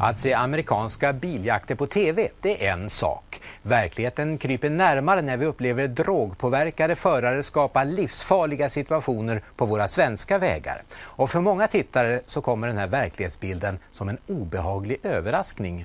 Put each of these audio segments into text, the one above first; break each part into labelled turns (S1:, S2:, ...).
S1: Att se amerikanska biljakter på tv, det är en sak. Verkligheten kryper närmare när vi upplever drogpåverkade förare skapa livsfarliga situationer på våra svenska vägar. Och för många tittare så kommer den här verklighetsbilden som en obehaglig överraskning.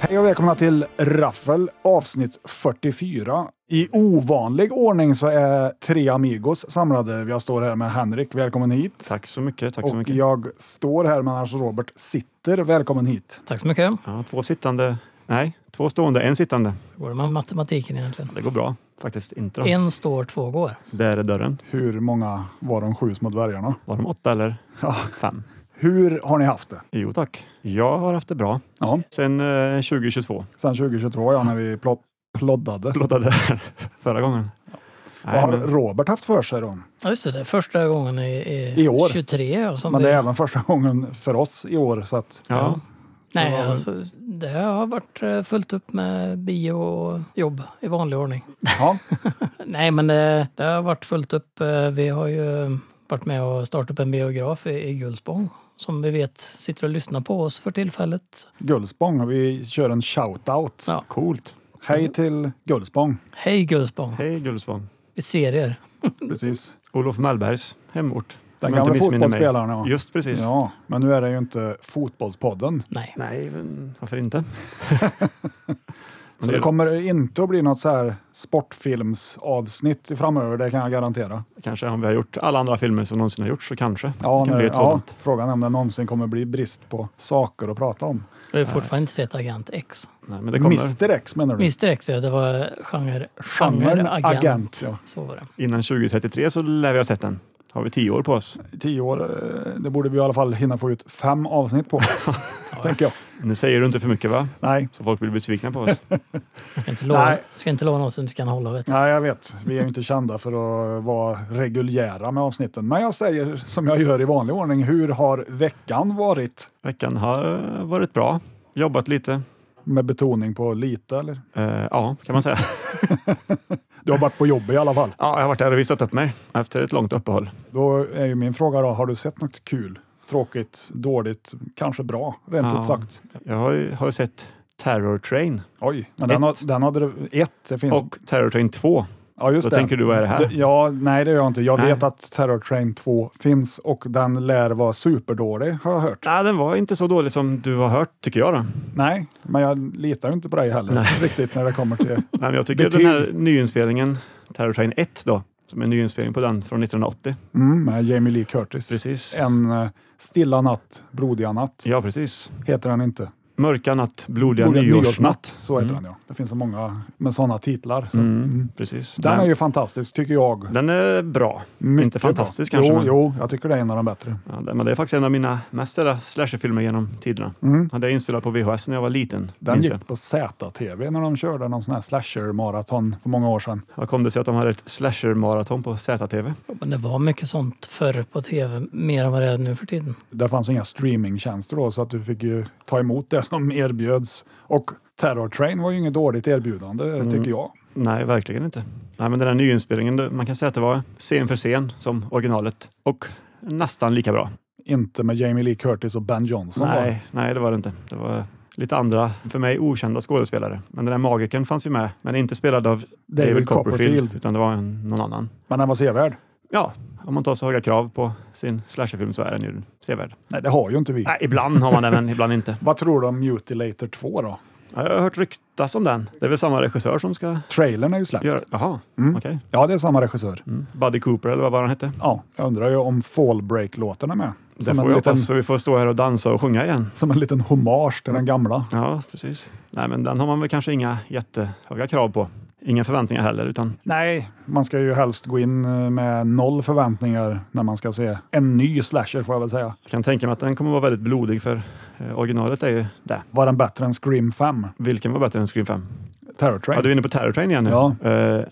S2: Hej och välkomna till Raffel avsnitt 44. I ovanlig ordning så är tre amigos samlade. Jag står här med Henrik, välkommen hit.
S3: Tack så mycket. Tack så
S2: Och
S3: mycket.
S2: jag står här med Lars och Robert sitter, välkommen hit.
S4: Tack så mycket.
S3: Ja, två sittande. Nej, två stående, en sittande.
S4: Hur går det med matematiken egentligen?
S3: Det går bra faktiskt. Inte då.
S4: En står, två går.
S3: Där är dörren.
S2: Hur många var de sju små dvärgarna?
S3: Var de åtta eller
S2: Ja.
S3: fem?
S2: Hur har ni haft det?
S3: Jo tack. Jag har haft det bra.
S2: Ja,
S3: Sen eh, 2022.
S2: sedan 2022 ja, när vi pl- ploddade.
S3: Låta det här förra gången.
S2: Vad
S3: Nej,
S2: har
S3: men,
S2: Robert haft för sig då?
S4: Ja, just det, det är första gången i, i,
S2: I år.
S4: 23. ja, Som
S2: Men det
S4: vi,
S2: är även första gången för oss i år. Så att,
S3: ja,
S4: nej,
S2: Ja.
S4: alltså, det har varit eh, fullt upp med bio och jobb i vanlig ordning.
S2: ja.
S4: Nej, men det, det har varit fullt upp. Eh, Vi har ju varit med och startat upp en biograf i, i Gullspång som vi vet sitter och lyssnar på oss för tillfället.
S2: Gullspång, vi kör en shout-out.
S4: Ja.
S3: coolt.
S2: Hej till Gullspång.
S4: Hej Gullspång!
S3: Hej Gullspång.
S4: Vi ser er!
S2: Precis.
S3: Olof Mellbergs hemort.
S2: Den
S3: Om jag inte
S2: gamla
S3: missminner mig.
S2: fotbollsspelaren. Ja.
S3: Just precis.
S2: ja, men nu är det ju inte Fotbollspodden.
S4: Nej,
S3: Nej, men varför inte?
S2: Så det kommer inte att bli något så här sportfilmsavsnitt i framöver, det kan jag garantera.
S3: Kanske om vi har gjort alla andra filmer som någonsin har gjorts så kanske.
S2: Ja,
S3: det
S2: nu,
S3: kan bli ett
S2: ja,
S3: sådant.
S2: frågan är om det någonsin kommer bli brist på saker att prata om.
S4: vi har fortfarande inte sett Agent X.
S3: Nej, men det kommer
S2: Mr X menar du?
S4: Mr X, ja, det var genre,
S2: Genren
S4: genre agent.
S2: agent, ja.
S4: Så var det.
S3: innan 2033 så lär vi ha sett den. Har vi tio år på oss.
S2: Tio år, eh, det borde vi i alla fall hinna få ut fem avsnitt på. tänker jag.
S3: Nu säger du inte för mycket va?
S2: Nej,
S3: Så folk blir besvikna på oss.
S4: Ska inte lova,
S2: Nej.
S4: ska inte lova något du inte kan hålla. Vet du.
S2: nej, jag vet. Vi är ju inte kända för att vara reguljära med avsnitten. Men jag säger som jag gör i vanlig ordning. Hur har veckan varit?
S3: Veckan har varit bra. Jobbat lite.
S2: Med betoning på lite, eller?
S3: Eh, ja, kan man säga.
S2: Du har varit på jobb i alla fall.
S3: Ja, jag har varit där och visat upp mig efter ett långt uppehåll.
S2: Då är ju min fråga då, har du sett något kul? Tråkigt, dåligt, kanske bra, rent
S3: Ja.
S2: ut sagt.
S3: Jag har, ju- har ju sett Terror Train
S2: Oj, men den,
S3: Ett.
S2: har, den hade du... Ett, det finns...
S3: och Terror Train 2.
S2: ja, just
S3: Då tänker du, vad är det här?
S2: Det- Ja, nej det gör jag inte. Jag
S3: Nej.
S2: vet att Terror Train 2 finns och den lär vara superdålig, har jag hört.
S3: Nej, den var inte så dålig som du har hört, tycker jag. Då.
S2: Nej, men jag litar ju inte på dig heller riktigt när det kommer till...
S3: Nej, men jag tycker
S2: Betyg.
S3: den här nyinspelningen, Terror Train 1, då, som är en nyinspelning på den från 1980.
S2: Mm, med Jamie Lee Curtis.
S3: Precis.
S2: En eh, stilla natt, blodiga natt,
S3: Ja, precis.
S2: heter den inte.
S3: Mörka natt, blodiga, nyårsnatt.
S2: Så heter
S3: Mm.
S2: den ja. Det finns så många med sådana titlar. Så.
S3: Mm, precis.
S2: Den
S3: Nej.
S2: är ju fantastisk tycker jag.
S3: Den är bra.
S2: Mycket
S3: Inte fantastisk
S2: bra.
S3: kanske,
S2: Jo,
S3: men-
S2: jo, jag tycker det är en av de bättre.
S3: Ja, det, men det är faktiskt en av mina mest sedda slasherfilmer genom tiderna.
S2: Mm.
S3: Ja, det är inspelat på VHS när jag var liten.
S2: Den
S3: minns jag.
S2: gick på ZTV när de körde någon sån här slasher-maraton för många år sedan.
S3: Vad kom det sig att de hade ett slasher-maraton på ZTV?
S4: Men det var mycket sånt förr på tv, mer än vad det är nu för tiden.
S2: Det fanns inga streamingtjänster då, så att du fick ju ta emot det som erbjöds. Och Terror Train var ju inget dåligt erbjudande,
S3: Mm.
S2: tycker jag.
S3: Nej, verkligen inte. Nej, men den här nyinspelningen, det- man kan säga att det var scen för scen som originalet och nästan lika bra.
S2: Inte med Jamie Lee Curtis och Ben Johnson.
S3: nej,
S2: Var.
S3: nej, det var det inte. Det var lite andra, för mig okända skådespelare. Men den här magikern fanns ju med, men inte spelad av David,
S2: David
S3: Copperfield,
S2: Copperfield.
S3: utan det var en, någon annan.
S2: Men den var sevärd.
S3: Ja, om man tar så höga krav på sin slasherfilm så är den ju sevärd.
S2: Nej, det har ju inte vi.
S3: Nej, ibland har man det, men ibland inte.
S2: Vad tror du om Mutilator 2 då?
S3: Ja, jag har hört ryktas om den. Det är väl samma regissör som ska
S2: Trailern är ju släppt.
S3: göra... Jaha,
S2: Mm.
S3: okej.
S2: Ja, det är samma regissör.
S3: Mm. Buddy Cooper eller vad var han hette.
S2: Ja, jag undrar ju om Fall Break-låten är med.
S3: Det
S2: Som
S3: får
S2: en,
S3: vi
S2: liten,
S3: hoppas så vi får stå här och dansa och sjunga igen.
S2: som en liten hommage till den gamla.
S3: Ja, precis. Nej, men den har man väl kanske inga jättehöga krav på. Inga förväntningar heller, utan
S2: Nej, man ska ju helst gå in eh, med noll förväntningar när man ska se en ny slasher får jag väl säga.
S3: jag kan tänka mig att den kommer vara väldigt blodig för eh, originalet är ju det.
S2: Var den bättre än Scream 5?
S3: Vilken var bättre än Scream 5?
S2: Terror
S3: Ja,
S2: Train?
S3: du är inne på Terror Train igen nu.
S2: Ja.
S3: Eh,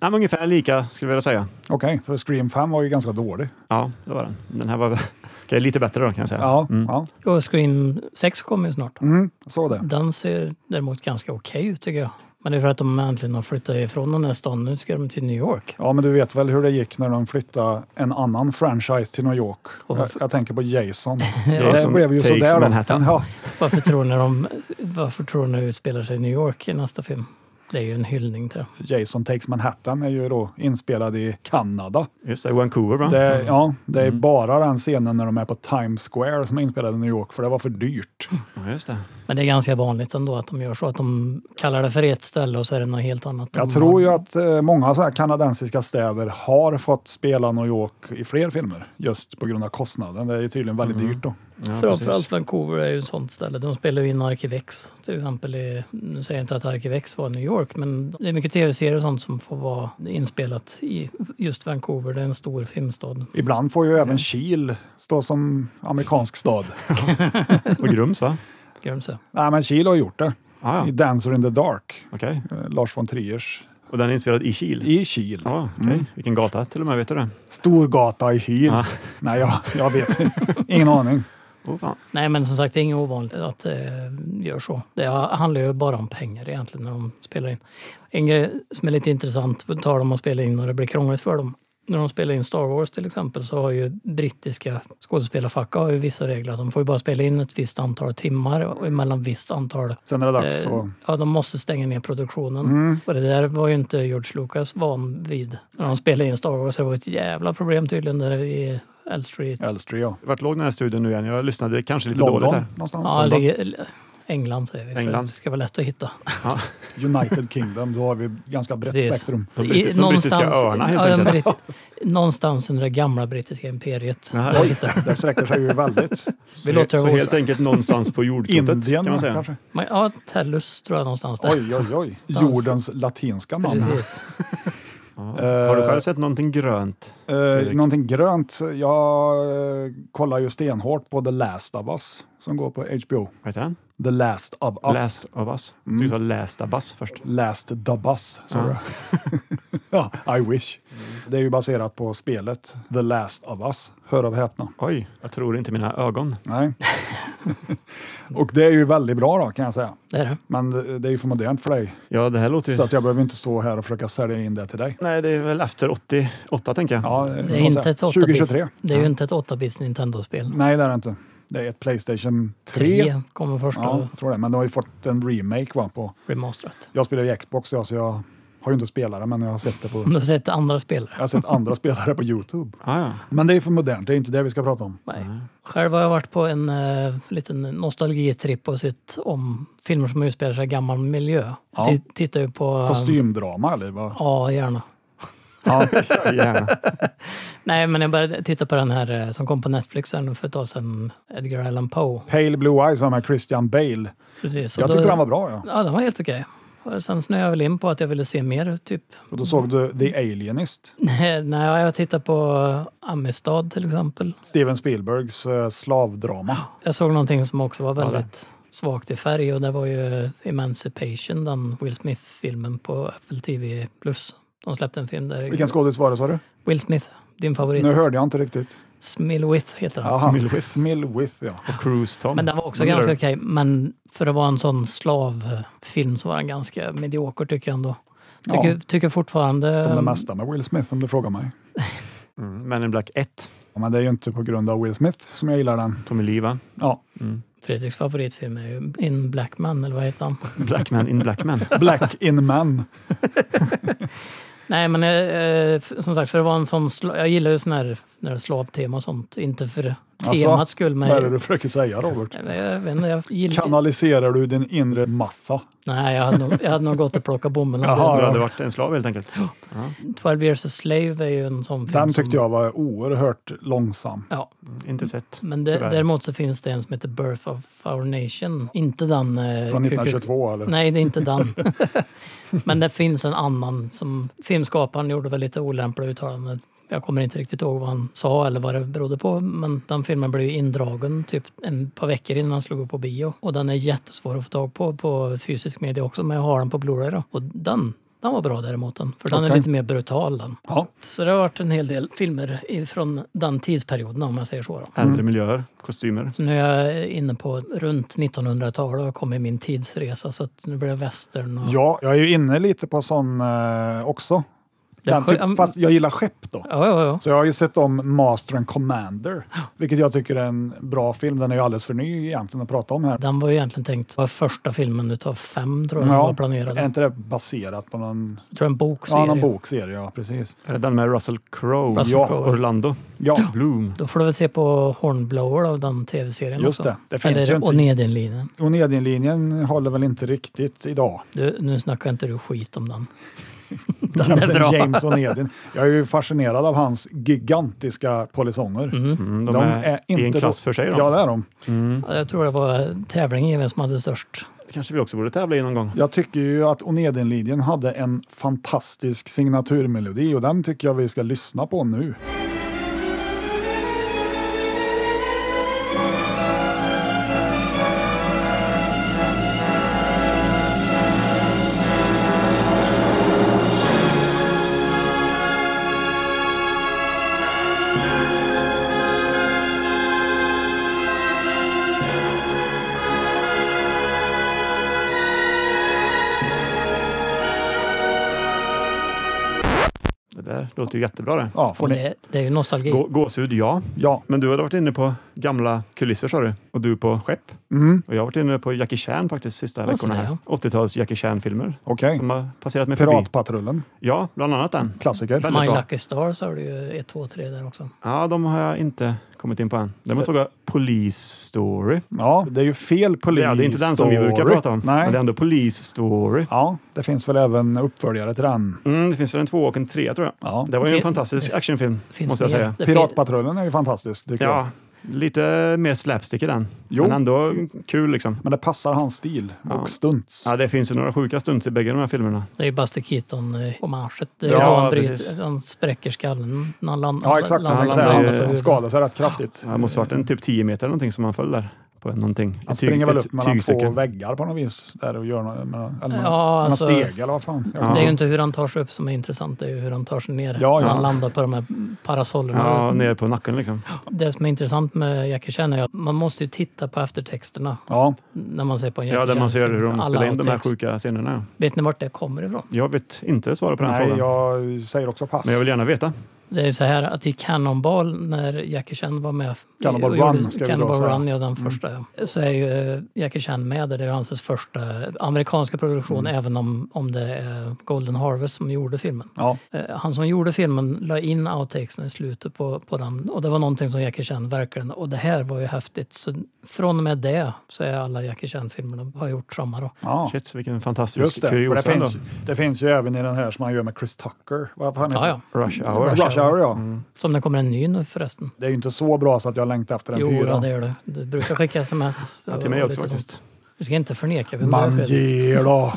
S3: nej, men ungefär lika skulle jag vilja säga.
S2: Okej, för Scream 5 var ju ganska dålig.
S3: Ja, det var den. Den här var okej, lite bättre då kan jag säga.
S2: Ja,
S3: Mm.
S2: ja.
S4: Och Scream 6 kommer ju snart.
S2: Mm, så det.
S4: Den ser däremot ganska okej ut tycker jag. Men det är för att de äntligen har flyttat ifrån den här stan. Nu ska de till New York.
S2: Ja, men du vet väl hur det gick när de flyttade en annan franchise till New York? Jag,
S4: Och varför-
S2: jag tänker på Jason.
S3: Jason
S2: det blev ju
S3: takes
S2: sådär då.
S3: Manhattan.
S2: Ja,
S4: Varför tror ni de, varför tror ni det utspelar sig i New York i nästa film? Det är ju en hyllning till det.
S2: Jason takes Manhattan är ju då inspelad i Kanada.
S3: Just det, Vancouver va?
S2: Det, ja, det
S3: Mm.
S2: är bara den scenen när de är på Times Square som är inspelad i New York, för det var för dyrt.
S3: Ja, just det.
S4: Men det är ganska vanligt ändå att de gör så. Att de kallar det för ett ställe och så är det något helt annat.
S2: Jag
S4: de
S3: Mm.
S2: tror
S4: har.
S2: ju att eh, många så här kanadensiska städer har fått spela New York i fler filmer, just på grund av kostnaden. Det är ju tydligen väldigt
S3: Mm.
S2: dyrt då.
S3: Ja,
S4: Framförallt
S3: precis.
S4: Vancouver är ju ett sånt ställe. De spelar ju in Arkivex till exempel. I, nu säger jag inte att Arkivex var i New York, men det är mycket tv-serier och sånt som får vara inspelat i just Vancouver. Det är en stor filmstad.
S2: Ibland får ju även Kil stå som amerikansk stad.
S3: Och Grums va?
S4: Kan man säga.
S2: Nej, men Kil har gjort det.
S3: Ah, ja,
S2: I
S3: okej.
S2: Dancer in the Dark, eh, Lars von Triers,
S3: Och den är inspelad i Kil?
S2: i Mm. Kil.
S3: Ja, okej. Vilken gata till och med, vet du det?
S2: Storgata i Kil.
S3: Ja.
S2: Nej, jag, jag vet Ingen aning.
S3: Åh fan.
S4: Nej, men som sagt, det är inget ovanligt att det gör så. Det handlar ju bara om pengar egentligen när de spelar in. En grej som är lite intressant tar de och spelar in och det blir krångligt för dem. När de spelar in Star Wars till exempel så har ju brittiska skådespelarfack har ju vissa regler. att De får ju bara spela in ett visst antal timmar och emellan visst antal
S2: Sen är det dags
S4: Eh,
S2: att... Mm.
S4: ja, de måste stänga ner produktionen. Och det där var ju inte George Lucas van vid. När de spelade in Star Wars, det var ett jävla problem tydligen där i L Street.
S2: Elstree, ja.
S3: Vart låg den här studion nu igen? Jag lyssnade kanske lite dåligt
S2: London
S3: här.
S2: någonstans.
S4: Ja,
S2: Sen
S4: ligger- England säger vi, för
S3: England.
S4: det ska vara lätt att hitta.
S3: Ja.
S2: då United Kingdom, då har vi ganska brett
S4: Precis.
S2: spektrum.
S3: De britt-
S4: I-
S3: de brittiska öarna helt
S4: ja, de
S3: enkelt.
S4: britt- någonstans under det gamla brittiska imperiet.
S3: Jaha.
S4: Där hittar de.
S2: Det sträcker sig ju väldigt.
S4: Vi låter
S3: Så
S4: det
S3: helt
S4: gå.
S3: enkelt någonstans på jordklotet
S2: Indien
S3: kan man säga.
S2: kanske?
S4: Men, Ja, Tellus tror jag någonstans där.
S2: Oj, oj, oj. Jordens latinska namn.
S4: Precis.
S3: Ja. Har du själv sett någonting grönt?
S2: Eh, någonting grönt. Jag eh, kollar ju stenhårt på The Last of Us som går på HBO.
S3: Vad heter den?
S2: The Last of Us.
S3: Last of us. Mm. Du sa Last of us först.
S2: Last Dabas, sa
S3: Ja. Mm.
S2: du. ja, I wish. Det är ju baserat på spelet The Last of Us. Hör och häpna.
S3: Oj, jag tror inte mina ögon.
S2: Nej. och det är ju väldigt bra då, kan jag säga.
S4: Det är det.
S2: Men det det är ju för modernt för dig,
S3: Ja, det här låter ju...
S2: så att jag behöver inte stå här och försöka sälja in det till dig.
S3: Nej, det är väl efter 88 tänker jag.
S2: Ja,
S4: Det är, inte ett
S2: 2023.
S4: 8-bits, det är ju inte ett 8-bits Nintendo-spel.
S2: Nej, det är det inte. Det är ett Playstation 3.
S4: Tre kommer första
S2: Ja, jag tror det. Men de har ju fått en remake va, på
S4: remasterat.
S2: Jag spelar ju Xbox, ja, så jag har ju inte spelat det, men jag har sett det på
S4: Om du har sett andra
S2: jag
S4: spelare?
S2: har sett andra spelare på Youtube.
S3: Ah, ja.
S2: Men det är för modernt, det är inte det vi ska prata om.
S4: Nej. Själv har jag varit på en eh, liten nostalgitripp och sett om filmer som utspelar sig i gammal miljö.
S2: Ja.
S4: Ja. Tittar ju på... eh,
S2: Kostymdrama eller vad?
S4: Ja, gärna.
S2: Ja.
S3: Ja, gärna.
S4: Nej, men jag började titta på den här eh, som kom på Netflix här nu för ett tag sedan. Edgar Allan Poe.
S2: Pale Blue Eyes med Christian Bale.
S4: Precis. och
S2: Jag
S4: då-
S2: tyckte den var bra. Ja.
S4: Ja, den var helt okej. Och Sen snöade jag väl in på att jag ville se mer, typ.
S2: Och då såg du The Alienist,
S4: Nej, jag tittar på eh, Amistad till exempel.
S2: Steven Spielbergs eh, slavdrama.
S4: Jag såg någonting som också var
S3: det.
S4: väldigt svagt i färg och det var ju Emancipation, den Will Smith-filmen på Apple TV+. De släppte en film där.
S2: Vilken skådis var det sa du?
S4: Will Smith, din favorit.
S2: Nu hörde jag inte riktigt.
S4: Smilwith heter han.
S2: Jaha,
S3: Smilwith.
S2: Smilwith, ja.
S3: Cruise Tom.
S4: Men den var också
S3: Undrar-
S4: ganska okej. Men för att vara en sån slavfilm så var den ganska medioker tycker jag ändå. Tycker,
S2: Ja.
S4: tycker fortfarande...
S2: Som det mesta med Will Smith om du frågar mig.
S3: Mm, Men in Black 1.
S2: Ja, men det är ju inte på grund av Will Smith som jag gillar den.
S3: Tommy Lee va? Mm.
S2: Ja,
S4: Fredriks favoritfilm är ju In Black Man, eller vad heter han?
S3: Black Man in Black Man.
S2: Black in Man.
S4: Nej, men eh, eh, f- som sagt, för att vara en sån... Sla- jag gillar ju sån här, när det är slavtema och sånt. Inte för temat skull.
S2: Alltså, Vad är det
S4: Men
S2: du försöker säga Robert?
S4: jag, vet inte, jag gillar...
S2: Kanaliserar du din inre massa?
S4: Nej, jag hade, nog, jag hade nog gått och plockat bomben.
S2: Jaha.
S4: av
S3: Du
S2: ja.
S3: hade varit en slav helt enkelt.
S4: det. 12 years a slave är ju en sån film.
S2: Den tyckte
S4: som,
S2: jag var oerhört långsam.
S4: Ja,
S3: Inte sett.
S4: men det,
S3: Tyvärr.
S4: däremot så finns det en som heter Birth of Our Nation. Inte den... Eh,
S2: Från
S4: Ku- Ku-
S2: 1922 eller?
S4: Nej, det är inte den. Men det finns en annan som filmskaparen gjorde väl lite olämpliga uttalanden. Jag kommer inte riktigt ihåg vad han sa eller vad det berodde på, men den filmen blev ju indragen typ en par veckor innan han slog upp på bio. Och den är jättesvår att få tag på på fysisk media också, men jag har den på Blu-ray då. Och den, den var bra däremot den, för den är
S2: Okej.
S4: lite mer brutal den.
S2: Ja.
S4: Så det har varit en hel del filmer från den tidsperioden om man säger så. Då.
S3: Äldre miljöer, kostymer.
S4: Så nu är jag inne på runt 1900-talet och har kommit min tidsresa så att nu blir det västern och
S2: ja, jag är ju inne lite på sån eh, också.
S4: Det
S2: Den
S4: är skö-
S2: typ, fast jag gillar skepp då.
S4: Ja, ja, ja.
S2: Så jag har ju sett om Master and Commander, vilket jag tycker är en bra film. Den är ju alldeles för ny egentligen att prata om här.
S4: Den var ju egentligen tänkt vara första filmen utav fem tror jag som var
S2: Ja,
S4: planerad.
S2: är inte det baserat på någon,
S4: Jag tror en bokserie.
S2: ja, någon bokserie? Ja, precis.
S3: Är det den med Russell Crowe?
S4: Russell
S2: Ja,
S4: Crowe.
S3: Orlando.
S2: Ja,
S3: Bloom.
S4: Då får du väl se på Hornblower av den tv-serien
S2: Just
S4: också.
S2: det. Det finns
S4: Eller
S2: ju inte-
S4: Onedinlinjen.
S2: Onedinlinjen håller väl inte riktigt idag.
S4: Du, nu snackar inte du skit om den. den är
S2: Kapten
S4: bra.
S2: James Onedin. Jag är ju fascinerad av hans gigantiska polisonger.
S3: Mm, de, är, i en klass för sig. Då.
S2: Ja, det är de.
S4: Ja, Jag tror det var tävling i vem som hade störst.
S3: Det kanske vi också borde tävla i någon gång.
S2: Jag tycker ju att Onedinlinjen hade en fantastisk signaturmelodi och den tycker jag vi ska lyssna på nu.
S3: Det där låter ju jättebra det.
S2: Ja, får ni.
S4: Det, det är ju nostalgi.
S3: Gå, gåshud, ja.
S2: Ja.
S3: Men du hade varit inne på gamla kulisser sa du. Och du på skepp.
S2: Mm,
S3: Och jag har varit inne på Jackie Chan faktiskt sista
S4: Ja,
S3: veckorna
S4: så där,
S3: här. 80-tals Jackie Chan-filmer
S2: Okej.
S3: som har passerat mig förbi.
S2: Piratpatrullen,
S3: Ja, bland annat den.
S2: klassiker.
S3: väldigt
S4: My
S3: bra.
S4: Lucky Stars har du ju 1, 2, 3 där också.
S3: Ja, de har jag inte kommit in på än. Däremot såg jag Police Story.
S2: Ja, det är ju fel polis.
S3: Ja, det är inte den som vi brukar prata om, men det är
S2: Nej.
S3: ändå Police Story.
S2: Ja, det finns väl även uppföljare till den.
S3: Mm, det finns väl en två och en tre tror jag.
S2: Ja.
S3: Det var ju en
S4: Fin-
S3: fantastisk actionfilm,
S4: Finns
S3: måste jag
S4: mer.
S3: säga.
S4: Det fin-
S2: Piratpatrullen är ju fantastisk, tycker jag.
S3: Ja, lite mer slapstick i den.
S2: Jo.
S3: Men ändå kul liksom.
S2: Men det passar hans stil och
S3: Ja.
S2: stunts.
S3: Ja, det finns ju några sjuka stunts i bägge de här filmerna.
S4: Det är ju Buster eh, Keaton-homaget.
S3: Ja,
S4: Ja, han, bryter,
S3: precis.
S4: han spräcker stallen när han landar.
S2: Ja, exakt.
S3: han
S2: Han,
S4: landar
S2: han,
S3: landar
S4: på
S3: ju-
S2: han,
S4: huvudet.
S2: skadade sig rätt kraftigt.
S3: Det måste varit en typ 10 meter eller någonting som han föll där. På någonting.
S2: Han
S3: Ett tyg-
S2: springer väl
S3: ett
S2: upp mellan två
S3: tygstycke.
S2: väggar på något vis. Där och gör något, med, eller med,
S4: Ja,
S2: med
S4: alltså-
S2: någon steg eller vad fan. Jag
S3: Ja.
S2: vet
S4: Det är ju
S2: inte.
S4: inte hur han tar sig upp som är intressant, det är ju hur han tar sig ner.
S2: Ja, ja.
S4: Han landar på de här parasollerna.
S3: Ja, ner på nacken liksom.
S4: Det som är intressant med Jackie Chan är att man måste ju titta på eftertexterna
S2: ja.
S4: när man ser på en Jackie
S3: Ja, där man ser
S4: Chan-film.
S3: hur de
S4: Alla
S3: spelar in de här
S4: outtakes.
S3: sjuka scenerna.
S4: Vet ni vart det kommer ifrån?
S3: Jag vet inte svara på den
S2: Nej,
S3: frågan.
S2: jag säger också pass.
S3: Men jag vill gärna veta.
S4: Det är ju så här att i Cannonball, när Jackie Chan var med
S2: Cannonball
S4: och gjorde-
S2: Run, ska vi då
S4: Cannonball
S2: säga.
S4: Run, ja den
S3: Mm.
S4: första. ja. Så är ju eh, Jackie Chan med där. Det är ju hans första amerikanska produktion,
S3: Mm.
S4: även om, om det är Golden Harvest som gjorde filmen.
S2: Ja.
S4: Eh, Han som gjorde filmen la in outtakesen i slutet på, på den och det var någonting som Jackie Chan verkligen, och det här var ju häftigt. Så från och med det så är alla Jackie Chan-filmerna har gjort samma då.
S2: Ja.
S3: Shit, vilken
S2: Just
S3: fantastisk
S2: det, för det
S3: kuriosa ändå.
S2: finns, det finns ju även i den här som han gör med Chris Tucker. Vad fan heter
S4: Ja, ja.
S3: Rush Hour.
S4: Rush
S2: Rush,
S4: Hour.
S2: Hour, ja.
S3: Mm.
S4: Som det kommer en ny nu förresten.
S2: Det är ju inte så bra så att jag längtar efter en
S4: Jo,
S2: fyra.
S4: ja, det gör det. Du brukar skicka sms.
S3: Ja,
S4: och-
S3: till mig
S4: och
S3: också
S4: lite sånt.
S3: faktiskt.
S4: Du ska inte förneka vem
S2: Man
S4: du är Fredrik.
S2: ger då!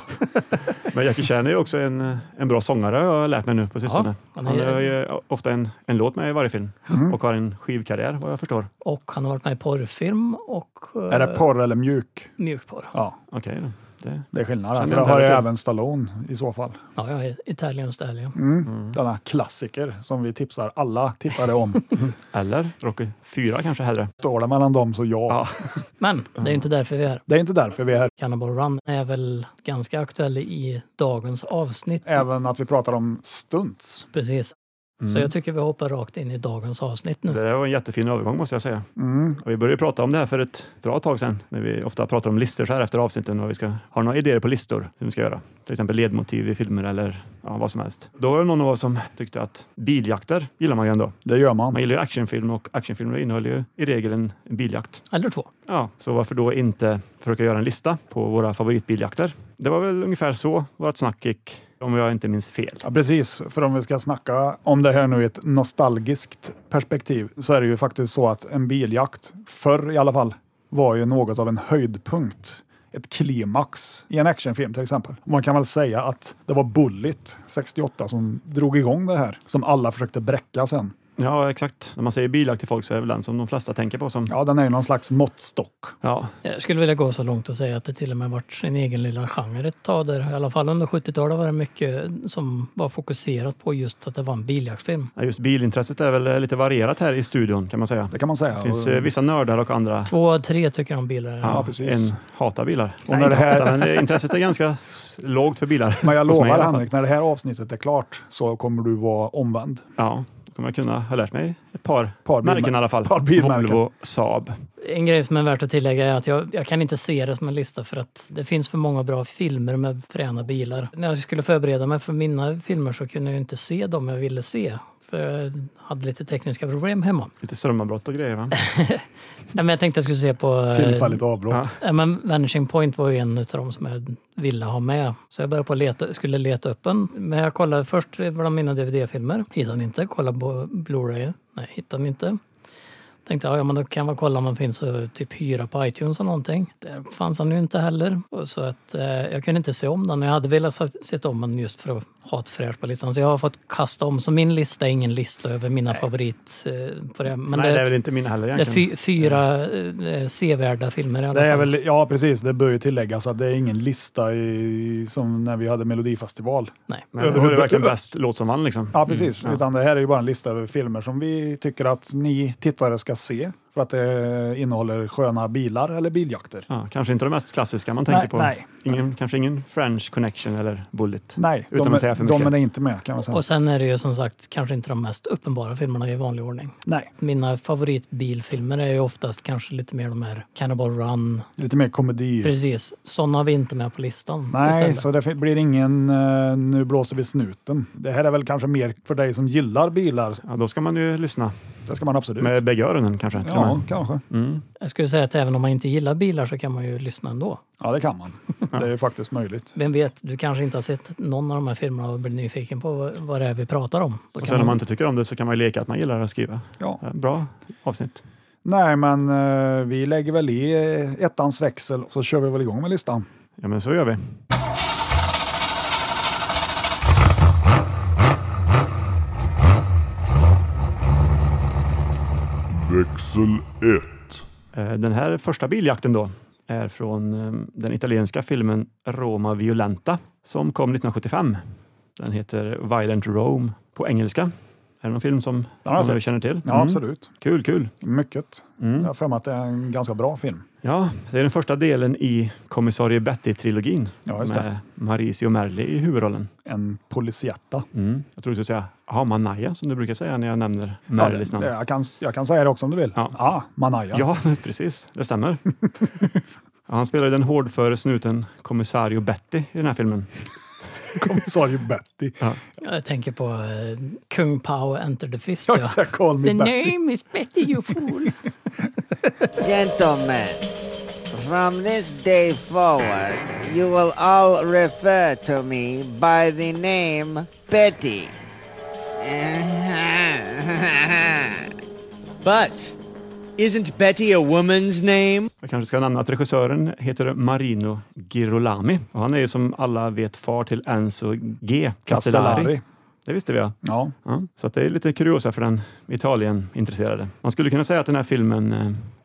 S3: Men Jackie Chan är ju också en, en bra sångare har jag lärt mig nu på sistone.
S4: han
S3: han
S4: är-
S3: har ju ofta en, en låt med i varje film
S2: Mm.
S3: och har en skivkarriär vad jag förstår.
S4: Och han har varit med i porrfilm och eh,
S2: Är det porr eller mjuk?
S4: mjukporr.
S2: Ja,
S3: Okej då. Det,
S2: det är skillnad.
S3: Känner
S2: För det
S3: inte
S2: har ju
S3: riktigt.
S2: även Stallone i så fall.
S4: Ja, ja, Italian Style. Ja.
S2: Mm. Denna klassiker som vi tipsar alla tittare om.
S3: eller Rocky 4 kanske hellre.
S2: Står det mellan dem så ja.
S3: Ja.
S4: Men det är ju inte därför vi är här.
S2: Det är inte därför vi är här.
S4: Cannibal Run är väl ganska aktuell i dagens avsnitt.
S2: Även att vi pratar om stunts.
S4: Precis. Så jag tycker vi hoppar rakt in i dagens avsnitt nu.
S3: Mm. Det där var en jättefin övergång måste jag säga.
S2: Mm.
S3: Och vi började ju prata om det här för ett bra tag sedan, när vi ofta pratar om listor så här efter avsnitten och vi ska ha några idéer på listor som vi ska göra. Till exempel ledmotiv i filmer eller ja, vad som helst. Då var det någon av oss som tyckte att biljakter gillar man ju ändå.
S2: Det gör man.
S3: Man gillar ju actionfilm och actionfilmer innehåller ju i regel en en biljakt.
S4: Eller två.
S3: Ja, så varför då inte försöka göra en lista på våra favoritbiljakter? Det var väl ungefär så vårt snack gick, om jag inte minns fel.
S2: Ja, precis, för om vi ska snacka om det här nu i ett nostalgiskt perspektiv så är det ju faktiskt så att en biljakt, förr i alla fall, var ju något av en höjdpunkt. Ett klimax i en actionfilm till exempel. Man kan väl säga att det var Bullitt 68 som drog igång det här, som alla försökte bräcka sen.
S3: Ja, exakt. När man säger biljakt till folk så är det väl den som de flesta tänker på som...
S2: Ja, den är ju någon slags måttstock.
S3: Ja,
S4: Jag skulle vilja gå så långt och säga att det till och med varit sin egen lilla genre ett tag där. I alla fall under 70-talet var det mycket som var fokuserat på just att det var en biljaktsfilm.
S3: Ja, Just bilintresset är väl eh, lite varierat här i studion kan man säga.
S2: Det kan man säga.
S3: Det finns
S2: Och-
S3: eh, vissa nördar och andra
S4: Två av tre tycker om bilar.
S3: ja,
S2: precis.
S3: en hatar bilar.
S2: Och när det
S3: Ja,
S2: här,
S3: Men eh, intresset är ganska s- lågt för bilar.
S2: men jag
S3: hos mig i
S2: lovar
S3: alla fall.
S2: Henrik, när det här avsnittet är klart så kommer du vara omvänd.
S3: Ja, då kommer jag kunna ha lärt mig ett par,
S2: Par bilmär-
S3: märken i alla fall.
S2: par bilmärken.
S3: Volvo, Saab.
S4: En grej som är värt att tillägga är att jag, jag kan inte se det som en lista för att det finns för många bra filmer med fräna bilar. När jag skulle förbereda mig för mina filmer så kunde jag ju inte se dem jag ville se. För jag hade lite tekniska problem hemma.
S3: Lite strömavbrott och grejer va?
S4: Nej, men jag tänkte jag skulle se på... eh,
S2: Tillfälligt avbrott.
S3: Ja.
S4: Ja, men Vanishing Point var ju en av de som jag ville ha med. Så jag började på att leta, skulle leta upp en. Men jag kollade först bland mina DVD-filmer. Hittade den inte. Kollade på Blu-ray. Nej, hittade den inte. Tänkte ja, ja, men då kan man kolla om den finns och typ hyra på iTunes eller någonting. Där fanns den ju inte heller. Och Så att eh, jag kunde inte se om den. Jag hade velat se sett om den just för att ha ett fräscht på listan. Så jag har fått kasta om. Så min lista är ingen lista över mina favorit... Eh, på det. Men
S3: Nej, det
S4: det,
S3: är väl inte mina heller
S4: det är
S3: egentligen.
S4: fy, fyra eh, sevärda filmer i alla
S2: Det är
S4: fall.
S2: väl, ja, precis. Det bör ju tilläggas att det är ingen lista i, som när vi hade Melodifestival.
S4: Nej.
S3: Men då var det verkligen bäst låt som vann liksom.
S2: Ja, precis. Utan det här är ju bara en lista över filmer som vi tycker att ni tittare ska se för att det innehåller sköna bilar eller biljakter.
S3: Ja, kanske inte de mest klassiska man tänker
S2: Nej,
S3: på.
S2: nej.
S3: Ingen, kanske ingen French Connection eller Bullet.
S2: Nej,
S3: Utan
S2: de,
S3: att säga för
S2: de
S3: mycket.
S2: är inte med kan man säga.
S4: Och sen är det ju som sagt kanske inte de mest uppenbara filmerna i vanlig ordning.
S2: Nej,
S4: Mina favoritbilfilmer är ju oftast kanske lite mer de här Cannibal Run.
S2: lite mer komedi.
S4: Precis, sådana har vi inte med på listan.
S2: Nej,
S4: istället.
S2: så det fi- blir ingen eh, nu blåser vi snuten. Det här är väl kanske mer för dig som gillar bilar.
S3: Ja, då ska man ju lyssna
S2: Det ska man absolut.
S3: med bägge öronen kanske. till och
S2: ja,
S3: med.
S2: kanske.
S3: Mm.
S4: Jag skulle säga att även om man inte gillar bilar så kan man ju lyssna ändå.
S2: Ja, det kan man. Det är ju faktiskt möjligt.
S4: Vem vet, du kanske inte har sett någon av de här filmerna och blir nyfiken på vad- vad det är vi pratar om. Då
S3: Och
S4: kan
S3: sen om man
S4: man...
S3: inte tycker om det så kan man ju leka att man gillar att skriva.
S2: Ja.
S3: Ja, Bra avsnitt.
S2: Nej, men eh, vi lägger väl i eh, ettans växel så kör vi väl igång med listan.
S3: Ja, men så gör vi.
S5: Växel 1.
S3: Eh, Den här första biljakten då är från eh, den italienska filmen Roma Violenta som kom 1975. Den heter Violent Rome på engelska. Är det någon film som
S2: har jag
S3: någon
S2: sett.
S3: känner till?
S2: Ja,
S3: Mm.
S2: absolut.
S3: Kul, kul.
S2: Mycket.
S3: Mm.
S2: Jag har för mig att det är en ganska bra film.
S3: Ja, det är den första delen i Kommissarie Betty-trilogin
S2: Ja, just det.
S3: med Mauricio Merli i huvudrollen.
S2: En Polisietta.
S3: Mm. Jag tror du skulle säga Hamanaya som du brukar säga när jag nämner
S2: Ja,
S3: Merlis
S2: det-
S3: namn.
S2: jag, kan, jag kan säga det också om du vill.
S3: Ja.
S2: Ah, Manaya.
S3: Ja, precis. Det stämmer. Ja, Han spelar ju den hårdföre snuten kommissario Betty i den här filmen.
S2: Kommissarie Betty.
S4: Jag tänker på eh, Kung Pao Enter the Fist.
S2: Jag
S4: ja.
S2: säger call me
S4: The
S2: Betty.
S4: name is Betty you fool.
S6: Gentlemen, from this day forward, you will all refer to me by the name Betty.
S7: But isn't Betty a woman's name?
S3: Jag kanske ska nämna att regissören heter Marino Girolami och han är ju som alla vet far till Enzo G. Castellari.
S2: Castellari.
S3: Det visste vi ja.
S2: Ja,
S3: Ja, så att det är lite kuriosa för den Italien-intresserade. Man skulle kunna säga att den här filmen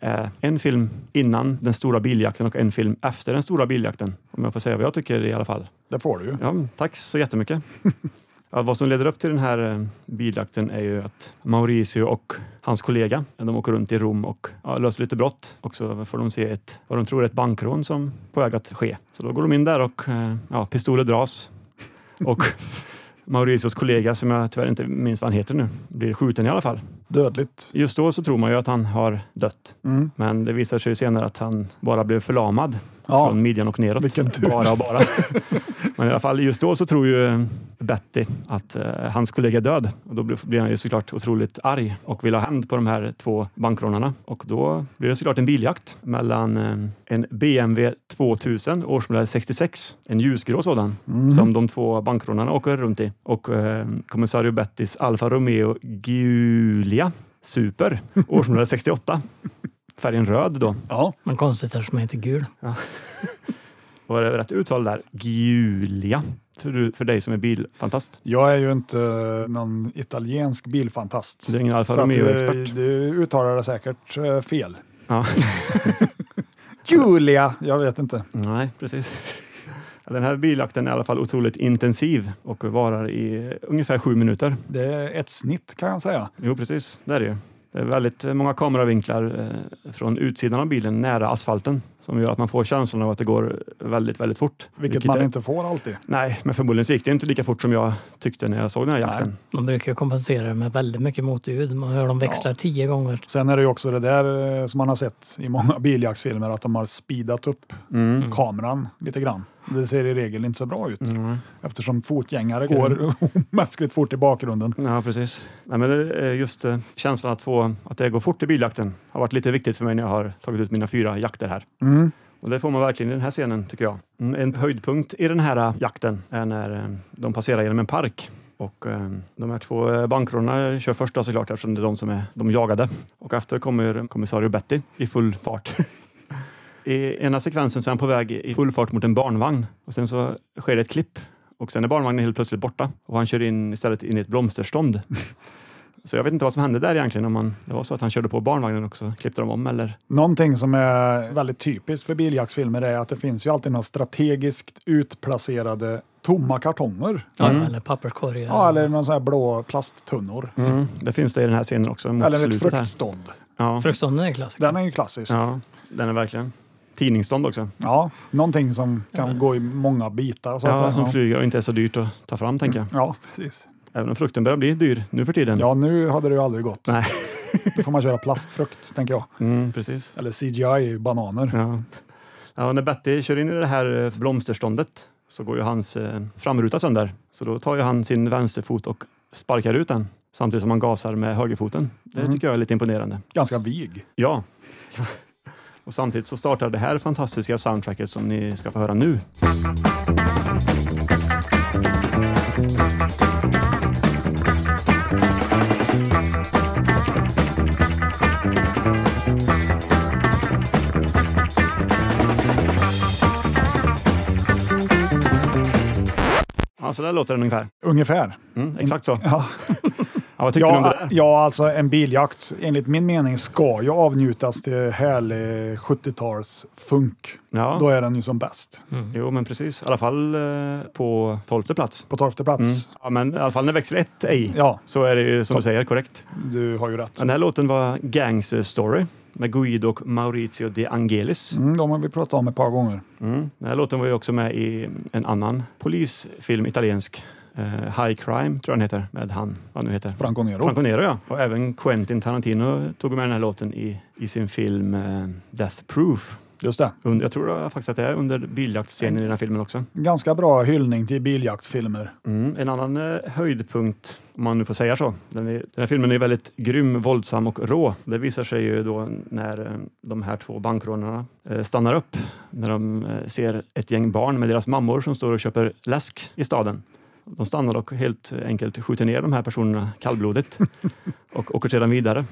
S3: eh, är en film innan den stora biljakten och en film efter den stora biljakten. Om jag får säga vad jag tycker i alla fall.
S2: det får du ju.
S3: Ja, tack så jättemycket. Ja, vad som leder upp till den här eh, biljakten är ju att Mauricio och hans kollega, de åker runt i Rom och ja, löser lite brott. Och så får de se ett, vad de tror är ett bankrån som på väg att ske. Så då går de in där och eh, ja, pistoler dras. Och Mauricios kollega, som jag tyvärr inte minns vad han heter nu, blir skjuten i alla fall.
S2: Dödligt.
S3: Just då så tror man ju att han har dött,
S2: Mm.
S3: men det visar sig ju senare att han bara blev förlamad
S2: Ja,
S3: från midjan och neråt.
S2: Vilken tur.
S3: Bara och bara. men i alla fall just då så tror ju Betty att eh, hans kollega är död och då blir- blir han ju såklart otroligt arg och vill ha hämnd på de här två bankrånarna och då blir det såklart en biljakt mellan eh, en BMW 2000 årsmodell 66, en ljusgrå sådan
S2: Mhm. Mm.
S3: som de två bankrånarna åker runt i och eh, kommissario Bettys Alfa Romeo Giulia Super årsmodell 68. Färgen röd då.
S2: ja.
S4: Men konstigt eftersom jag inte är gul.
S3: Var det rätt uttal där? Giulia. För, du, för dig som är bilfantast.
S2: Jag är ju inte eh, någon italiensk bilfantast.
S3: Du är ingen Alfa
S2: Så att, eh,
S3: Romeo-expert.
S2: Du uttalar det säkert eh, fel.
S3: Ja.
S2: Julia, jag vet inte.
S3: Nej, precis. Den här biljakten är i alla fall otroligt intensiv och varar i ungefär sju minuter.
S2: Det är ett snitt kan jag säga.
S3: Jo, precis. Det är det ju. Det är väldigt många kameravinklar eh, från utsidan av bilen nära asfalten som gör att man får känslan av att det går väldigt, väldigt fort.
S2: Vilket, man
S3: är-
S2: inte får alltid.
S3: Nej, men förmodligen så gick det inte lika fort som jag tyckte när jag såg den här jakten.
S4: De brukar ju kompensera det med väldigt mycket motljud. Man hör dem växla tio gånger.
S2: Sen är det ju också det där eh, som man har sett i många biljaktsfilmer, att de har speedat upp
S3: Mm.
S2: kameran lite grann. Det ser i regel inte så bra ut eftersom fotgängare går omänskligt fort i bakgrunden.
S3: Ja, precis. Nej, men det är just eh, känslan att, få, att det går fort i biljakten har varit lite viktigt för mig när jag har tagit ut mina fyra jakter här.
S2: Mm.
S3: Och det får man verkligen i den här scenen, tycker jag. Mm, En höjdpunkt i den här eh, jakten är när eh, de passerar genom en park. Och eh, de här två eh, bankrånarna kör första såklart eftersom det är de som är de jagade. Och efter kommer kommissarie Betty i full fart. I ena sekvensen så är han på väg i full fart mot en barnvagn och sen så sker det ett klipp och sen är barnvagnen helt plötsligt borta och han kör in istället in i ett blomsterstånd. Så jag vet inte vad som hände där egentligen, om man, det var så att han körde på barnvagnen också, klippte de om eller?
S2: Någonting som är väldigt typiskt för biljaktsfilmer är att det finns ju alltid några strategiskt utplacerade tomma kartonger.
S4: Ja, Eller papperskorgar.
S2: Mm. Ja, eller någon sån här blå plasttunnor.
S3: Mm, Det finns det i den här scenen också mot
S2: Eller ett
S3: slutet här.
S2: fruktstånd.
S3: Ja,
S4: Fruktstånden är en klassiker.
S2: Den är ju klassisk. Ja.
S3: ja, den är verkligen. Tidningsstånd också,
S2: någonting som kan gå i många bitar. Så att
S3: ja,
S2: säga.
S3: som
S2: Ja.
S3: flyger och inte är så dyrt att ta fram tänker jag.
S2: Ja, precis.
S3: Även om frukten börjar bli dyr nu för tiden.
S2: Ja, nu hade det ju aldrig gått.
S3: Nej.
S2: Då får man köra plastfrukt, tänker jag.
S3: Mm, precis.
S2: Eller CGI-bananer.
S3: Ja. ja, och när Betty kör in i det här eh, blomsterståndet så går ju hans eh, framruta sönder. Så då tar ju han sin vänsterfot och sparkar ut den samtidigt som han gasar med högerfoten. Det tycker jag är lite imponerande.
S2: Mm. Ganska vig.
S3: Ja. Och samtidigt så startar det här fantastiska soundtracket som ni ska få höra nu. Ja, så där låter den ungefär.
S2: Ungefär.
S3: Mm, exakt så.
S2: Ja.
S3: Ja, vad tyckte ni om det
S2: Ja,
S3: där?
S2: ja, alltså en biljakt enligt min mening ska ju avnjutas till härlig 70-tals funk.
S3: Ja. Mm.
S2: Då är den ju som bäst.
S3: Jo, men precis. I alla fall eh, på tolfte plats.
S2: På tolfte plats.
S3: Ja, men i alla fall när växel 1 ej.
S2: Ja,
S3: Så är det ju som du
S2: Topp.
S3: säger, korrekt.
S2: du har ju rätt.
S3: Den här låten var Gangster Story med Guido och Maurizio De Angelis.
S2: Mm, de har vi pratat om ett par gånger.
S3: Mm. Den här låten var ju också med i en annan polisfilm, italiensk. Eh, High Crime tror jag den heter, med han, vad han nu heter.
S2: Franco Nero.
S3: Franco Nero ja. Och även Quentin Tarantino tog med den här låten i, i sin film eh, Death Proof.
S2: Just det.
S3: Under, jag tror faktiskt att det är under biljaktscenen
S2: Mm.
S3: i den här filmen också.
S2: Ganska bra hyllning till biljaktsfilmer.
S3: Mm, en annan eh, höjdpunkt, om man nu får säga så. Den, är, den här filmen är väldigt grym, våldsam och rå. Det visar sig ju då när eh, de här två bankrånarna eh, stannar upp när de eh, ser ett gäng barn med deras mammor som står och köper läsk i staden. De stannar och helt enkelt skjuter ner de här personerna kallblodigt och åker sedan vidare.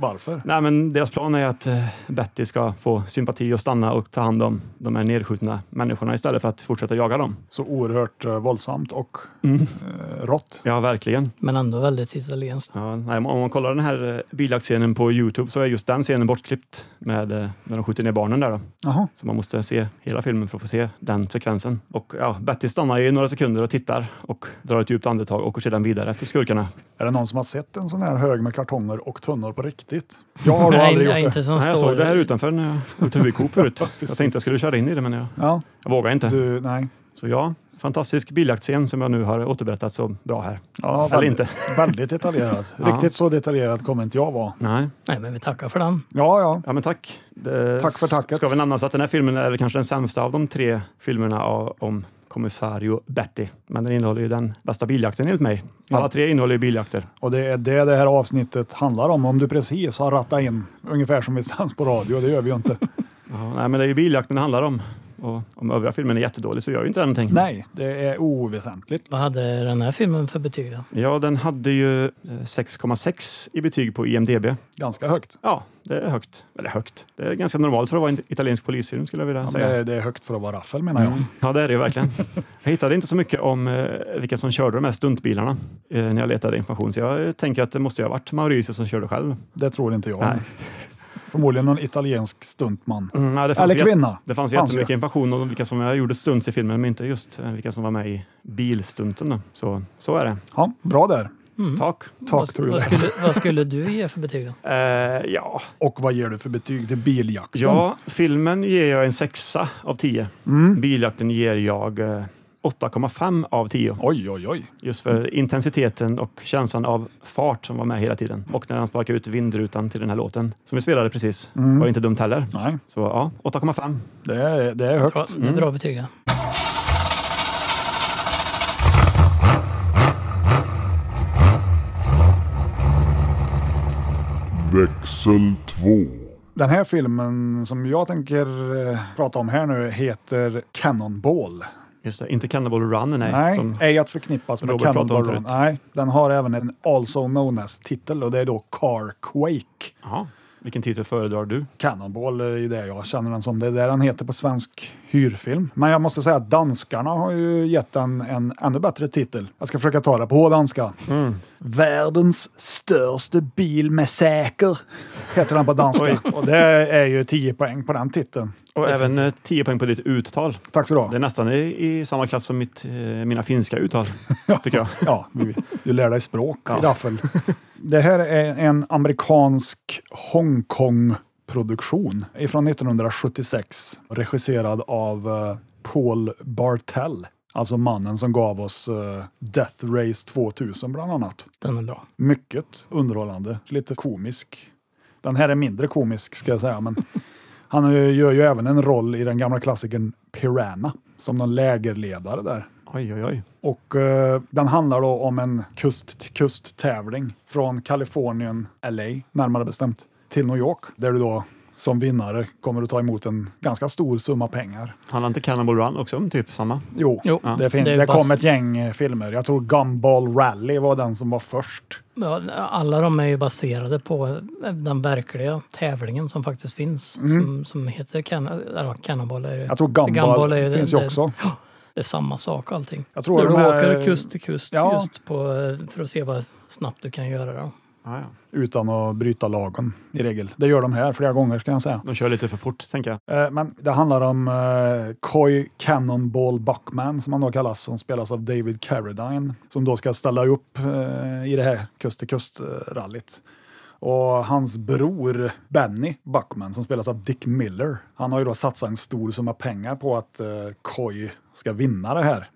S2: Varför?
S3: Nej, men deras plan är att eh, Betty ska få sympati och stanna och ta hand om de här nedskjutna människorna istället för att fortsätta jaga dem.
S2: Så oerhört eh, våldsamt och
S3: Mm.
S2: eh, rått.
S3: Ja, verkligen.
S4: Men ändå väldigt italienskt.
S3: Ja, nej, om om man kollar den här eh, biljaktscenen på Youtube så är just den scenen bortklippt med eh, när de skjuter ner barnen där. Då.
S2: Jaha.
S3: Så man måste se hela filmen för att få se den sekvensen. Och ja, Betty stannar ju i några sekunder och tittar och drar ett djupt andetag och åker sedan vidare till skurkarna.
S2: Är det någon som har sett en sån här hög med kartonger och tunnor på riktigt? Jag har då
S4: Nej,
S2: aldrig gjort det.
S4: inte som
S3: Nej,
S4: står...
S3: jag såg det här utanför när jag var ute vid Coop förut.
S2: Ja,
S3: Jag
S2: precis.
S3: tänkte jag skulle köra in i det men jag,
S2: Ja,
S3: jag vågar inte.
S2: du, nej.
S3: Så ja, fantastisk biljaktscen som jag nu har återberättat så bra här.
S2: Ja,
S3: Eller
S2: väldigt-
S3: inte.
S2: Väldigt detaljerat.
S3: Ja.
S2: Riktigt så detaljerat kommer inte jag vara.
S3: Nej,
S4: Nej, men vi tackar för den.
S2: Ja, ja.
S3: ja men tack. Det
S2: Tack för tacket.
S3: Ska vi nämnas att den här filmen är kanske den sämsta av de tre filmerna av, om kommissario Betty. Men den innehåller ju den bästa biljakten enligt mig. Alla tre innehåller ju biljakter.
S2: Och det är det det här avsnittet handlar om. Om du precis har rattat in, ungefär som vi sänds på radio, det gör vi ju inte.
S3: Ja, nej, men det är ju biljakten det handlar om. Och om övriga filmen är jättedålig så gör ju inte den någonting.
S2: Nej, det är oväsentligt.
S4: Vad hade den här filmen för betyg då?
S3: Ja, den hade ju eh, 6,6 i betyg på IMDB.
S2: Ganska högt.
S3: Ja, det är högt. Eller högt. Det är ganska normalt för att vara en italiensk polisfilm skulle jag vilja
S2: Ja, men
S3: säga.
S2: det, det är högt för att vara raffel menar jag.
S3: Ja, det är det ju verkligen. Jag hittade inte så mycket om eh, vilka som körde de här stuntbilarna eh, när jag letade information, så jag eh, tänker att det måste ju ha varit Mauricio som körde själv.
S2: Det tror inte jag.
S3: Nej.
S2: Förmodligen någon italiensk stuntman.
S3: Mm, nej, det fanns
S2: Eller
S3: ju jät-
S2: kvinna.
S3: Det fanns ju
S2: Fanns
S3: jättemycket information om vilka som gjorde stunts i filmen, men inte just eh, vilka som var med i bilstunten. då. Så, så är det.
S2: Ja, bra där.
S3: Tak.
S2: Tack tror
S4: vad,
S2: jag.
S4: skulle, vad skulle du ge för betyg då?
S3: Eh, ja,
S2: Och vad ger du för betyg till biljakten?
S3: Ja, filmen ger jag en sexa av tio.
S2: Mm.
S3: Biljakten ger jag eh, 8,5 av 10.
S2: Oj, oj, oj.
S3: Just för intensiteten och känslan av fart som var med hela tiden. Och när han sparkade ut vindrutan till den här låten som vi spelade precis.
S2: Mm.
S3: Var inte dumt heller.
S2: Nej,
S3: Så ja, 8,5.
S2: det är, det är högt.
S4: Bra, det är bra betyg. ja.
S5: växel 2,
S2: Den här filmen som jag tänker eh, prata om här nu heter Cannonball.
S3: Just det, inte Cannibal Run, nej.
S2: Nej,
S3: Som,
S2: ej att förknippas med
S3: Robert pratade om
S2: Cannonball Run.
S3: förut.
S2: Nej, den har även en also known as-titel och det är då Car Quake.
S3: ja, vilken titel föredrar du?
S2: Cannonball är ju det jag känner den som. Det är där den heter på svensk hyrfilm. Men jag måste säga att danskarna har ju gett den en ännu bättre titel. Jag ska försöka ta det på danska. Världens största bilmassaker heter den på danska. och det är ju 10 poäng på den titeln.
S3: Och även eh, 10 poäng på ditt uttal.
S2: Tack så du ha.
S3: Det är nästan i, i samma klass som mitt, eh, mina finska uttal, tycker jag.
S2: Ja, vi- du lär dig språk i raffel. Det här är en amerikansk Hongkong-produktion ifrån 1976, regisserad av eh, Paul Bartel, alltså mannen som gav oss eh, Death Race 2000 bland annat.
S4: Den är bra.
S2: Mycket underhållande, lite komisk. Den här är mindre komisk ska jag säga, men han eh, gör ju även en roll i den gamla klassikern Piranha, som någon lägerledare där.
S3: Oj, oj, oj.
S2: Och eh, den handlar då om en kust-till-kust-tävling från Kalifornien, LA närmare bestämt, till New York där du då som vinnare kommer att ta emot en ganska stor summa pengar.
S3: Handlar inte Cannibal Run också om typ samma?
S2: Jo,
S4: Jo,
S2: det, fin-
S4: det
S2: det,
S4: är bas-
S2: kom ett gäng eh, filmer. Jag tror Gumball Rally var den som var först.
S4: Ja, alla de är ju baserade på eh, den verkliga tävlingen som faktiskt finns. Som, som heter Canna- eller vad, Cannonball. Är det.
S2: Mm. Jag tror Gumball,
S4: Gumball är ju
S2: finns
S4: den-
S2: ju också.
S4: det är samma sak allting.
S2: Jag tror
S4: du
S2: de här-
S4: åker kust till kust
S2: Ja.
S4: just på, eh, för att se vad snabbt du kan göra. Då.
S3: Ja, ja.
S2: Utan att bryta lagen i regel. Det gör de här flera gånger ska jag säga.
S3: De kör lite för fort, tänker jag.
S2: Eh, Men det handlar om eh, Coy Cannonball Buckman som han då kallas, som spelas av David Carradine, som då ska ställa upp eh, i det här kust till kust-rallyt. Och hans bror Benny Buckman, som spelas av Dick Miller, han har ju då satsat en stor summa pengar på att eh, Coy ska vinna det här.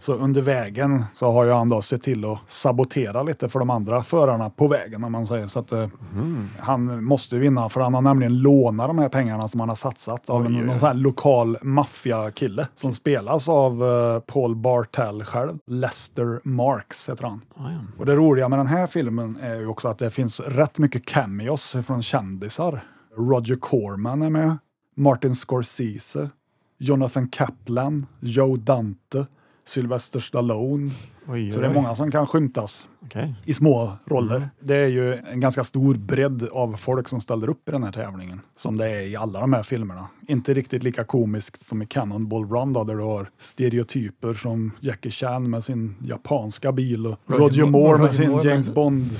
S2: Så under vägen så har ju han då sett till att sabotera lite för de andra förarna på vägen om man säger. Så att, eh, Han måste ju vinna för han har nämligen lånat de här pengarna som han har satsat av en, någon sån här lokal maffiakille som spelas av eh, Paul Bartel själv. Lester Marks heter han.
S3: Ja, ja.
S2: Och det roliga med den här filmen är ju också att det finns rätt mycket cameos från kändisar. Roger Corman är med, Martin Scorsese, Jonathan Kaplan, Joe Dante, Sylvester Stallone.
S3: Oj,
S2: Så det är
S3: oj.
S2: många som kan skymtas
S3: Okej.
S2: i små roller.
S4: Mm.
S2: Det är ju en ganska stor bredd av folk som ställer upp i den här tävlingen, som det är i alla de här filmerna. Inte riktigt lika komiskt som i Cannonball Run då, där du har stereotyper som Jackie Chan med sin japanska bil och Roger,
S4: Mo-
S2: Moore med
S4: Roger
S2: sin
S4: Moore med-
S2: James Bond.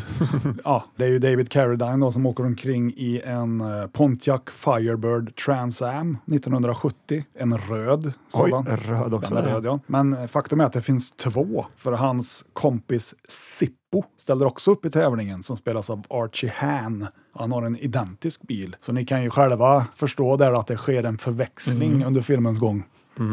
S2: ja, det är ju David Carradine då, som åker omkring i en eh, Pontiac Firebird Trans Am 1970, en röd
S3: Oj,
S2: sådan.
S3: röd också.
S2: Den är röd, ja. Men eh, faktum är att det finns två, för hans kompis Sippo ställer också upp i tävlingen som spelas av Archie Han. Han har en identisk bil, så ni kan ju själva förstå där att det sker en förväxling under filmens gång.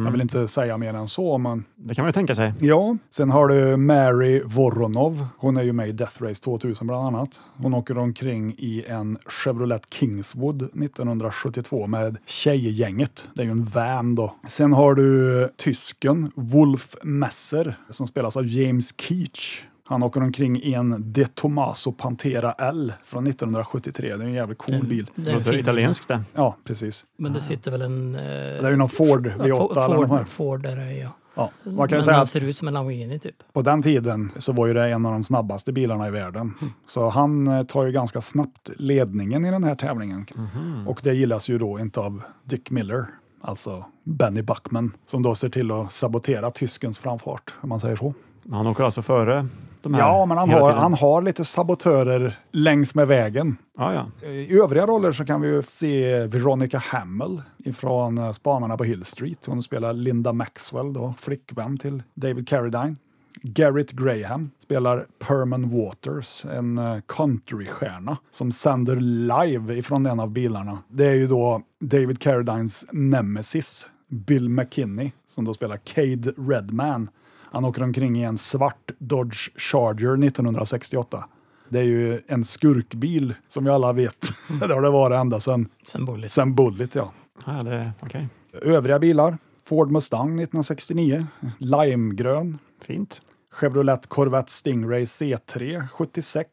S2: Jag vill inte säga mer än så, men
S3: Det kan man ju tänka sig.
S2: Ja, sen har du Mary Voronov. Hon är ju med i Death Race 2000 bland annat. Hon åker omkring i en Chevrolet Kingswood 1972 med tjejgänget. Det är ju en van då. Sen har du tysken Wolf Messer som spelas av James Keach. Han åker omkring i en De Tomaso Pantera L från 1973. Det är en jävligt cool bil.
S4: Det
S3: Det
S4: är en
S3: låter
S4: fin,
S3: italienskt det.
S2: Ja, precis.
S4: Men det sitter väl en... eh,
S2: Det är ju någon Ford V8
S4: ja,
S2: eller något sånt
S4: Ford,
S2: här.
S4: Ford där är
S2: Ja,
S4: jag.
S2: man
S4: Mm. Men
S2: kan ju
S4: den
S2: säga att
S4: ser ut som en Lamborghini typ.
S2: På den tiden så var ju det en av de snabbaste bilarna i världen.
S3: Mm.
S2: Så han eh, tar ju ganska snabbt ledningen i den här tävlingen.
S3: Mhm.
S2: Och det gillas ju då inte av Dick Miller, alltså Benny Buckman, som då ser till att sabotera tyskens framfart, om man säger så.
S3: Men Han åker alltså före de här
S2: Ja, men han
S3: hela
S2: har,
S3: tiden.
S2: han har lite sabotörer längs med vägen.
S3: Ja, ja.
S2: I övriga roller så kan vi ju se Veronica Hamill ifrån eh, Spanarna på Hill Street. Hon spelar Linda Maxwell, då, flickvän till David Carradine. Garrett Graham spelar Perman Waters, en eh, countrystjärna som sänder live ifrån en av bilarna. Det är ju då David Carradines nemesis, Bill McKinney, som då spelar Cade Redman. Han åker omkring i en svart Dodge Charger 1968. Det är ju en skurkbil som vi alla vet. det har det varit ända sedan,
S4: Symboliskt.
S2: sedan Bullet. Ja.
S3: ja det, okej.
S2: Övriga bilar, Ford Mustang 1969, limegrön,
S3: Fint.
S2: Chevrolet Corvette Stingray C3 76.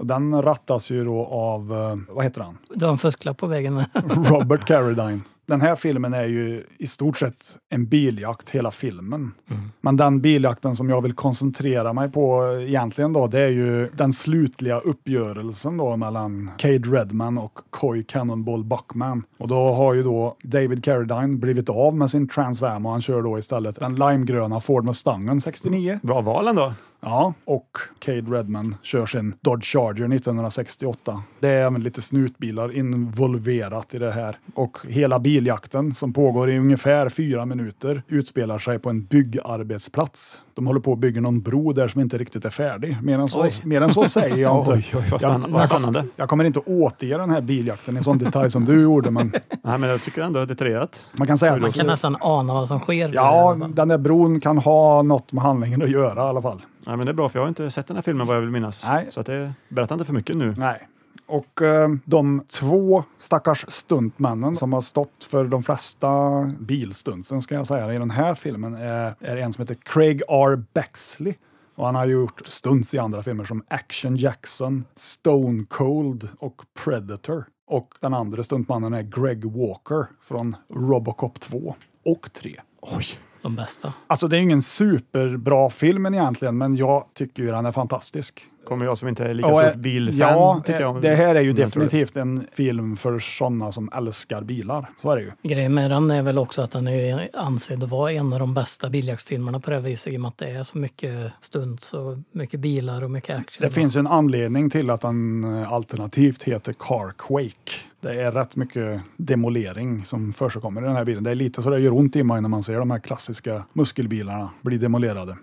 S2: Och Den rattas ju då av, eh, vad heter han?
S4: Du har en fusklapp på vägen.
S2: Robert Carradine. Den här filmen är ju i stort sett en biljakt, hela filmen. Men den biljakten som jag vill koncentrera mig på egentligen då, det är ju den slutliga uppgörelsen då mellan Cade Redman och Coy Cannonball Buckman. Och då har ju då David Carradine blivit av med sin Trans Am och han kör då istället den limegröna Ford Mustangen 69.
S3: Bra val ändå.
S2: Ja, och Cade Redman kör sin Dodge Charger 1968. Det är även lite snutbilar involverat i det här. Och hela biljakten som pågår i ungefär fyra minuter utspelar sig på en byggarbetsplats. De håller på att bygga någon bro där som inte riktigt är färdig. Mer än så,
S4: Oj.
S2: mer än så säger jag inte.
S3: Oj, oj, vad spännande.
S2: Jag-
S3: Vad spännande.
S2: Jag kommer inte att återge den här biljakten i sån detalj som du gjorde, men
S3: Nej, men jag tycker ändå det är detaljerat.
S2: man kan säga att...
S4: Man kan nästan ana vad som sker.
S2: Ja, den där bron kan ha något med handlingen att göra i alla fall.
S3: Nej, men det är bra, för jag har inte sett den här filmen vad jag vill minnas.
S2: Nej.
S3: Så att det, berätta inte för mycket nu.
S2: Nej. Och eh, de två stackars stuntmännen som har stått för de flesta bilstuntsen ska jag säga i den här filmen är, är en som heter Craig R. Bexley. Och han har gjort stunts i andra filmer som Action Jackson, Stone Cold och Predator. Och den andra stuntmannen är Greg Walker från Robocop 2 och 3. Oj!
S4: De bästa.
S2: Alltså det är ju ingen superbra film egentligen, men jag tycker ju den är fantastisk.
S3: Kommer jag som inte är lika
S2: Och, eh,
S3: stort bilfan,
S2: ja, eh,
S3: tycker jag.
S2: Det här är ju
S3: om jag tror det.
S2: definitivt en film för sådana som älskar bilar. Så är det ju.
S4: Grejen med den är väl också att den är ansedd att vara en av de bästa biljaktsfilmerna på det här viset i och med att det är så mycket stunts och mycket bilar och mycket action.
S2: Det finns ju en anledning till att den eh, alternativt heter Car Quake. Det är rätt mycket demolering som förekommer i den här bilen. Det är lite så det gör ont i mig när man ser de här klassiska muskelbilarna bli demolerade.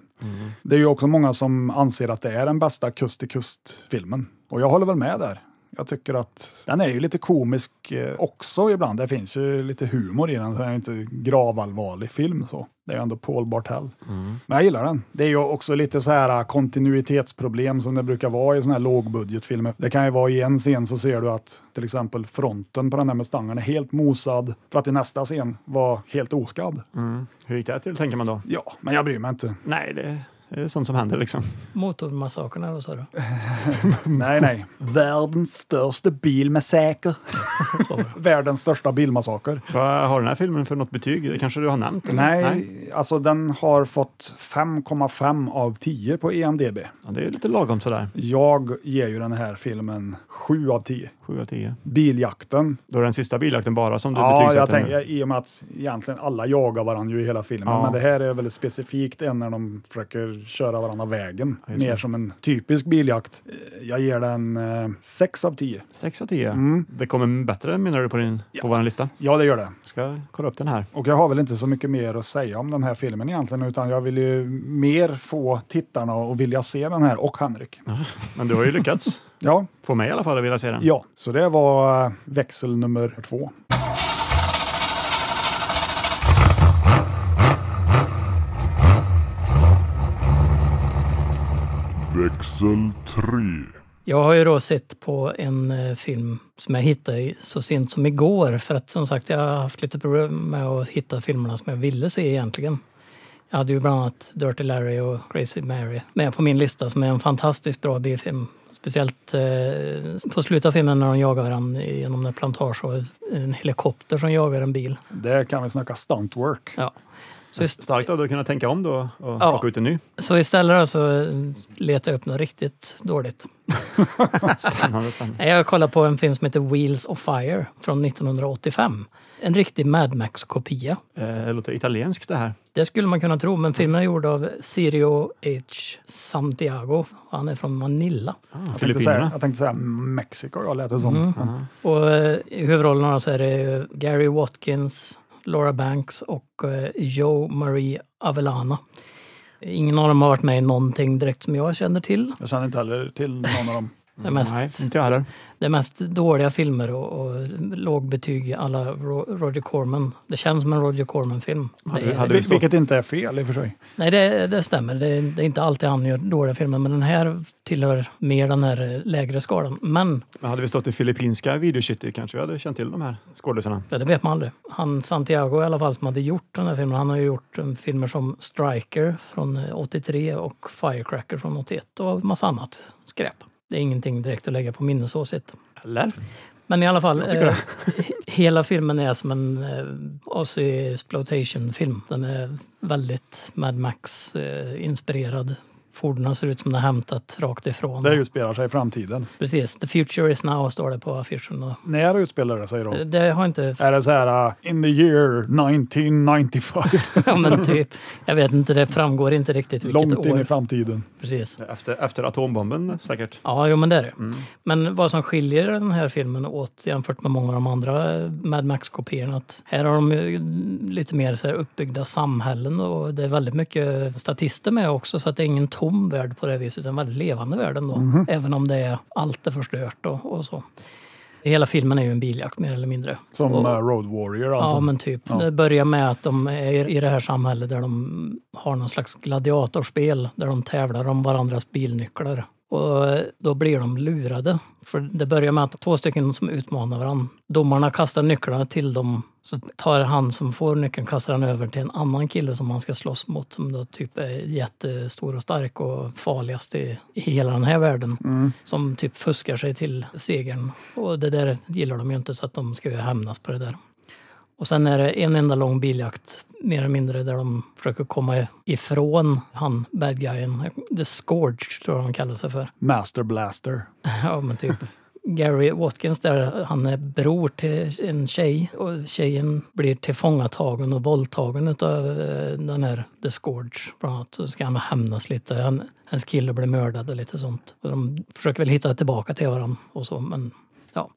S2: Det är ju också många som anser att det är den bästa kust-till-kust-filmen. Och jag håller väl med där. Jag tycker att den är ju lite komisk eh, också ibland. Det finns ju lite humor i den. så Den är ju inte gravallvarlig film så. Det är ju ändå Paul Bartel. Men jag gillar den. Det är ju också lite så här eh, kontinuitetsproblem som det brukar vara i såna här lågbudgetfilmer. Det kan ju vara i en scen så ser du att till exempel fronten på den här Mustangen är helt mosad för att i nästa scen var helt oskadd.
S3: Mm. Hur gick det här till, tänker man då?
S2: Ja, men jag bryr mig inte.
S3: Nej, det det är sånt som händer liksom.
S4: Motormassakern eller vad sa du?
S2: Nej, nej. Världens största bilmassaker. Världens största bilmassaker.
S3: Vad har den här filmen för något betyg? Det kanske du har nämnt? eller?
S2: Nej, alltså den har fått 5,5 av 10 på E EMDB.
S3: Ja, det är lite lagom sådär.
S2: Jag ger ju den här filmen 7 av 10.
S3: 7 av 10.
S2: Biljakten.
S3: Då är den sista biljakten bara som du
S2: Ja, jag
S3: betygsätter nu.
S2: tänker i och med att egentligen alla jagar varandra ju i hela filmen,
S3: Ja.
S2: men det här är väl specifikt en när de försöker köra varandra vägen.
S3: just
S2: Mer
S3: det.
S2: som en typisk biljakt. Eh, Jag ger den eh, 6 av 10.
S3: 6 av 10. Det kommer bättre menar du på, din, på vår lista?
S2: Ja, det gör det.
S3: Jag ska kolla upp den här.
S2: Och jag har väl inte så mycket mer att säga om den här filmen egentligen, utan jag vill ju mer få tittarna att vilja se den här och Henrik.
S3: Men du har ju lyckats.
S2: Ja,
S3: Få mig i alla fall att vilja se den.
S2: ja. så det var eh, växel nummer två.
S5: Växel 3.
S4: Jag har ju då sett på en eh, film som jag hittade i- så sent som igår för att som sagt jag har haft lite problem med att hitta filmerna som jag ville se egentligen. Jag hade ju bland annat Dirty Larry och Crazy Mary med på min lista som är en fantastiskt bra B-film. Speciellt eh, på slutet av filmen när de jagar varandra genom en plantage och en helikopter som jagar en bil.
S2: Där kan vi snacka stuntwork.
S4: Ja. Så, ist-
S3: Starkt att du kunna tänka om då och
S4: Ja.
S3: plocka ut en ny.
S4: så istället då så eh, letar jag upp något riktigt dåligt.
S3: Spännande, spännande.
S4: Nej, Jag kollade på en film som heter Wheels of Fire från 1985. En riktig Mad Max-kopia.
S3: Eh, Det låter italienskt det här.
S4: Det skulle man kunna tro, men filmen är gjord av Sirio H. Santiago. Han är från Manila.
S3: Ah,
S2: Jag tänkte, säga,
S3: Filippinerna.
S2: jag tänkte säga Mexiko, jag lät det som. Men
S4: Och eh, i huvudrollerna så är det eh, Gary Watkins, Laura Banks och eh, Joe Marie Avellana. Ingen av dem har varit med i någonting direkt som jag känner till.
S2: Jag känner inte heller till någon av dem.
S4: Det är mest,
S3: Nej, inte jag heller.
S4: det är mest dåliga filmer och, och lågbetyg alla Ro- Roger Corman. Det känns som en Roger Corman-film.
S3: Hade-
S4: Det är-
S3: hade vi
S2: Vil-
S3: stått-
S2: Vilket inte är fel i och för sig.
S4: Nej, det, det stämmer. Det, det är inte alltid han gör dåliga filmer, men den här tillhör mer den här eh, lägre skalan. Men
S3: Men hade vi stått i filippinska videokitty kanske vi hade känt till de här skådisarna.
S4: det, det vet man aldrig. Han Santiago i alla fall, som hade gjort den här filmen, han har ju gjort eh, filmer som Striker från eh, 83 och Firecracker från 81 och massa annat skräp. Det är ingenting direkt att lägga på minnesåsigt.
S3: Eller?
S4: Men i alla fall,
S3: tycker
S4: eh, hela filmen är som en eh, Aussie exploitation-film. Den är väldigt Mad Max-inspirerad. Fordonen ser ut som den är hämtat rakt ifrån.
S2: Det utspelar sig i framtiden.
S4: Precis, the future is now står det på affischen. Och
S2: När utspelar det sig då?
S4: det- det har inte...
S2: Är det så här uh, in the year 1995?
S4: Ja, men typ, jag vet inte, det framgår inte riktigt vilket
S2: Långt
S4: år.
S2: in i framtiden.
S4: Precis.
S3: Efter, efter atombomben säkert.
S4: Ja, jo, men det är det. Men vad som skiljer den här filmen åt jämfört med många av de andra eh, Mad Max-kopiorna att här har de ju mm, lite mer så här uppbyggda samhällen och det är väldigt mycket statister med också så att det är ingen tom värld på det viset utan väldigt levande värld ändå. Även om det är allt är förstört och, och så. Hela filmen är ju en biljakt mer eller mindre.
S2: Som
S4: och,
S2: eh, Road Warrior alltså.
S4: Ja, men typ.
S2: Ja.
S4: Det börjar med att de är i det här samhället där de har någon slags gladiatorspel där de tävlar om varandras bilnycklar. Och då blir de lurade. För det börjar med att två stycken som utmanar varandra. Domarna kastar nycklarna till dem. Så tar han som får nyckeln, kastar den över till en annan kille som han ska slåss mot. Som då typ är jättestor och stark och farligast i, i hela den här världen
S2: Mm.
S4: som typ fuskar sig till segern. Och det där gillar de ju inte så att de ska ju hämnas på det där. Och sen är det en enda lång biljakt, mer eller mindre, där de försöker komma ifrån han bad guyen. The Scourge tror jag han kallar sig för.
S2: Master Blaster.
S4: Ja, men typ. Gary Watkins där, han är bror till en tjej och tjejen blir tillfångatagen och våldtagen utav eh, den här The Scourge bland annat. Så ska han hämnas lite. Han, hans kille blir mördad och lite sånt. Och de försöker väl hitta tillbaka till varandra och så, men ja.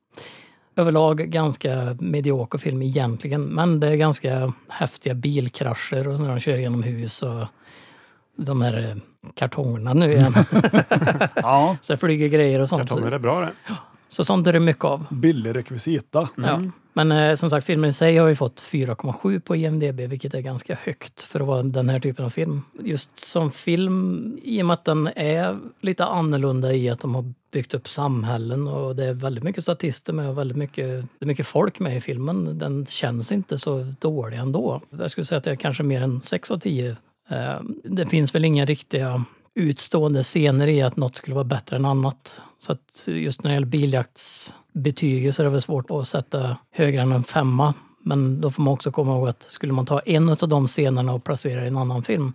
S4: Överlag ganska medioker film egentligen, men det är ganska häftiga bilkrascher och så när de kör genom hus och de här eh, kartongerna nu igen.
S2: Ja, typ.
S4: Så det flyger grejer och sånt.
S3: Kartonger är bra det.
S4: Så sånt är det mycket av.
S2: billig rekvisita.
S4: Ja. Men eh, som sagt, filmen i sig har ju fått 4,7 på IMDB, vilket är ganska högt för att vara den här typen av film. Just som film, i och med att den är lite annorlunda i att de har byggt upp samhällen och det är väldigt mycket statister med och väldigt mycket, det är mycket folk med i filmen. Den känns inte så dålig ändå. Jag skulle säga att det är kanske mer än 6 av 10. Eh, Det finns väl inga riktiga utstående scener i att något skulle vara bättre än annat. Så att just när det gäller biljaktsbetyg så är det väl svårt att sätta högre än en femma. Men då får man också komma ihåg att skulle man ta en av de scenerna och placera i en annan film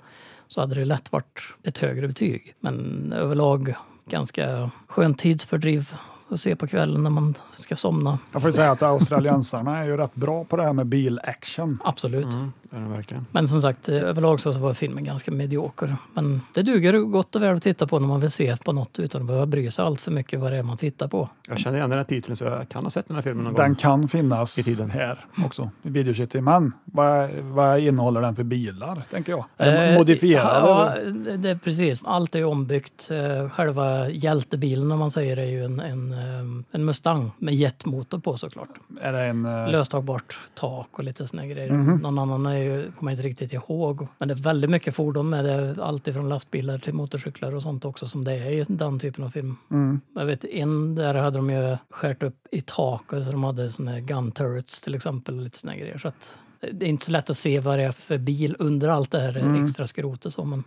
S4: så hade det lätt varit ett högre betyg. Men överlag ganska skönt tidsfördriv att se på kvällen när man ska somna.
S2: Jag får ju säga att australiensarna är ju rätt bra på det här med bilaction.
S4: Absolut.
S3: Mm, det är det verkligen.
S4: Men som sagt, eh, överlag så så var filmen ganska medioker. Men det duger gott och väl att titta på när man vill se på något utan att behöva bry sig allt för mycket vad det är man tittar på.
S3: Jag känner igen den här titeln så jag kan ha sett den här filmen någon
S2: Den
S3: gång.
S2: kan finnas
S3: I tiden.
S2: här också, i videokitty. Men vad, vad innehåller den för bilar, tänker jag? Är de
S4: Eh,
S2: Modifierade?
S4: Ja, det, det, är precis. Allt är ju ombyggt. Eh, Själva hjältebilen om man säger är ju en, en, eh, en Mustang med jetmotor på såklart.
S2: Är det en, eh,
S4: Löstagbart tak och lite såna grejer. Någon annan är är ju, kommer jag inte riktigt ihåg. Men det är väldigt mycket fordon med det. Allt ifrån lastbilar till motorcyklar och sånt också som det är i den typen av film.
S2: mm,
S4: Jag vet en där hade de ju skärt upp i taket så de hade såna här gun turrets till exempel och lite såna här grejer. Så att eh, det är inte så lätt att se vad det är för bil under allt det här
S3: Mm.
S4: extra skrotet. Så, men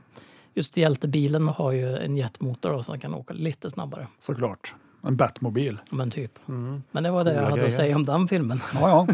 S4: just hjältebilen har ju en jetmotor då, så den kan åka lite snabbare.
S2: såklart. En Batmobil.
S4: Men typ. Men det var det
S3: Mm.
S4: jag
S3: Coola
S4: hade att
S3: grejer.
S4: säga om den filmen.
S2: Ja, ja,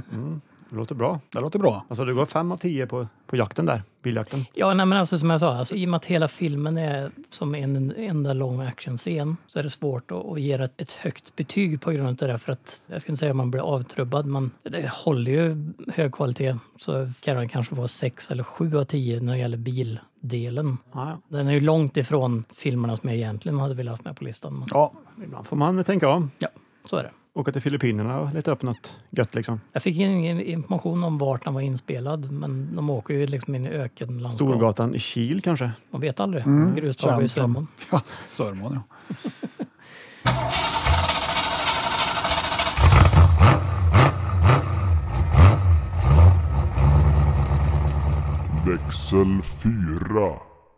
S3: Det låter bra.
S2: det låter bra.
S3: Alltså du går fem av tio på, på jakten där, biljakten.
S4: Ja, nej, men alltså som jag sa, alltså, i och med att hela filmen är som en enda lång actionscen så är det svårt att, att ge ett, ett högt betyg på grund av det. För att, jag ska inte säga att man blir avtrubbad, men det håller ju hög kvalitet. Så kan den kanske vara 6 eller 7 av 10 när det gäller bildelen.
S3: Ja,
S4: Den är ju långt ifrån filmerna som jag egentligen hade velat ha med på listan. Men,
S2: Ja,
S3: ja. ibland får man tänka om.
S4: ja, så är det.
S3: Åka till Filippinerna och leta upp något gött liksom.
S4: Jag fick ingen information om vart den var inspelad, men de åker ju liksom in i ökenlandskap.
S3: Storgatan i Kil kanske.
S4: Man vet aldrig.
S2: Mm,
S4: Grustag i
S2: känd från-
S4: sömmen.
S2: ja Sörmån ja.
S5: Växel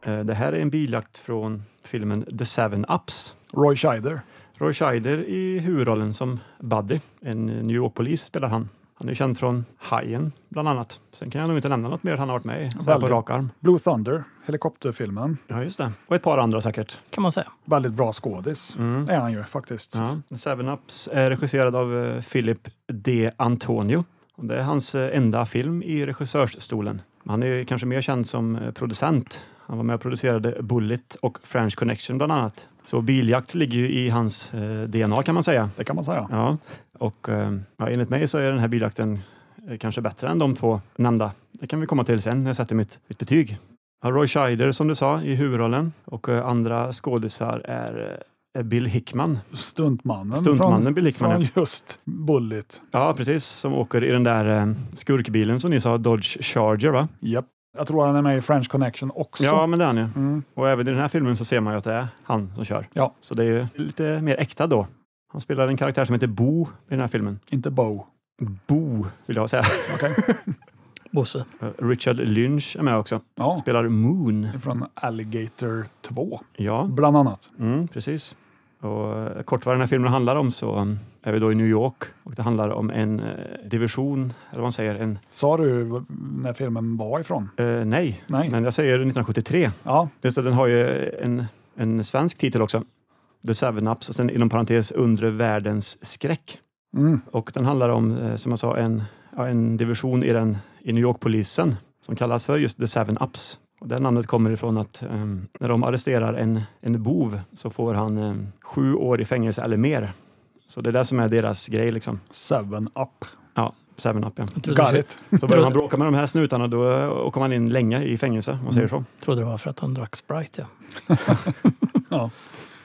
S5: 4.
S3: Eh, Det här är en biljakt från filmen The Seven Ups.
S2: Roy Scheider.
S3: Roy Scheider i huvudrollen som Buddy. En eh, New York-polis spelar han. Han är känd från Hajen bland annat. Sen kan jag nog inte nämna något mer han har varit med i så här på
S2: Väldigt.
S3: rak arm.
S2: Blue Thunder, helikopterfilmen.
S3: Ja, just det. Och ett par andra säkert.
S4: kan man säga.
S2: Väldigt bra skådis
S3: Mm.
S2: är han ju faktiskt.
S3: Ja. Seven Ups är regisserad av eh, Philip D. Antonio. Och Det är hans eh, enda film i regissörsstolen. Han är ju kanske mer känd som eh, producent. Han var med och producerade Bullet och French Connection bland annat. Så biljakt ligger ju i hans eh, DNA kan man säga.
S2: Det kan man säga.
S3: Ja, och eh, ja, enligt mig så är den här biljakten eh, kanske bättre än de två nämnda. Det kan vi komma till sen när jag sätter mitt, mitt betyg. Ja, Roy Scheider som du sa i huvudrollen och eh, andra skådisar är eh, Bill Hickman.
S2: Stuntmannen,
S3: Stuntmannen
S2: från,
S3: Bill Hickman,
S2: från just Bullet.
S3: Ja, precis. Som åker i den där eh, skurkbilen som ni sa, Dodge Charger va?
S2: Japp. Jag tror han är med i French Connection också.
S3: Ja, men det är han ju.
S2: Mm.
S3: Och även i den här filmen så ser man ju att det är han som kör.
S2: Ja.
S3: Så det är ju lite mer äkta då. Han spelar en karaktär som heter Bo i den här filmen.
S2: Inte Bo.
S3: Bo, vill jag säga.
S2: Okej.
S4: Bosse.
S3: Richard Lynch är med också.
S2: Ja.
S3: Spelar Moon.
S2: Från Alligator 2,
S3: Ja,
S2: bland annat.
S3: mm, precis. Och eh, kort vad den här filmen handlar om så mm, är vi då i New York och det handlar om en eh, division, eller vad man säger, en...
S2: Sa du v- när filmen var ifrån?
S3: Eh, nej,
S2: Nej.
S3: men jag säger 1973.
S2: Ja,
S3: Just det, den har ju en, en svensk titel också. The Seven Ups och sen inom parentes Undre Världens Skräck.
S2: mm.
S3: Och den handlar om, eh, som jag sa, en, ja, en division i, den, i New York-polisen som kallas för just The Seven Ups. Och det namnet kommer ifrån att eh, när de arresterar en, en bov så får han eh, sju år i fängelse eller mer. Så det är det som är deras grej liksom.
S2: Seven Up.
S3: Ja, Seven Up ja.
S2: Got
S4: Trodde,
S2: it.
S3: Så börjar man bråka med de här snutarna då eh, åker man in länge i fängelse, om man säger så.
S4: trodde det var för att han drack Sprite. Ja.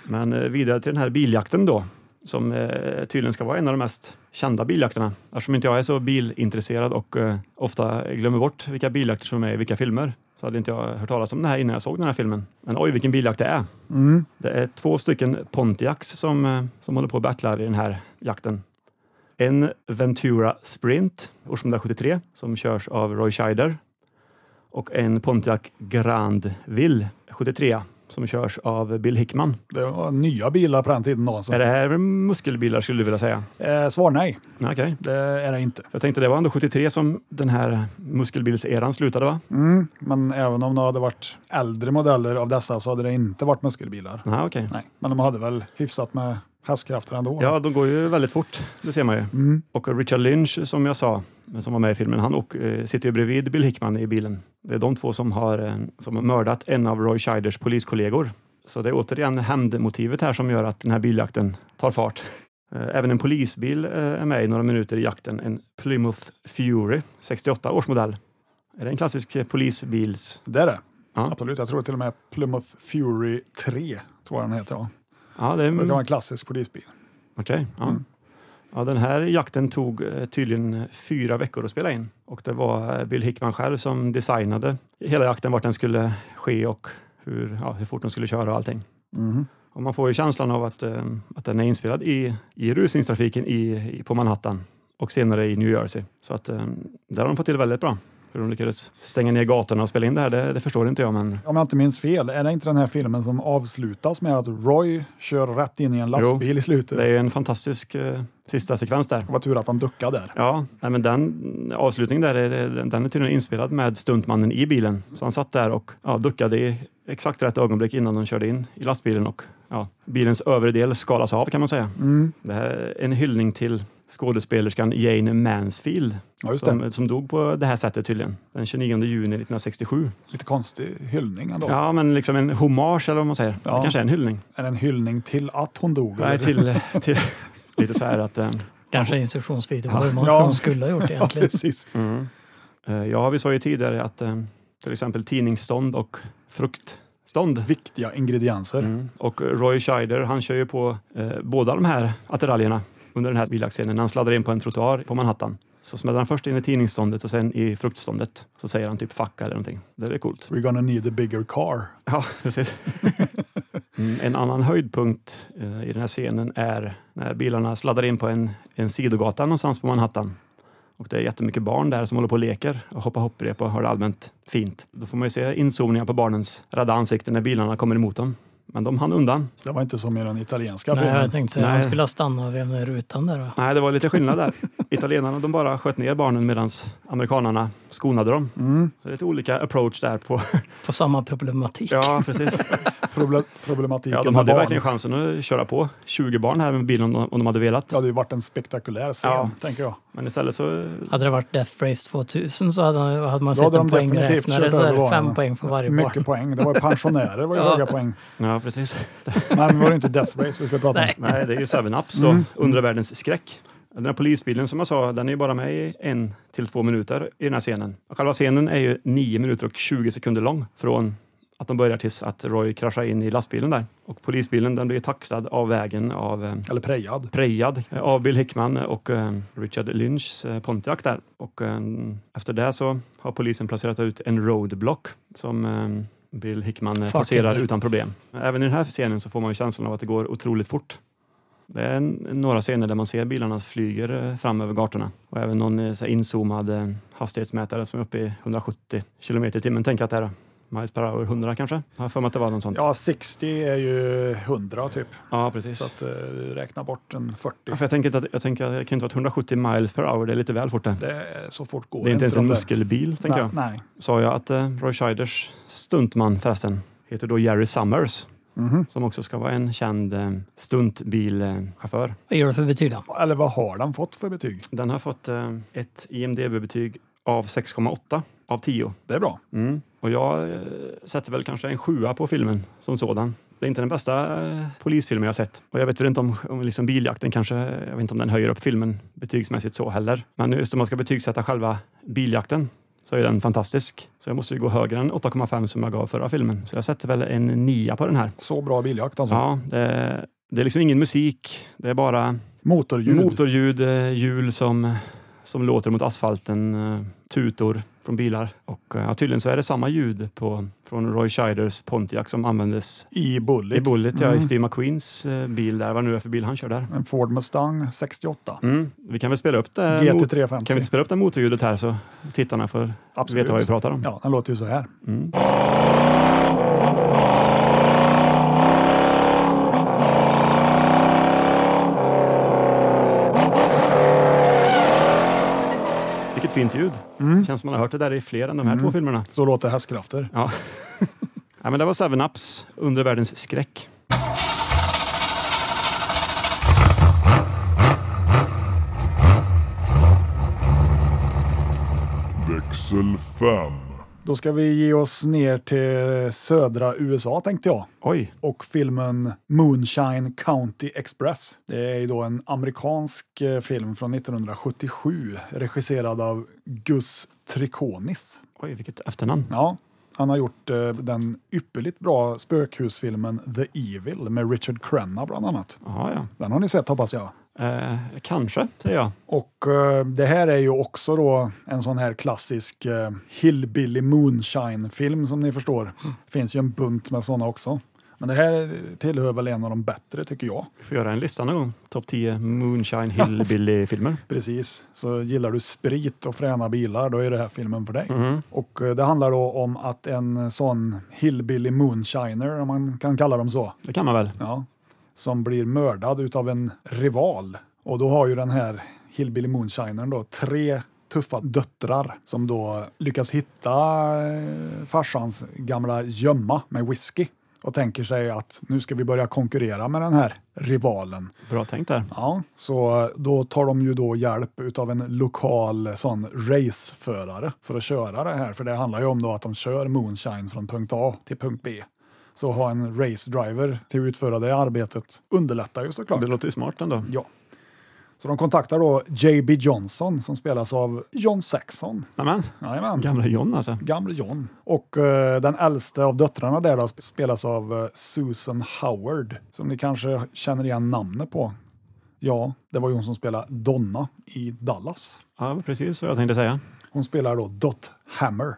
S3: Men eh, vidare till den här biljakten då, som eh, tydligen ska vara en av de mest kända biljakterna. Eftersom inte jag är så bilintresserad och eh, ofta glömmer bort vilka biljakter som är med i vilka filmer, så hade inte jag hört talas om det här innan jag såg den här filmen. Men oj, vilken biljakt det är!
S2: Mm.
S3: Det är två stycken Pontiacs som, eh, som håller på och battlar i den här jakten. En Ventura Sprint, år 1973, som körs av Roy Scheider. Och en Pontiac Grandville, 73, som körs av Bill Hickman.
S2: Det var nya bilar på den tiden då. Så.
S3: Är det här muskelbilar skulle du vilja säga?
S2: Eh, svar nej,
S3: Okej.
S2: det är det inte.
S3: Jag tänkte det var ändå 73 som den här muskelbilseran slutade va?
S2: Mm. Men även om det hade varit äldre modeller av dessa så hade det inte varit muskelbilar.
S3: Nej, okej.
S2: Nej. Men de hade väl hyfsat med hästkrafter ändå.
S3: Ja, de går ju väldigt fort, det ser man ju.
S2: Mm.
S3: Och Richard Lynch som jag sa, som var med i filmen, han och, eh, sitter ju bredvid Bill Hickman i bilen. Det är de två som har, eh, som har mördat en av Roy Scheiders poliskollegor. Så det är återigen hämndmotivet här som gör att den här biljakten tar fart. Eh, Även en polisbil eh, är med i några minuter i jakten, en Plymouth Fury, 68 års modell. Är det en klassisk eh, polisbils
S2: Det är det.
S3: Ja.
S2: Absolut. Jag tror till och med Plymouth Fury 3, tror jag den heter.
S3: Mm.
S2: Ja.
S3: Ja, det,
S2: Det kan vara
S3: mm,
S2: en klassisk polisbil.
S3: okej, ja. Ja, den här jakten tog eh, tydligen fyra veckor att spela in och det var eh, Bill Hickman själv som designade hela jakten, vart den skulle ske och hur, ja, hur fort de skulle köra och allting.
S2: Mhm.
S3: Och man får ju känslan av att, eh, att den är inspelad i, i rusningstrafiken i, i, på Manhattan och senare i New Jersey. Så att eh, där har de fått till väldigt bra. Hur de lyckades stänga ner gatorna och spela in det här, det, det förstår inte jag. Men
S2: Om jag inte minns fel, är det inte den här filmen som avslutas med att Roy kör rätt in i en lastbil i slutet?
S3: det är ju en fantastisk eh, sista sekvens där.
S2: Det var tur att han duckade där.
S3: Ja, nej, men den avslutningen där, är- den är tydligen inspelad med stuntmannen i bilen. Så han satt där och ja, duckade i exakt rätt ögonblick innan de körde in i lastbilen och ja, bilens övre del skalas av kan man säga.
S2: Mm.
S3: Det här är en hyllning till skådespelerskan Jane Mansfield
S2: Ja, just det.
S3: som, som dog på det här sättet tydligen, den 29 juni 1967.
S2: Lite konstig hyllning ändå.
S3: Ja, men liksom en hommage eller vad man säger.
S2: Ja.
S3: Det kanske är en hyllning.
S2: Är det en hyllning till att hon dog?
S3: Nej,
S2: eller?
S3: till, till lite så här att eh,
S4: Kanske instruktionsvideo, vad man
S2: Ja.
S4: de skulle ha gjort
S2: Ja,
S4: egentligen.
S2: precis.
S3: Mm. Eh, Ja, vi sa ju tidigare att eh, till exempel tidningsstånd och fruktstånd.
S2: Viktiga ingredienser.
S3: Mm. Och Roy Scheider, han kör ju på eh, båda de här attiraljerna under den här biljaktscenen. När han sladdar in på en trottoar på Manhattan så smäller han först in i tidningsståndet och sen i fruktståndet. Så säger han typ fuck eller någonting. Det är coolt.
S2: We're gonna need a bigger car.
S3: Ja, precis. Mm, en annan höjdpunkt eh, i den här scenen är när bilarna sladdar in på en, en sidogata någonstans på Manhattan. Och det är jättemycket barn där som håller på och leker och hoppar hopprep och har det allmänt fint. Då får man ju se inzoomningar på barnens rädda ansikten när bilarna kommer emot dem. Men de hann undan.
S2: Det var inte som i den italienska
S4: Nej, jag
S2: filmen.
S4: tänkte säga,
S3: Nej.
S4: han skulle ha stannat vid den rutan där. då.
S3: Nej, det var lite skillnad där. Italienarna de bara sköt ner barnen medan amerikanarna skonade dem.
S2: Mm.
S3: Så det är lite olika approach där på...
S4: På samma problematik.
S3: Ja, precis.
S2: Proble- problematiken
S3: Ja, de
S2: med
S3: hade
S2: barn.
S3: verkligen chansen att köra på 20 barn här med bilen om de- om de hade velat.
S2: Det hade ju varit en spektakulär scen,
S3: Ja.
S2: tänker jag.
S3: Men istället så...
S4: Hade det varit Death Race 2000 så hade, hade man
S2: Då hade
S4: sett en
S2: de definitivt
S4: poängräknare.
S2: kört
S4: Så är
S2: över
S4: det
S2: barnen.
S4: fem poäng för varje barn.
S2: Mycket poäng. Det var ju pensionärer, det var ju
S4: Ja.
S2: höga poäng.
S3: Ja, precis.
S2: Nej, men var det inte Death Race vi skulle prata om?
S4: Nej.
S3: Nej, det är ju 7-Up, så undra världens skräck. Den här polisbilen som jag sa, den är ju bara med i en till två minuter i den här scenen. Och själva scenen är ju 9 minuter och 20 sekunder lång från att de börjar tills att Roy kraschar in i lastbilen där. Och polisbilen den blir tacklad av vägen av eh,
S2: Eller prejad.
S3: prejad eh, av Bill Hickman och eh, Richard Lynchs eh, Pontiac där. Och eh, efter det så har polisen placerat ut en roadblock som eh, Bill Hickman eh,
S4: Farthinder.
S3: passerar utan problem. Även i den här scenen så får man ju känslan av att det går otroligt fort. Det är en, några scener där man ser bilarna flyger eh, fram över gatorna och även någon eh, så här inzoomad eh, hastighetsmätare som är uppe i 170 kilometer i timmen. Tänk att det är miles per hour 100 kanske? Jag har för mig att det var något sånt.
S2: Ja, 60 är ju 100 typ.
S3: Ja, precis.
S2: Så att, eh, räkna bort en 40.
S3: Ja, för jag, tänker inte att, jag tänker att det kan inte vara ett 170 miles per hour, det är lite väl fort det.
S2: Det är så fort går
S3: Det är inte ens en
S2: de där.
S3: muskelbil, tänker jag.
S2: Nej.
S3: Sa jag att eh, Roy Scheiders stuntman förresten heter då Jerry Summers,
S2: nej. Mhm.
S3: som också ska vara en känd eh, stuntbilchaufför.
S4: Vad gör det för betyg då?
S2: Eller vad har den fått för betyg?
S3: Den har fått eh, ett IMDB-betyg av 6,8 av 10.
S2: Det är bra.
S3: Mm. Och jag eh, sätter väl kanske en sjua på filmen som sådan. Det är inte den bästa eh, polisfilmen jag har sett. Och jag vet väl inte om, om liksom biljakten kanske, jag vet inte om den höjer upp filmen betygsmässigt så heller. Men just om man ska betygsätta själva biljakten så är den fantastisk. Så jag måste ju gå högre än 8,5 som jag gav förra filmen. Så jag sätter väl en nia på den här.
S2: Så bra biljakt alltså.
S3: Ja, det, det är liksom ingen musik. Det är bara
S2: Motorljud.
S3: Motorljud, eh, hjul som, som låter mot asfalten, eh, tutor från bilar. Och eh, ja, tydligen så är det samma ljud på, från Roy Scheiders Pontiac som användes
S2: I
S3: i
S2: Bullet.
S3: Bullet, ja,
S2: Mm.
S3: i Steve McQueens eh, bil där, vad nu är för bil han kör där.
S2: En Ford Mustang 68.
S3: Mm. Vi kan väl spela upp det, mot,
S2: GT350.
S3: kan vi inte spela upp det motorljudet här så tittarna får
S2: Absolut.
S3: veta vad vi pratar om.
S2: Ja, den låter ju så här.
S3: Mm. Vilket fint ljud.
S2: Mm.
S3: Känns som man har hört det där i fler än de här
S2: Mm.
S3: två filmerna.
S2: Så låter hästkrafter.
S3: Ja. ja, men det var Seven Ups, Under världens skräck.
S5: Växel 5.
S2: Då ska vi ge oss ner till södra USA tänkte jag.
S3: Oj,
S2: och filmen Moonshine County Express. Det är ju då en amerikansk eh, film från 1977 regisserad av Gus Triconis.
S3: oj vilket efternamn.
S2: Ja, han har gjort eh, den ypperligt bra spökhusfilmen The Evil med Richard Crenna bland annat.
S3: Jaha, ja.
S2: Den har ni sett hoppas jag.
S3: Eh, kanske, säger jag.
S2: Och eh, det här är ju också då en sån här klassisk eh, Hillbilly Moonshine-film som ni förstår. finns ju en bunt med såna också. Men det här tillhör väl en av de bättre tycker jag.
S3: Vi får göra en lista någon gång. Topp 10 Moonshine Hillbilly-filmer.
S2: Precis. Så gillar du sprit och fräna bilar, då är det här filmen för dig.
S3: Mhm.
S2: Och eh, det handlar då om att en sån hillbilly moonshiner, om man kan kalla dem så,
S3: Det kan man väl?
S2: ja, som blir mördad utav en rival. Och då har ju den här hillbilly moonshinern då tre tuffa döttrar som då lyckas hitta eh, farsans gamla gömma med whisky och tänker sig att nu ska vi börja konkurrera med den här rivalen.
S3: Bra tänkt där.
S2: Ja, så eh, då tar de ju då hjälp utav en lokal eh, sån raceförare för att köra det här. För det handlar ju om då att de kör moonshine från punkt A till punkt B. Så att ha en race driver till att utföra det arbetet underlättar ju såklart.
S3: Det låter ju smart ändå.
S2: Ja. Så de kontaktar då JB Johnson som spelas av John Saxon.
S3: Nämen,
S2: Jajamän.
S3: gamla John alltså.
S2: Gamle John. Och eh, den äldste av döttrarna där då spelas av eh, Susan Howard, som ni kanske känner igen namnet på. Ja, det var ju hon som spelade Donna i Dallas.
S3: Ja, precis vad jag tänkte säga.
S2: Hon spelar då Dot Hammer.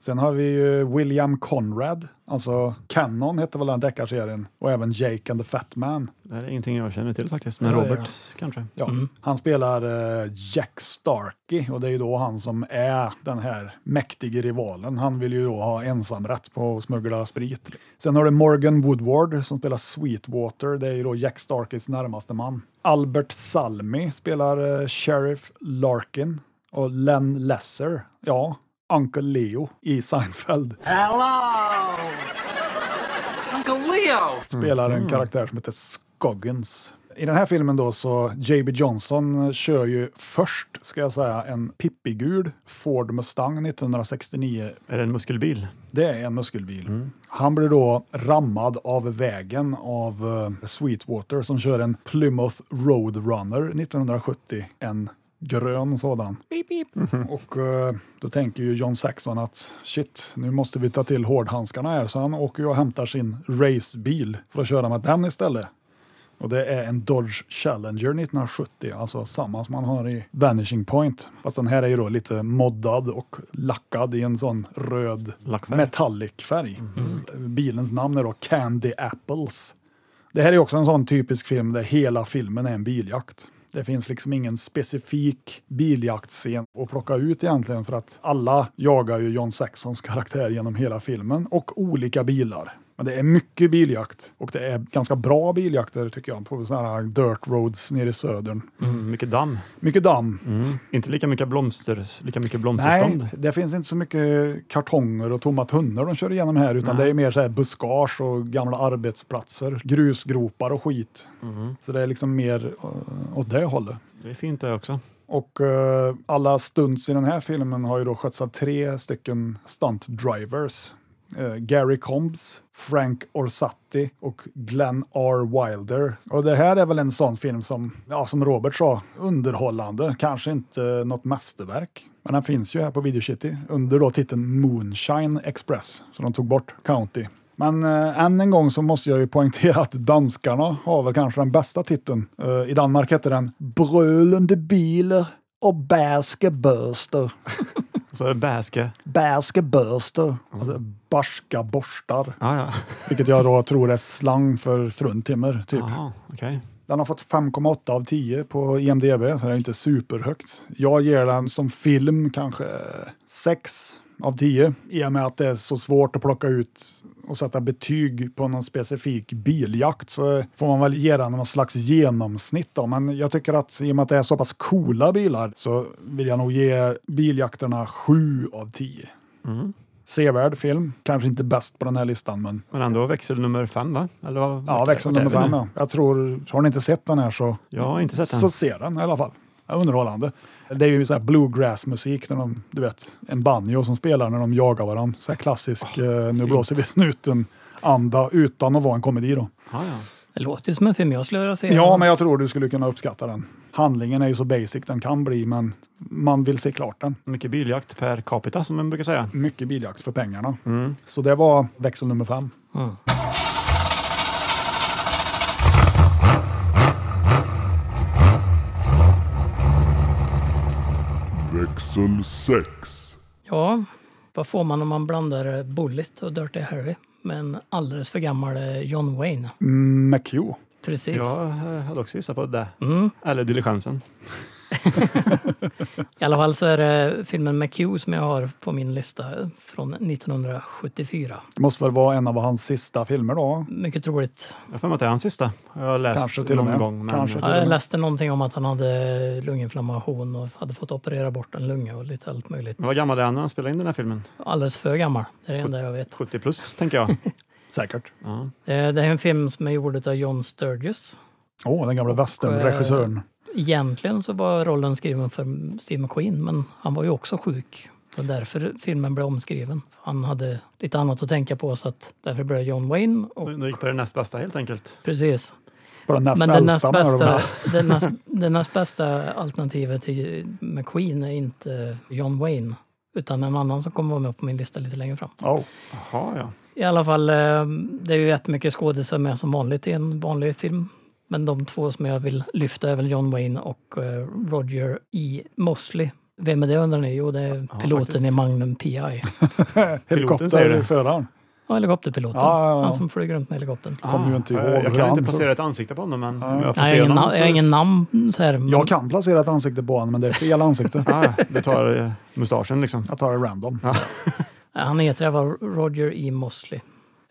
S2: Sen har vi ju William Conrad, alltså Cannon hette väl den deckarserien, och även Jake and the Fat Man.
S3: Det här är ingenting jag känner till faktiskt, men
S4: Ja, ja, ja.
S3: Robert kanske.
S2: Ja, Han spelar eh, Jack Starkey och det är ju då han som är den här mäktige rivalen. Han vill ju då ha ensamrätt på att smuggla sprit. Sen har du Morgan Woodward som spelar Sweetwater. Det är ju då Jack Starkeys närmaste man. Albert Salmi spelar eh, Sheriff Larkin och Len Lesser, ja, Uncle Leo i Seinfeld. spelar en karaktär som heter Scoggins. I den här filmen då så J.B. Johnson kör ju först, ska jag säga, en pippigul Ford Mustang 1969.
S3: Är det en muskelbil?
S2: Det är en muskelbil. Han blir då rammad av vägen av eh, Sweetwater som kör en Plymouth Roadrunner 1970. En grön sådan. Och eh, då tänker ju John Saxon att shit, nu måste vi ta till hårdhandskarna här. Så han åker ju och hämtar sin racebil för att köra med den istället. Och det är en Dodge Challenger 1970, alltså samma som man har i Vanishing Point. Fast den här är ju då lite moddad och lackad i en sån röd
S3: Lackfärg.
S2: metallic färg. Bilens namn är då Candy Apples. Det här är också en sån typisk film där hela filmen är en biljakt. Det finns liksom ingen specifik biljaktscen att plocka ut egentligen för att alla jagar ju John Saxons karaktär genom hela filmen och olika bilar. Men det är mycket biljakt och det är ganska bra biljakter tycker jag på sådana här dirt roads nere i södern.
S3: Mm, mycket damm.
S2: Mycket damm.
S3: Inte lika mycket, blomster, lika mycket blomsterstånd.
S2: Nej, det finns inte så mycket kartonger och tomma tunnor de kör igenom här utan det är mer så här buskage och gamla arbetsplatser, grusgropar och skit. Så det är liksom mer eh, åt det hållet.
S3: Det är fint det också.
S2: Och eh, alla stunts i den här filmen har ju då skötts av tre stycken stunt drivers. Eh, Gary Combs, Frank Orsatti och Glenn R. Wilder. Och det här är väl en sån film som, ja, som Robert sa, underhållande. Kanske inte något mästerverk. Men den finns ju här på Video City under då titeln Moonshine Express, som de tog bort, County. Men eh, än en gång så måste jag ju poängtera att danskarna har väl kanske den bästa titeln. Eh, I Danmark heter den Brölande bilar och bärskebörster.
S3: Så är det bäske.
S2: Bärskebörster. Alltså barska borstar.
S3: Ah, ja,
S2: Vilket jag då tror är slang för fruntimmer, typ.
S3: Aha, okej.
S2: Den har fått 5,8 av 10 på IMDB, så det är inte superhögt. Jag ger den som film kanske 6 av 10 i och med att det är så svårt att plocka ut och sätta betyg på någon specifik biljakt så får man väl ge den någon slags genomsnitt då. Men jag tycker att i och med att det är så pass coola bilar så vill jag nog ge biljakterna 7 av 10. Sevärd film, kanske inte bäst på den här listan men
S3: Men ändå växel nummer fem, va? Eller vad,
S2: ja, växel nummer fem.
S3: ja.
S2: Ja. Jag tror, har ni inte sett den här så
S3: Jag har inte sett den.
S2: så ser den i alla fall. Ja, Underhållande. Det är ju så här bluegrass-musik, när de, du vet, en banjo som spelar när de jagar varandra. Så här klassisk, eh, nu blåser vi snuten-anda utan att vara en komedi då.
S3: Ah, ja.
S4: Det låter ju som en film jag skulle vilja se.
S2: Ja, men jag tror du skulle kunna uppskatta den. Handlingen är ju så basic den kan bli, men man vill se klart den.
S3: Mycket biljakt per capita som man brukar säga.
S2: Mycket biljakt för pengarna. Så det var växel nummer fem.
S5: växel 6,
S4: Ja, vad får man om man blandar eh, Bullet och Dirty Harry? med en alldeles för gammal eh, John Wayne.
S2: Mm, McHugh.
S4: Precis.
S3: Jag eh, hade också gissat på det.
S4: Mm.
S3: Eller Diligensen.
S4: I alla fall så är det filmen McHugh som jag har på min lista från 1974.
S2: Det måste väl vara en av hans sista filmer då?
S4: Mycket troligt.
S3: Jag har för mig att det är hans sista. Jag har läst
S2: Kanske till och
S3: någon
S2: med.
S3: gång. Men
S2: Kanske.
S4: Ja, jag läste någonting om att han hade lunginflammation och hade fått operera bort en lunga och lite allt möjligt.
S3: Vad gammal är han när han spelade in den här filmen?
S4: Alldeles för gammal. Det är det enda jag vet.
S3: 70 plus, tänker jag.
S2: Säkert.
S3: Ja.
S4: Eh, Det här är en film som är gjord av John Sturges.
S2: Åh, den gamla westernregissören.
S4: Egentligen så var rollen skriven för Steve McQueen, men han var ju också sjuk. Och därför filmen blev omskriven. Han hade lite annat att tänka på så att därför blev det John Wayne. Och,
S3: Nu gick på det näst bästa helt enkelt.
S4: precis.
S2: Bara näst
S4: Men det näst,
S2: äldsta. menar du
S4: bästa,
S2: väl?
S4: det, näst, det näst bästa alternativet till McQueen är inte John Wayne utan en annan som kommer vara med på min lista lite längre fram.
S2: Ja.
S3: Jaha, ja.
S4: I alla fall, eh, det är ju jättemycket skådisar med som vanligt i en vanlig film. Men de två som jag vill lyfta är väl John Wayne och eh, Roger E. Mosley. Vem är det undrar ni? Jo, det är piloten
S3: faktiskt.
S4: i Magnum PI.
S3: säger
S2: Helikopter
S3: det.
S2: i föraren.
S4: Ja, helikopterpiloten.
S2: Ja, ja, ja.
S4: Han som flyger runt med helikoptern.
S2: Kommer ju inte
S3: Ah,
S2: ihåg
S3: jag- Jag
S2: hur
S3: kan
S2: han
S3: inte
S2: såg.
S3: placera ett ansikte på honom, men om jag får
S4: Jag har
S3: se
S4: ingen,
S3: honom
S4: na- jag har ingen namn så här. men-
S2: Jag kan placera ett ansikte på honom, men det är fel ansikte.
S3: Ah, du tar eh, mustaschen liksom.
S2: Jag tar det random.
S4: Eh, Han heter även Roger E. Mosley.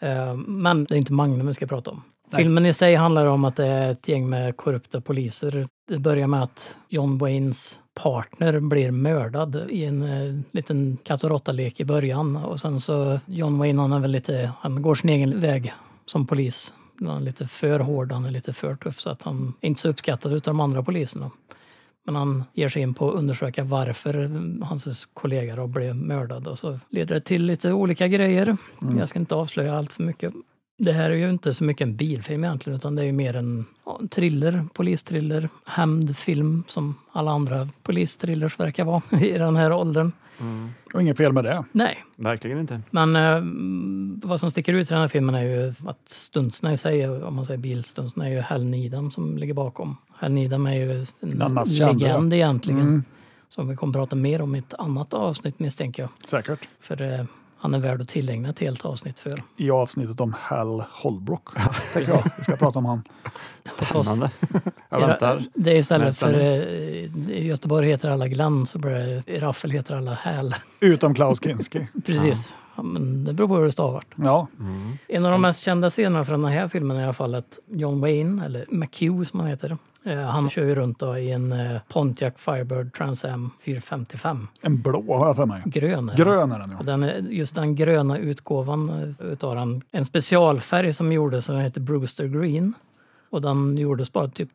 S4: Eh, Men det är inte Magnum vi ska prata om. Filmen i sig handlar om att det är ett gäng med korrupta poliser. Det börjar med att John Waynes partner blir mördad i en eh, liten katt och råtta-lek i början. Och sen så, John Wayne han är väl lite, han går sin egen väg som polis. Han är lite för hård, han är lite för tuff så att han är inte så uppskattad utav de andra poliserna. Men han ger sig in på att undersöka varför hans kollega då blev mördad och så leder det till lite olika grejer. Jag ska inte avslöja allt för mycket. Det här är ju inte så mycket en bilfilm egentligen utan det är ju mer en, ja, en thriller, polistriller, hämndfilm som alla andra polistrillers verkar vara i den här åldern.
S2: Och inget fel med det.
S4: Nej,
S3: Verkligen inte.
S4: men eh, vad som sticker ut i den här filmen är ju att stuntsna i sig, om man säger bilstuntsna, är ju Hal Needham som ligger bakom. Hal Needham är ju
S2: Den
S4: en
S2: mest kända.
S4: legend egentligen.
S3: Mm.
S4: Som vi kommer prata mer om i ett annat avsnitt misstänker jag.
S2: Säkert.
S4: För eh, han är värd att tillägna ett helt avsnitt för.
S2: I avsnittet om Hal Holbrook. Tänker jag. Vi ska prata om han.
S4: Hos oss.
S3: Spännande. Jag väntar.
S4: Det är istället
S3: Vänta nu.
S4: för eh, i Göteborg heter alla Glenn så blir det, i Raffel heter alla Hal.
S2: Utom Klaus Kinski.
S4: Precis. Ja, men det beror på hur det stavar.
S2: Ja,
S4: Mm. En av de mest kända scenerna från den här filmen är i alla fall att John Wayne, eller McHugh som han heter, eh, han kör ju runt då i en eh, Pontiac Firebird Trans Am 455.
S2: en blå har jag för mig.
S4: Grön är den.
S2: Grön är den ju.
S4: Och den, är- Just den gröna utgåvan eh, utav den, en specialfärg som gjordes som heter Brewster Green. Och den gjordes bara typ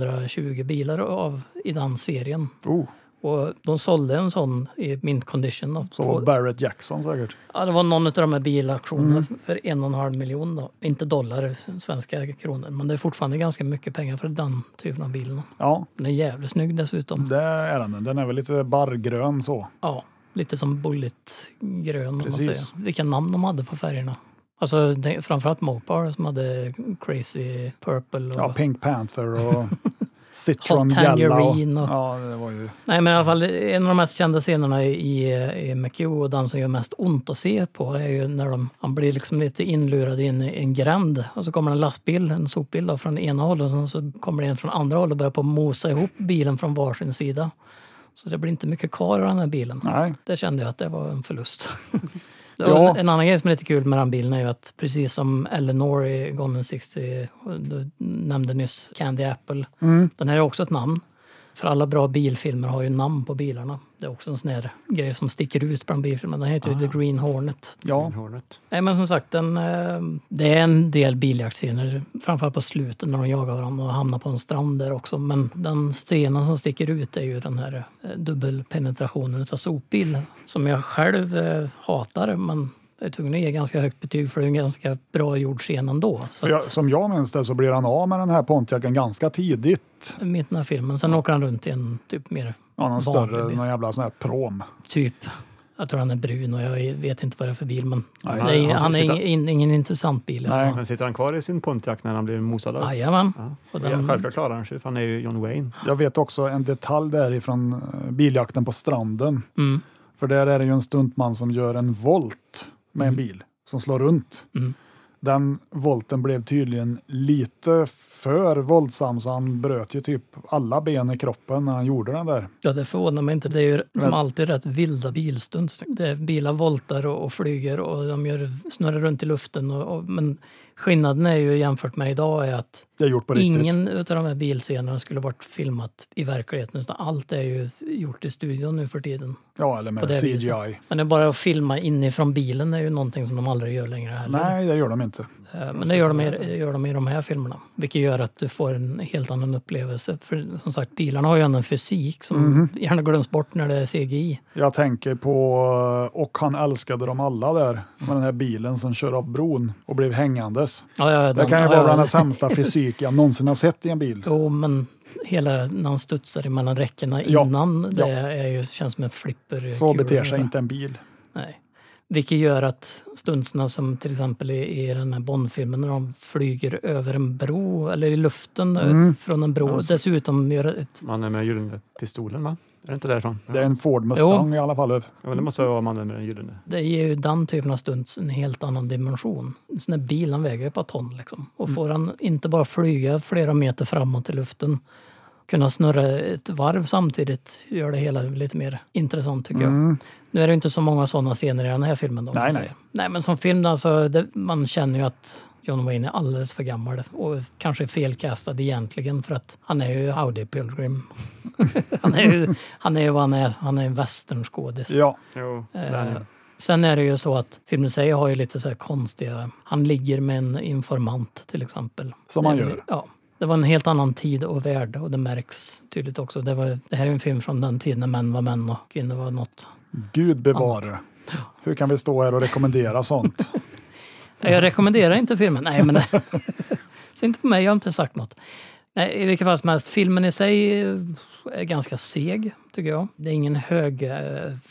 S4: 220 bilar av i den serien.
S2: Oh,
S4: Och de sålde en sån i mint condition. då.
S2: så var Barrett Jackson säkert.
S4: Ja, det var någon av de här bilauktionerna
S2: Mm.
S4: för en och en halv miljon. Då. Inte dollar, svenska kronor, men det är fortfarande ganska mycket pengar för den typen av bil.
S2: Ja,
S4: Den är jävligt snygg dessutom.
S2: det är den. Den är väl lite barrgrön så.
S4: Ja, lite som Bullet-grön om man
S2: Precis.
S4: säger. Vilka namn de hade på färgerna. Alltså det- framförallt Mopar som hade Crazy Purple och...
S2: Ja, Pink Panther och Citron
S4: Hot Tangerine
S2: Yellow.
S4: och-
S2: Ja, det var ju...
S4: Nej men i alla fall en av de mest kända scenerna i, i McHugh och den som gör mest ont att se på är ju när de, han blir liksom lite inlurad i en, en gränd och så kommer en lastbil, en sopbil då, från ena hållet och sen så kommer det en från andra hållet och börjar på att mosa ihop bilen från varsin sida. Så det blir inte mycket kvar av den här bilen.
S2: Nej,
S4: Det kände jag att det var en förlust. Det
S2: Ja.
S4: var En en annan grej som är lite kul med den bilen är ju att precis som Eleanor i Gone in 60, och du nämnde nyss Candy Apple, den här är också ett namn. För alla bra bilfilmer har ju namn på bilarna. Det är också en sån här grej som sticker ut bland bilfilmer. Den heter ju The Green Hornet.
S2: ja.
S3: Hornet.
S4: Nej men som sagt, den, eh, det är en del biljaktscener, framförallt på slutet när de jagar varandra och hamnar på en strand där också. Men den scenen som sticker ut är ju den här eh, dubbelpenetrationen utav sopbil som jag själv eh, hatar men jag är tvungen att ge ganska högt betyg för det är en ganska bra gjord scen ändå. Så
S2: För jag, som jag minns det så blir han av med den här Pontiacen ganska tidigt.
S4: att, eh, mitt i den här filmen. Sen åker han runt i en typ mer
S2: Ja, någon
S4: Vanlig
S2: större,
S4: bil.
S2: någon jävla sån här prom.
S4: typ jag tror han är brun och jag vet inte vad det är för bil men
S2: Nej,
S4: det
S3: han
S4: är,
S3: ska
S4: han är
S3: sitta-
S4: ingen, ingen, intressant bil.
S2: Nej.
S3: Men sitter han kvar i sin Pontiac när han blir mosad? av?
S4: Jajamän.
S3: Ja.
S4: Och
S3: Ja,
S4: den-
S3: Självklart klarar han sig, för han är ju John Wayne.
S2: Jag vet också en detalj därifrån eh, biljakten på stranden.
S4: Mm.
S2: För där är det ju en stuntman som gör en volt med en bil. som slår runt.
S4: Mm.
S2: Den volten blev tydligen lite för våldsam så han bröt ju typ alla ben i kroppen när han gjorde den där.
S4: Ja, det förvånar mig inte. Det är ju
S2: Men-
S4: som alltid rätt vilda bilstunds. Det är bilar voltar och, och flyger och de gör, snurrar runt i luften. Och, och, men skillnaden är ju jämfört med idag är att
S2: Det är gjort på riktigt.
S4: ingen av de här bilscenerna skulle varit filmat i verkligheten utan allt är ju gjort i studion nu för tiden.
S2: Ja, eller
S4: på
S2: med
S4: det
S2: CGI.
S4: viset. Men det är bara att filma inifrån bilen är ju någonting som de aldrig gör längre heller.
S2: Nej, det gör de inte.
S4: Eh, Men det gör de, i, gör de i de här filmerna, vilket gör att du får en helt annan upplevelse. För som sagt, bilarna har ju en fysik som
S2: Mhm.
S4: gärna glöms bort när det är CGI.
S2: Jag tänker på, eh, och han älskade dem alla där, med den här bilen som kör av bron och blev hängandes.
S4: Ja, ja,
S2: Det
S4: den-
S2: kan ju
S4: ja,
S2: vara
S4: ja,
S2: bland den sämsta fysik jag någonsin har sett i en bil.
S4: Jo, men hela när han studsar mellan räckena
S2: Ja,
S4: innan,
S2: ja.
S4: det är ju, känns som en flipper.
S2: Så beter sig inte en bil.
S4: Nej. Vilket gör att stunserna som till exempel i, i den här Bondfilmen när de flyger över en bro eller i luften eh,
S2: Mm.
S4: från en bro. Dessutom gör ett...
S3: Man är med gyllene pistolen va? Är det inte därifrån?
S2: Det är en Ford Mustang i alla fall.
S3: Ja, men det måste vara mannen med den gyllene.
S4: Det ger ju den typen av stunts en helt annan dimension. En sån där bil, han väger ju ett par ton liksom. Och
S2: Mm.
S4: får han inte bara flyga flera meter framåt i luften, kunna snurra ett varv samtidigt gör det hela lite mer intressant tycker jag. Nu är det ju inte så många sådana scener i den här filmen. Då, om
S2: Mm. Nej,
S4: man
S2: nej.
S4: säger. nej. Men som film, alltså, det, man känner ju att John Wayne är alldeles för gammal och kanske felkastad egentligen för att han är ju Howdy Pilgrim. han, är ju, han är ju vad han är, han är en västernskådis.
S2: Ja,
S3: Jo,
S4: Eh,
S3: den.
S4: Sen är det ju så att filmen i sig har ju lite så här konstiga... Han ligger med en informant till exempel.
S2: Som han
S4: Det-
S2: gör.
S4: Ja. Det var en helt annan tid och värld och det märks tydligt också. Det, var, det här är en film från den tiden när män var män och kvinnor var något.
S2: Gud bevare. Hur kan vi stå här och rekommendera sånt?
S4: Nej, Jag rekommenderar inte filmen. Nej, men... Se inte på mig, jag har inte sagt något. Nej, I vilket fall som helst, filmen i sig eh, är ganska seg, tycker jag. Det är ingen hög eh,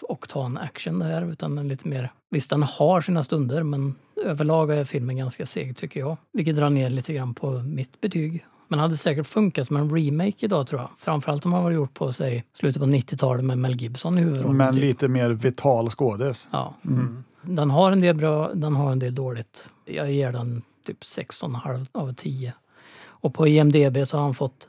S4: oktan action det här, utan en lite mer... Visst, den har sina stunder, men överlag är filmen ganska seg, tycker jag. Vilket drar ner lite grann på mitt betyg. Men hade säkert funkat som en remake idag, tror jag. Framförallt om man var gjort på, sig slutet på 90-talet med Mel Gibson i huvudrollen.
S2: Men
S4: typ.
S2: lite mer vital skådis.
S4: Ja.
S2: Mm.
S4: Den har en del bra, den har en del dåligt. Jag ger den typ 6,5 av 10. Och på E IMDB så har han fått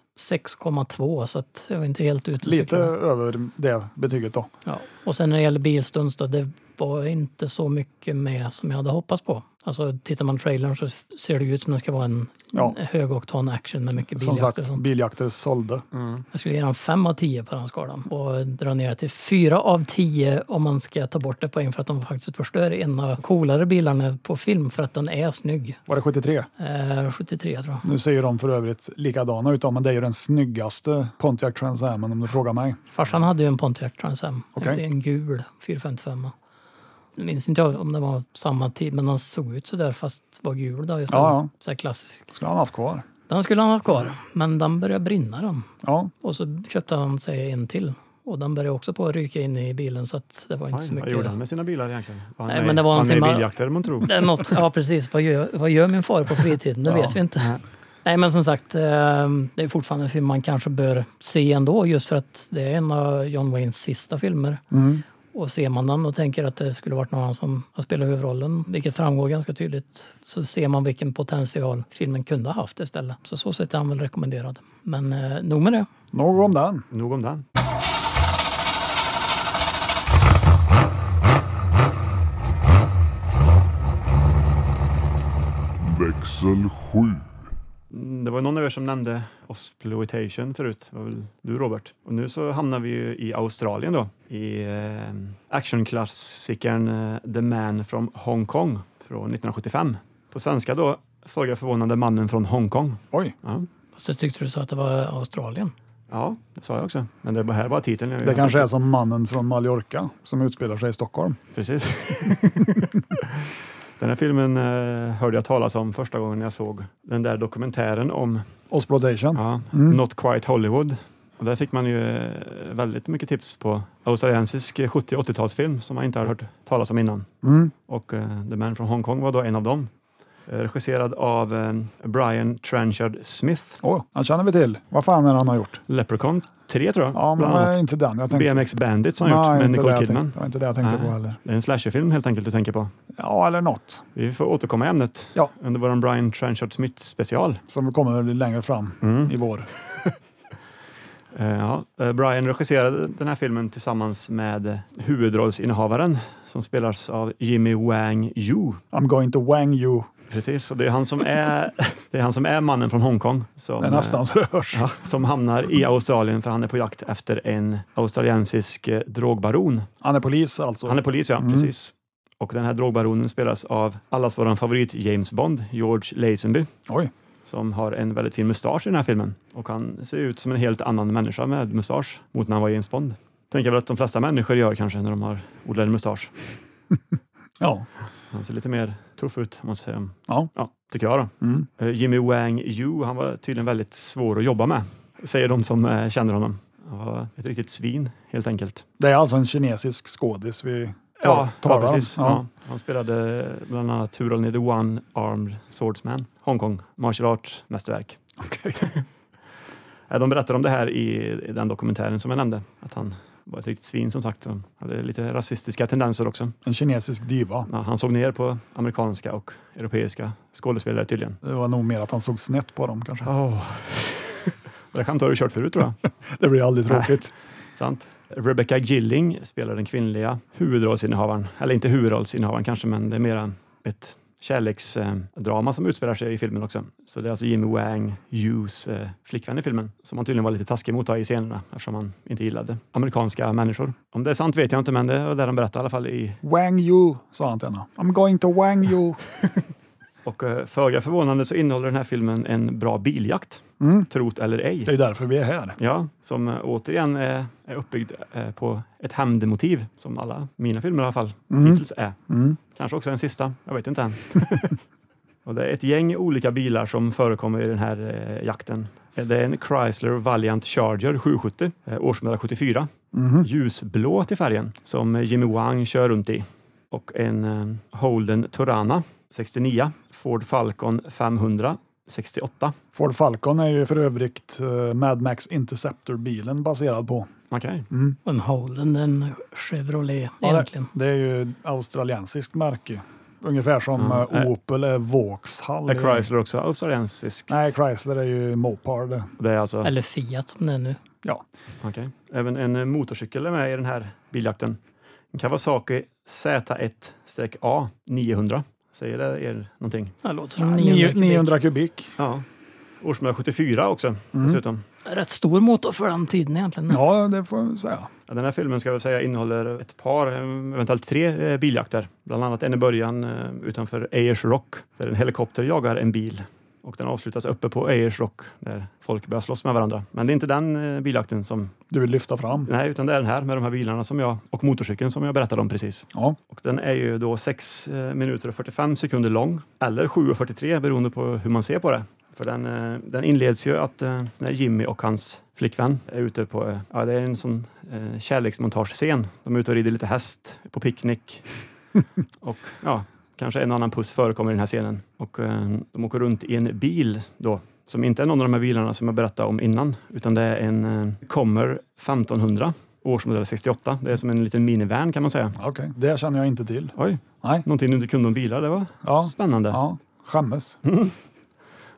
S4: 6,2 så att jag är inte helt ute och
S2: Lite
S4: cyklar.
S2: över det betyget då.
S4: Ja. Och sen när det gäller bilstunds då, det var inte så mycket med som jag hade hoppats på. Alltså tittar man trailern så ser det ut som det ska vara en
S2: Ja.
S4: en högoktan action med mycket
S2: Som
S4: biljakt och
S2: sagt,
S4: sånt.
S2: biljakter sålde.
S4: Jag skulle ge den 5 av 10 på den skalan och dra ner det till 4 av 10 om man ska ta bort det poäng för att de faktiskt förstör en av coolare bilarna på film för att den är snygg.
S2: Var det 73?
S4: Eh, 73 tror jag.
S2: Nu ser ju de för övrigt likadana ut, men det är ju den snyggaste Pontiac Trans Am om du frågar mig.
S4: Farsan hade ju en Pontiac Trans Am,
S2: Okej.
S4: en gul 455. Jag minns inte jag om det var samma tid, men den såg ut sådär fast var gul då istället.
S2: Ja, ja.
S4: Så här klassisk.
S2: Skulle han haft kvar.
S4: Den skulle han ha kvar, men den började brinna den.
S2: Ja,
S4: Och så köpte han sig en till. Och den började också på att ryka in i bilen så att det var inte
S3: Oj,
S4: så mycket.
S3: Vad gjorde han med sina bilar egentligen? Var han
S4: Nej,
S3: med-
S4: men det var
S3: han
S4: någonting
S3: med i
S4: man-
S3: biljakter man tror.
S4: Det är något, ja precis, vad gör, vad gör min far på fritiden? Det vet vi inte. Nej men som sagt, eh, det är fortfarande en film man kanske bör se ändå just för att det är en av John Waynes sista filmer. Och ser man den och tänker att det skulle varit någon annan som har spelat huvudrollen, vilket framgår ganska tydligt, så ser man vilken potential filmen kunde ha haft istället. Så så sätt är han väl rekommenderad. Men eh, nog med det.
S2: nog om den.
S3: Nog om den.
S5: växel 7,
S3: Mm, Det var ju någon av er som nämnde Osploitation förut. Det var väl du Robert. Och nu så hamnar vi ju i Australien då. I eh, actionklassikern eh, The Man from Hong Kong från 1975. På svenska då, föga förvånande, Mannen från Hongkong.
S2: Oj,
S3: Ja.
S4: Fast jag tyckte du sa att det var Australien.
S3: ja, det sa jag också. Men det var här bara titeln. jag-
S2: det kanske är som mannen från Mallorca som utspelar sig i Stockholm.
S3: Precis. Den här filmen eh, hörde jag talas om första gången jag såg den där dokumentären om
S2: Osploitation.
S3: Ja,
S2: Mm.
S3: Not Quite Hollywood. Och där fick man ju eh, väldigt mycket tips på australiensisk 70 och 80-talsfilm som man inte hade hört talas om innan.
S2: Mm.
S3: Och eh, The Man from Hong Kong var då en av dem. Eh, regisserad av eh, Brian Trenchard Smith,
S2: Åh, han känner vi till. Vad fan är det han har gjort?
S3: Leprechaun 3 tror jag.
S2: Ja, men
S3: bland
S2: det var
S3: annat.
S2: inte den jag tänkte.
S3: BMX Bandit som han
S2: Nej,
S3: gjort med
S2: inte det
S3: Nicole
S2: jag
S3: Kidman.
S2: tänkte- Det var inte det jag tänkte
S3: Nej.
S2: på heller.
S3: Det är en slasherfilm helt enkelt du tänker på.
S2: Ja, eller något
S3: Vi får återkomma i ämnet
S2: Ja.
S3: under vår Brian Trenchard Smith special.
S2: som kommer längre fram
S3: Mm.
S2: i vår.
S3: Eh, Ja, eh, Brian regisserade den här filmen tillsammans med eh, huvudrollsinnehavaren som spelas av Jimmy Wang Yu.
S2: I'm going to wang you.
S3: Precis, och det är han som är, det är, han som är mannen från Hongkong. Som,
S2: Det är nästan så det hörs.
S3: eh, Ja, som hamnar i Australien för han är på jakt efter en australiensisk eh, drogbaron.
S2: Han är polis alltså.
S3: Han är polis, ja, precis. Och den här drogbaronen spelas av allas våran favorit James Bond, George Lazenby,
S2: Oj,
S3: som har en väldigt fin mustasch i den här filmen. Och han ser ut som en helt annan människa med mustasch mot när han var James Bond. Tänker väl att de flesta människor gör kanske när de har odlad mustasch.
S2: ja.
S3: Han ser lite mer tuff ut, om man säger.
S2: Ja.
S3: ja, tycker jag då.
S2: Mm.
S3: Eh, Jimmy Wang Yu, han var tydligen väldigt svår att jobba med, säger de som eh, känner honom. Han var ett riktigt svin, helt enkelt.
S2: Det är alltså en kinesisk skådis vi tar,
S3: Ja,
S2: talar
S3: ja
S2: om.
S3: precis. Ja.
S2: Ja.
S3: Han spelade bland annat huvudrollen i The One Armed Swordsman, Hongkong, martial art-mästerverk.
S2: Okej.
S3: Eh, De berättar om det här i i den dokumentären som jag nämnde, att han var ett riktigt svin som sagt. och hade lite rasistiska tendenser också.
S2: En kinesisk diva.
S3: Ja, han såg ner på amerikanska och europeiska skådespelare tydligen.
S2: Det var nog mer att han såg snett på dem kanske.
S3: Oh. Det där skämtet har du kört förut tror jag.
S2: Det blir aldrig tråkigt.
S3: Sant. Rebecca Gilling spelar den kvinnliga huvudrollsinnehavaren. Eller inte huvudrollsinnehavaren kanske, men det är mera ett kärleksdrama som utspelar sig i filmen också. Så det är alltså Jimmy Wang Yus eh, flickvän i filmen som han tydligen var lite taskig mot då i scenerna eftersom han inte gillade amerikanska människor. Om det är sant vet jag inte, men det var det de berättade i alla fall. I.
S2: Wang you, sa han till henne. I'm going to wang you.
S3: Och eh, föga förvånande så innehåller den här filmen en bra biljakt,
S2: Mm.
S3: trot eller ej.
S2: Det är därför vi är här.
S3: Ja, som eh, återigen eh, är uppbyggd eh, på ett hämndmotiv, som alla mina filmer i alla fall hittills är.
S2: Mm.
S3: Kanske också en sista, jag vet inte än. och det är ett gäng olika bilar som förekommer i den här eh, jakten. Eh, Det är en Chrysler Valiant Charger 770, eh, årsmodell 74,
S2: Mhm.
S3: ljusblå till färgen, som eh, Jimmy Wang kör runt i. Och en eh, Holden Torana 69, Ford Falcon 500 68.
S2: Ford Falcon är ju för övrigt eh, Mad Max Interceptor-bilen baserad på.
S3: Okej.
S4: Och en Holden, en Chevrolet
S2: Ja,
S4: egentligen.
S2: Det är ju australiensiskt märke. Ungefär som
S3: Ja,
S2: eh,
S3: eh,
S2: Opel är Vauxhall.
S3: Är Chrysler också australiensisk?
S2: Nej, Chrysler är ju Mopar det.
S3: Det är alltså,
S4: Eller Fiat som det är nu.
S2: Ja.
S3: okej. Även en eh, motorcykel är med i den här biljakten. En Kawasaki Z1-A 900. Säger det er någonting?
S4: Det låter
S3: Mm.
S4: som 900,
S2: Nio-
S4: kubik.
S2: 900 kubik. Mm.
S3: Ja. Årsmodell 74 också dessutom.
S4: Rätt stor motor för den tiden egentligen.
S2: Ja, det får jag säga.
S3: Ja, den här filmen ska jag väl säga innehåller ett par, eh, eventuellt tre eh, biljakter. Bland annat en i början eh, utanför Ayers Rock där en helikopter jagar en bil. Och den avslutas uppe på Ayers Rock där folk börjar slåss med varandra. Men det är inte den eh, biljakten som
S2: Du vill lyfta fram.
S3: Nej, utan det är den här med de här bilarna som jag, och motorcykeln som jag berättade om precis.
S2: Ja.
S3: Och den är ju då 6 minuter och 45 sekunder lång, eller 7.43 beroende på hur man ser på det. För den, eh, den inleds ju att eh, när Jimmy och hans flickvän är ute på, eh, ja det är en sån eh, kärleksmontagescen. De är ute och rider lite häst på picknick. och ja, kanske en och annan puss förekommer i den här scenen. Och eh, de åker runt i en bil då som inte är någon av de här bilarna som jag berättade om innan, utan det är en eh, Kommer 1500, årsmodell 68. Det är som en liten minivan kan man säga.
S2: Okej, det känner jag inte till.
S3: Oj,
S2: Nej.
S3: någonting du inte kunde om bilar, det var
S2: Ja.
S3: spännande.
S2: Ja, skämmes.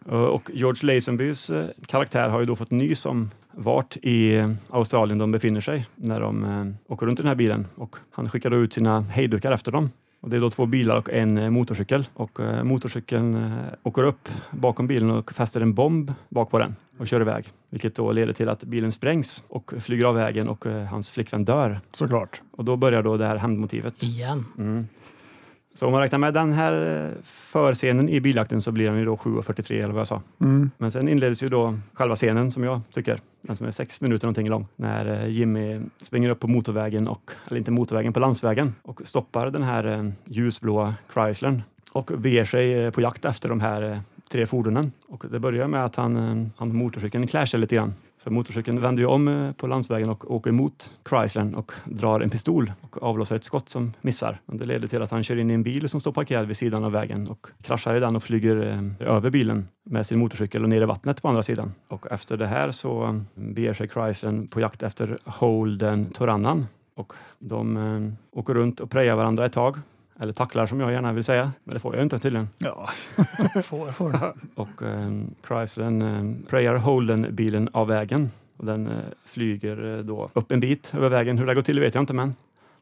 S3: Eh, Och George Lazenbys eh, karaktär har ju då fått nys om vart i eh, Australien de befinner sig när de eh, åker runt i den här bilen och han skickar då ut sina hejdukar efter dem. Och det är då två bilar och en eh, motorcykel och eh, motorcykeln eh, åker upp bakom bilen och fäster en bomb bak på den och kör iväg, vilket då leder till att bilen sprängs och flyger av vägen och eh, hans flickvän dör.
S2: Såklart.
S3: Och då börjar då det här hämndmotivet.
S4: Igen.
S3: Mm. Så om man räknar med den här eh, förscenen i biljakten så blir den ju då 7.43 eller vad jag sa.
S2: Mm.
S3: Men sen inleds ju då själva scenen som jag tycker, den som är sex minuter någonting lång, när eh, Jimmy svänger upp på motorvägen och, eller inte motorvägen, på landsvägen och stoppar den här eh, ljusblåa Chryslern och beger sig eh, på jakt efter de här eh, tre fordonen. Och det börjar med att han, eh, han motorcykeln klär sig lite grann. För motorcykeln vänder ju om eh, på landsvägen och åker emot Chryslern och drar en pistol och avlossar ett skott som missar. Och det leder till att han kör in i en bil som står parkerad vid sidan av vägen och kraschar i den och flyger eh, över bilen med sin motorcykel och ner i vattnet på andra sidan. Och efter det här så eh, beger sig Chryslern på jakt efter Holden Torannan och de eh, åker runt och prejar varandra ett tag. Eller tacklar som jag gärna vill säga, men det får jag ju inte tydligen.
S2: Ja.
S4: Får, får den.
S3: Och eh, Chryslern eh, prejar Holden-bilen av vägen. Och den eh, flyger eh, då upp en bit över vägen. Hur det går till vet jag inte, men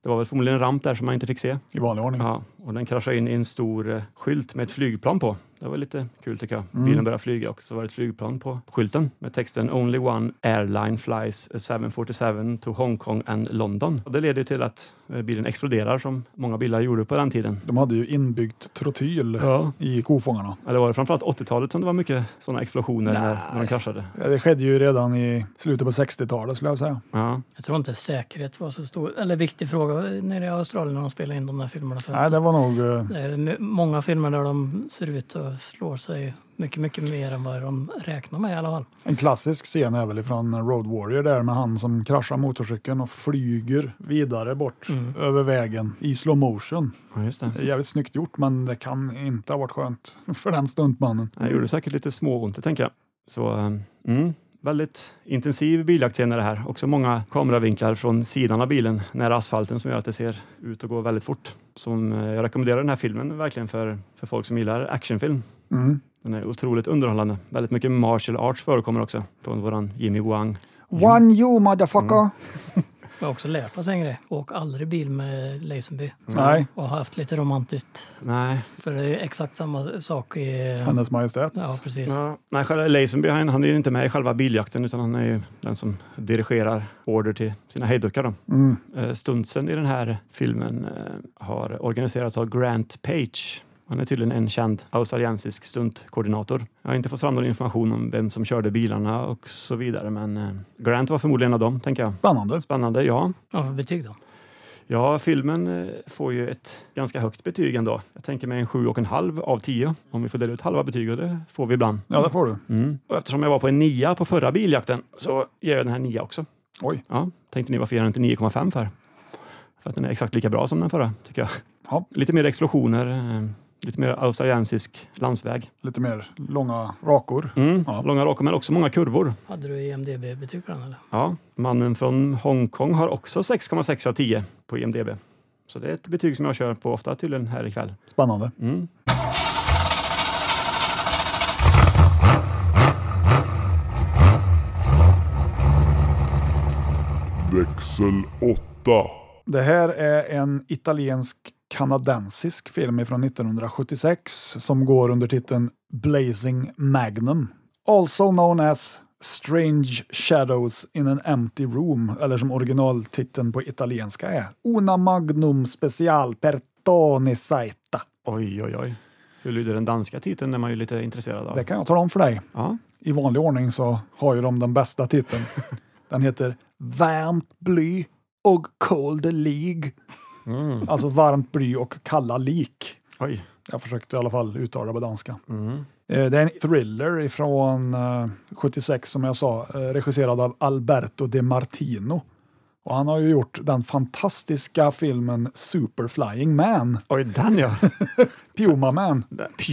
S3: det var väl förmodligen en ramp där som man inte fick se.
S2: I vanlig ordning.
S3: Ja, och den kraschade in i en stor eh, skylt med ett flygplan på. Det var lite kul tycker jag.
S2: Mm.
S3: Bilen började flyga och så var det ett flygplan på skylten med texten Only one airline flies a 747 to Hong Kong and London. Och det leder ju till att eh, bilen exploderar som många bilar gjorde på den tiden.
S2: De hade ju inbyggt trotyl
S3: Ja.
S2: i kofångarna.
S3: Eller var det framförallt 80-talet som det var mycket sådana explosioner när, när de kraschade?
S2: Ja, Eh, Det skedde ju redan i slutet på 60-talet skulle jag säga.
S3: Ja.
S4: Jag tror inte säkerhet var så stor, eller viktig fråga nere i Australien när de spelade in de där filmerna. För
S2: Nej,
S4: att
S2: det var nog... eh,
S4: det är m- många filmer där de ser ut att slå sig mycket, mycket mer än vad de räknar med i alla fall.
S2: En klassisk scen är väl från Road Warrior där med han som kraschar motorcykeln och flyger vidare bort över vägen i slow motion.
S3: ja, just det.
S2: Det är jävligt snyggt gjort men det kan inte ha varit skönt för den stuntmannen.
S3: Det gjorde säkert lite småont, tänker jag. Så, eh, mm, väldigt intensiv biljaktscen är det här. Också många kameravinklar från sidan av bilen, nära asfalten, som gör att det ser ut att gå väldigt fort. Som, eh, jag rekommenderar den här filmen verkligen för, för folk som gillar actionfilm.
S2: Mm.
S3: Den är otroligt underhållande. Väldigt mycket martial arts förekommer också från våran Jimmy Wang.
S2: One you motherfucker!
S4: Jag har också lärt oss en grej. Åk aldrig bil med Lazenby.
S3: Mm.
S2: Nej,
S4: Och har haft lite romantiskt.
S3: Nej,
S4: För det är exakt samma sak i...
S2: hennes majestät.
S4: Ja, precis.
S3: Ja, nej, själva Lazenby han, han är ju inte med i själva biljakten utan han är ju den som dirigerar order till sina hejdukar. Då.
S2: Mm.
S3: Eh, Stuntsen i den här filmen eh, har organiserats av Grant Page. Han är tydligen en känd australiensisk stuntkoordinator. Jag har inte fått fram någon information om vem som körde bilarna och så vidare, men eh, Grant var förmodligen en av dem, tänker jag.
S2: Spännande.
S3: Spännande, ja.
S4: Ja, för betyg då?
S3: Ja, filmen eh, får ju ett ganska högt betyg ändå. Jag tänker mig en 7,5 av 10 om vi får dela ut halva betyg och det får vi ibland.
S2: Ja, det får du.
S3: Mm. Och eftersom jag var på en nia på förra biljakten så ger jag den här nia också.
S2: Oj.
S3: Ja, tänkte ni varför ger jag den inte 9,5 för? För att den är exakt lika bra som den förra, tycker jag.
S2: Ja.
S3: Lite mer explosioner, eh, lite mer australiensisk landsväg.
S2: Lite mer långa rakor.
S3: Mm.
S2: Ja.
S3: Långa raka men också många kurvor.
S4: Hade du E IMDB-betyg på den eller?
S3: Ja. Mannen från Hongkong har också 6,6 av 10 på IMDB. Så det är ett betyg som jag kör på ofta tydligen här ikväll.
S2: Spännande.
S3: Mm.
S5: växel 8,
S2: Det här är en italiensk kanadensisk film från 1976 som går under titeln Blazing Magnum. Also known as Strange Shadows in an Empty Room, eller som originaltiteln på italienska är Una Magnum Special per Tony Saita.
S3: Oj, oj, oj. Hur lyder den danska titeln? Den är man ju lite intresserad av.
S2: Det kan jag tala om för dig.
S3: Ja.
S2: I vanlig ordning så har ju de den bästa titeln. Den heter Varmt bly och Cold League.
S3: Mm.
S2: Alltså varmt bly och kalla lik.
S3: Oj.
S2: Jag försökte i alla fall uttala det på danska.
S3: Mm.
S2: Eh, Det är en thriller från 76 som jag sa, eh, regisserad av Alberto De Martino. Och han har ju gjort den fantastiska filmen Superflying Man,
S3: Oj, den ja.
S2: Puma Man.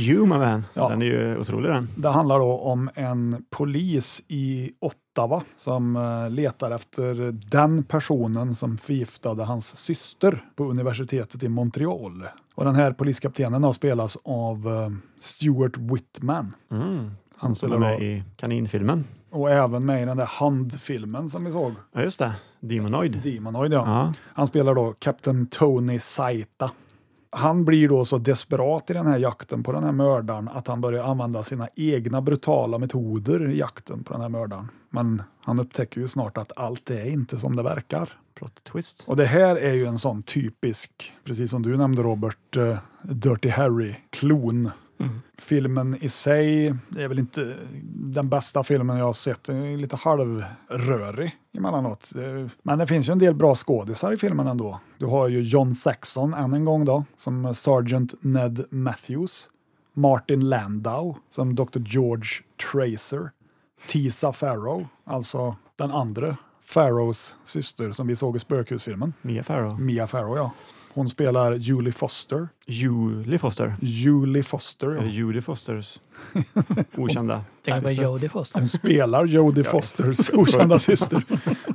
S3: Puma Man.
S2: Ja.
S3: Den är ju otrolig den.
S2: Det handlar då om en polis i Ottawa som eh, letar efter den personen som förgiftade hans syster på universitetet i Montreal. Och den här poliskaptenen har spelats av eh, Stuart Whitman.
S3: Han som är med i kaninfilmen.
S2: Och även med i den där handfilmen som vi såg,
S3: Ja, just det. Demonoid.
S2: Demonoid. Ja.
S3: Ja.
S2: Han spelar då Captain Tony Saita. Han blir då så desperat i den här jakten på den här mördaren att han börjar använda sina egna brutala metoder i jakten på den här mördaren. Men han upptäcker ju snart att allt är inte som det verkar.
S3: Plot twist.
S2: Och det här är ju en sån typisk, precis som du nämnde Robert, eh, Dirty Harry-klon. Filmen i sig det är väl inte den bästa filmen jag har sett. Den är lite halvrörig emellanåt. Eh, Men det finns ju en del bra skådisar i filmen ändå. Du har ju John Saxon än en gång då, som Sergeant Ned Matthews. Martin Landau som Dr. George Tracer. Tisa Farrow, alltså den andra Farrows syster som vi såg i spökhusfilmen.
S3: Mia Farrow.
S2: Mia Farrow, ja. Hon spelar Julie Foster.
S3: Julie Foster.
S2: Julie Foster,
S3: Eller
S2: ja.
S3: Julie Fosters okända
S4: Tänk på
S3: syster.
S4: Jodie först. då.
S2: Spelar Jodie Fosters okända syster.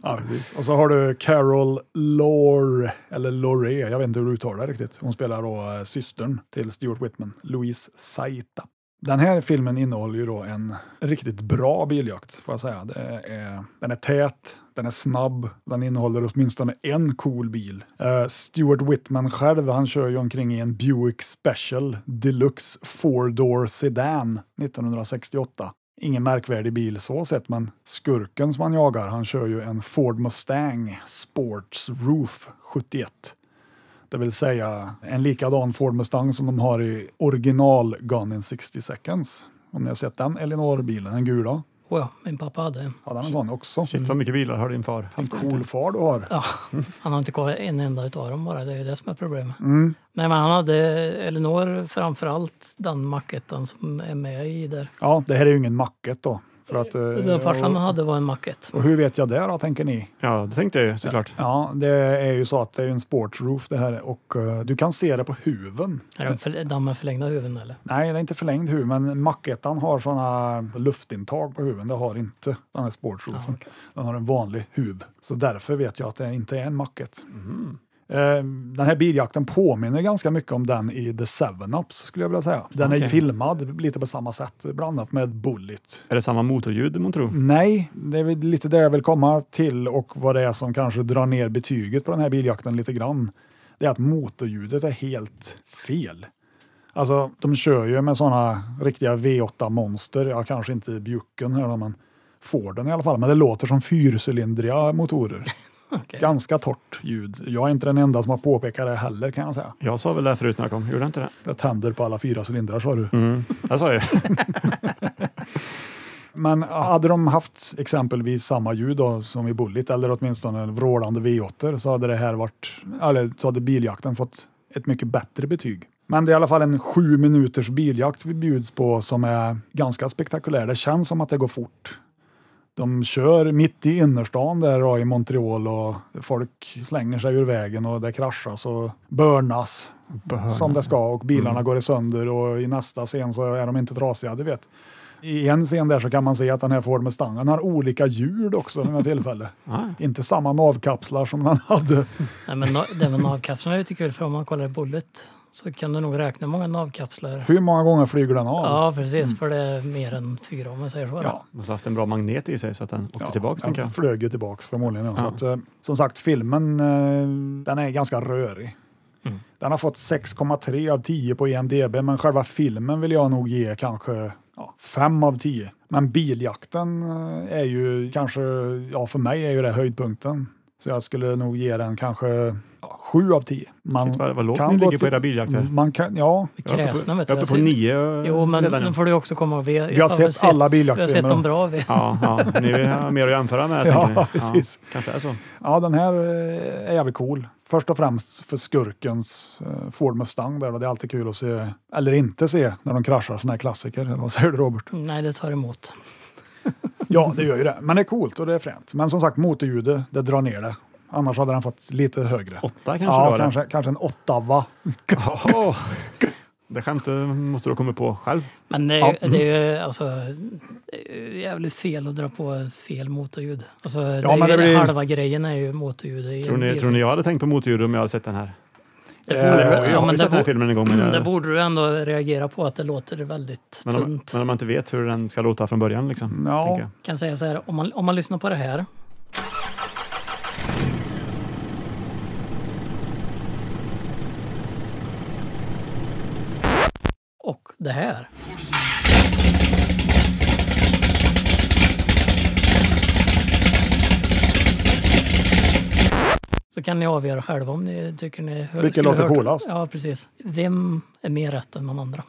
S2: Ja, precis. Och så har du Carol Lore, eller Lore, jag vet inte hur du uttalar det riktigt. Hon spelar då eh, systern till Stuart Whitman, Louise Saita. Den här filmen innehåller ju då en riktigt bra biljakt, får jag säga. Det är, den är tät, den är snabb, den innehåller åtminstone en cool bil. Eh, Stuart Whitman själv, han kör ju omkring i en Buick Special Deluxe Four Door Sedan 1968. Ingen märkvärdig bil så sett, men skurken som han jagar, han kör ju en Ford Mustang Sports Roof 71. Det vill säga en likadan Ford Mustang som de har i original Gone in 60 seconds. Om ni har sett den Elinor-bilen, den gula.
S4: Oh ja, min pappa hade en.
S2: Hade han en sån också? Mm.
S3: Shit vad mycket bilar har din far
S2: En
S3: haft.
S2: cool far du har.
S4: Ja, han har inte kvar en enda utav dem bara. Det är ju det som är problemet.
S3: Mm.
S4: Nej, men han hade Elinor framför allt den maquetten som är med i där.
S2: Ja, det här är ju ingen macket då. För att, eh,
S4: Den farsan
S2: och,
S4: hade var en maquett.
S2: och hur vet jag det då, tänker ni?
S3: Ja, det tänkte jag ju såklart.
S2: Ja, det är ju så att det är ju en sportsroof det här och eh, du kan se det på huven.
S4: Är den för- den med förlängda huvuden eller?
S2: Nej, det är inte förlängd huv, men mackettan har sådana luftintag på huven. Det har inte den här sportsroofen.
S4: Ja, okej.
S2: Den har en vanlig huv. Så därför vet jag att det inte är en macket.
S4: Mm.
S2: Eh, Den här biljakten påminner ganska mycket om den i The Seven ups skulle jag vilja säga. Den är
S3: Okej.
S2: filmad lite på samma sätt, bland annat med Bullet.
S3: Är det samma motorljud man
S2: Mm.
S3: tror?
S2: Nej, det är väl lite det jag vill komma till och vad det är som kanske drar ner betyget på den här biljakten lite grann. Det är att motorljudet är helt fel. Alltså, de kör ju med sådana riktiga V8-monster, ja kanske inte Buicken här då, men Forden i alla fall, men det låter som fyrcylindriga motorer.
S4: Okej.
S2: Ganska torrt ljud. Jag är inte den enda som har påpekat det heller kan jag säga.
S3: Jag sa väl det här förut när jag kom, gjorde jag inte det?
S2: Jag tänder på alla fyra cylindrar sa du.
S3: Jag sa ju
S2: Men hade de haft exempelvis samma ljud då, som i Bullet eller åtminstone en vrålande V8 så hade det här varit, eller så hade biljakten fått ett mycket bättre betyg. Men det är i alla fall en sju minuters biljakt vi bjuds på som är ganska spektakulär. Det känns som att det går fort. De kör mitt i innerstan där då, i Montreal och folk slänger sig ur vägen och det kraschas och börnas som det ska och bilarna går sönder och i nästa scen så är de inte trasiga, du vet. I en scen där så kan man se att den här Ford Mustangen har olika hjul också vid något tillfälle.
S3: Nej.
S2: Inte samma navkapslar som den hade.
S4: Nej, men na- det med navkapslarna är lite kul för om man kollar i Bullet så kan du nog räkna hur många navkapslar.
S2: Hur många gånger flyger den av?
S4: Ja,
S3: Mm.
S4: precis, för det är mer än fyra om man säger så.
S2: Ja.
S3: Måste ha haft en bra magnet i sig så att den åkte tillbaks,
S2: den
S3: tänker jag.
S2: flög ju tillbaks förmodligen. Ja. Så
S3: Ja.
S2: att, eh, som sagt, filmen eh, den är ganska rörig.
S3: Mm.
S2: Den har fått 6,3 av 10 på IMDB, men själva filmen vill jag nog ge kanske ja, 5 av 10. Men biljakten eh, är ju kanske, ja för mig är ju det höjdpunkten. Så jag skulle nog ge den kanske ja, 7 av 10. Man
S3: Shit, vad- vad lågt
S2: kan
S3: ni
S2: gå
S3: ligger på
S2: till- Mm.
S3: era biljakter.
S2: Man kan, ja,
S4: Vi
S3: Jag är uppe på-
S4: Kräsna vet du.
S3: Jag är uppe
S4: jag
S3: på nio
S4: ser- Jo, men
S3: redan nu.
S4: nu får du också komma och ve.
S2: Vi har sett alla biljaktfilmer.
S4: Vi har sett dem bra. Vi.
S3: Ja, ja, ni vill ha mer att jämföra med,
S2: Ja,
S3: tänker ni.
S2: precis.
S3: kanske är så.
S2: Ja, den här eh, är jävligt cool. Först och främst för skurkens eh, Ford Mustang där och det är alltid kul att se, eller inte se, när de kraschar sådana här klassiker. Eller vad säger du Robert?
S4: Nej, det tar emot.
S2: Ja, det gör ju det. Men det är coolt och det är fränt. Men som sagt, motorljudet, det drar ner det. Annars hade den fått lite högre.
S3: Åtta kanske
S2: Ja,
S3: då, eller?
S2: kanske, kanske en åttava.
S3: Åh! Det skämtet måste du ha kommit på själv.
S4: Men det är, ju- det
S3: mm.
S4: är ju alltså, det är ju jävligt fel att dra på fel motorljud. Alltså, det är
S2: men
S4: ju
S2: det blir-
S4: Halva grejen är ju motorljud. i en
S3: Tror ni,
S4: bil.
S3: tror ni jag hade tänkt på motorljud om jag hade sett den här?
S4: Det
S2: Eh,
S4: borde,
S3: Jag
S4: ja,
S3: har
S4: men
S3: ju sett
S4: det,
S3: den här
S4: borde, mm,
S3: filmen en gång, men,
S4: det
S3: jag,
S4: borde du ändå reagera på att det låter väldigt
S3: men, om,
S4: tunt. Mm.
S3: men om man inte vet hur den ska låta från början. Liksom,
S2: Ja.
S3: tänker jag.
S4: kan säga så här, om man, om man lyssnar på det här. Och det här. Så kan ni avgöra själva om ni tycker ni hör,
S2: Vilket
S4: skulle
S2: låter
S4: hört-
S2: coolast?
S4: Ja, precis. Vem är mer rätt än någon andra?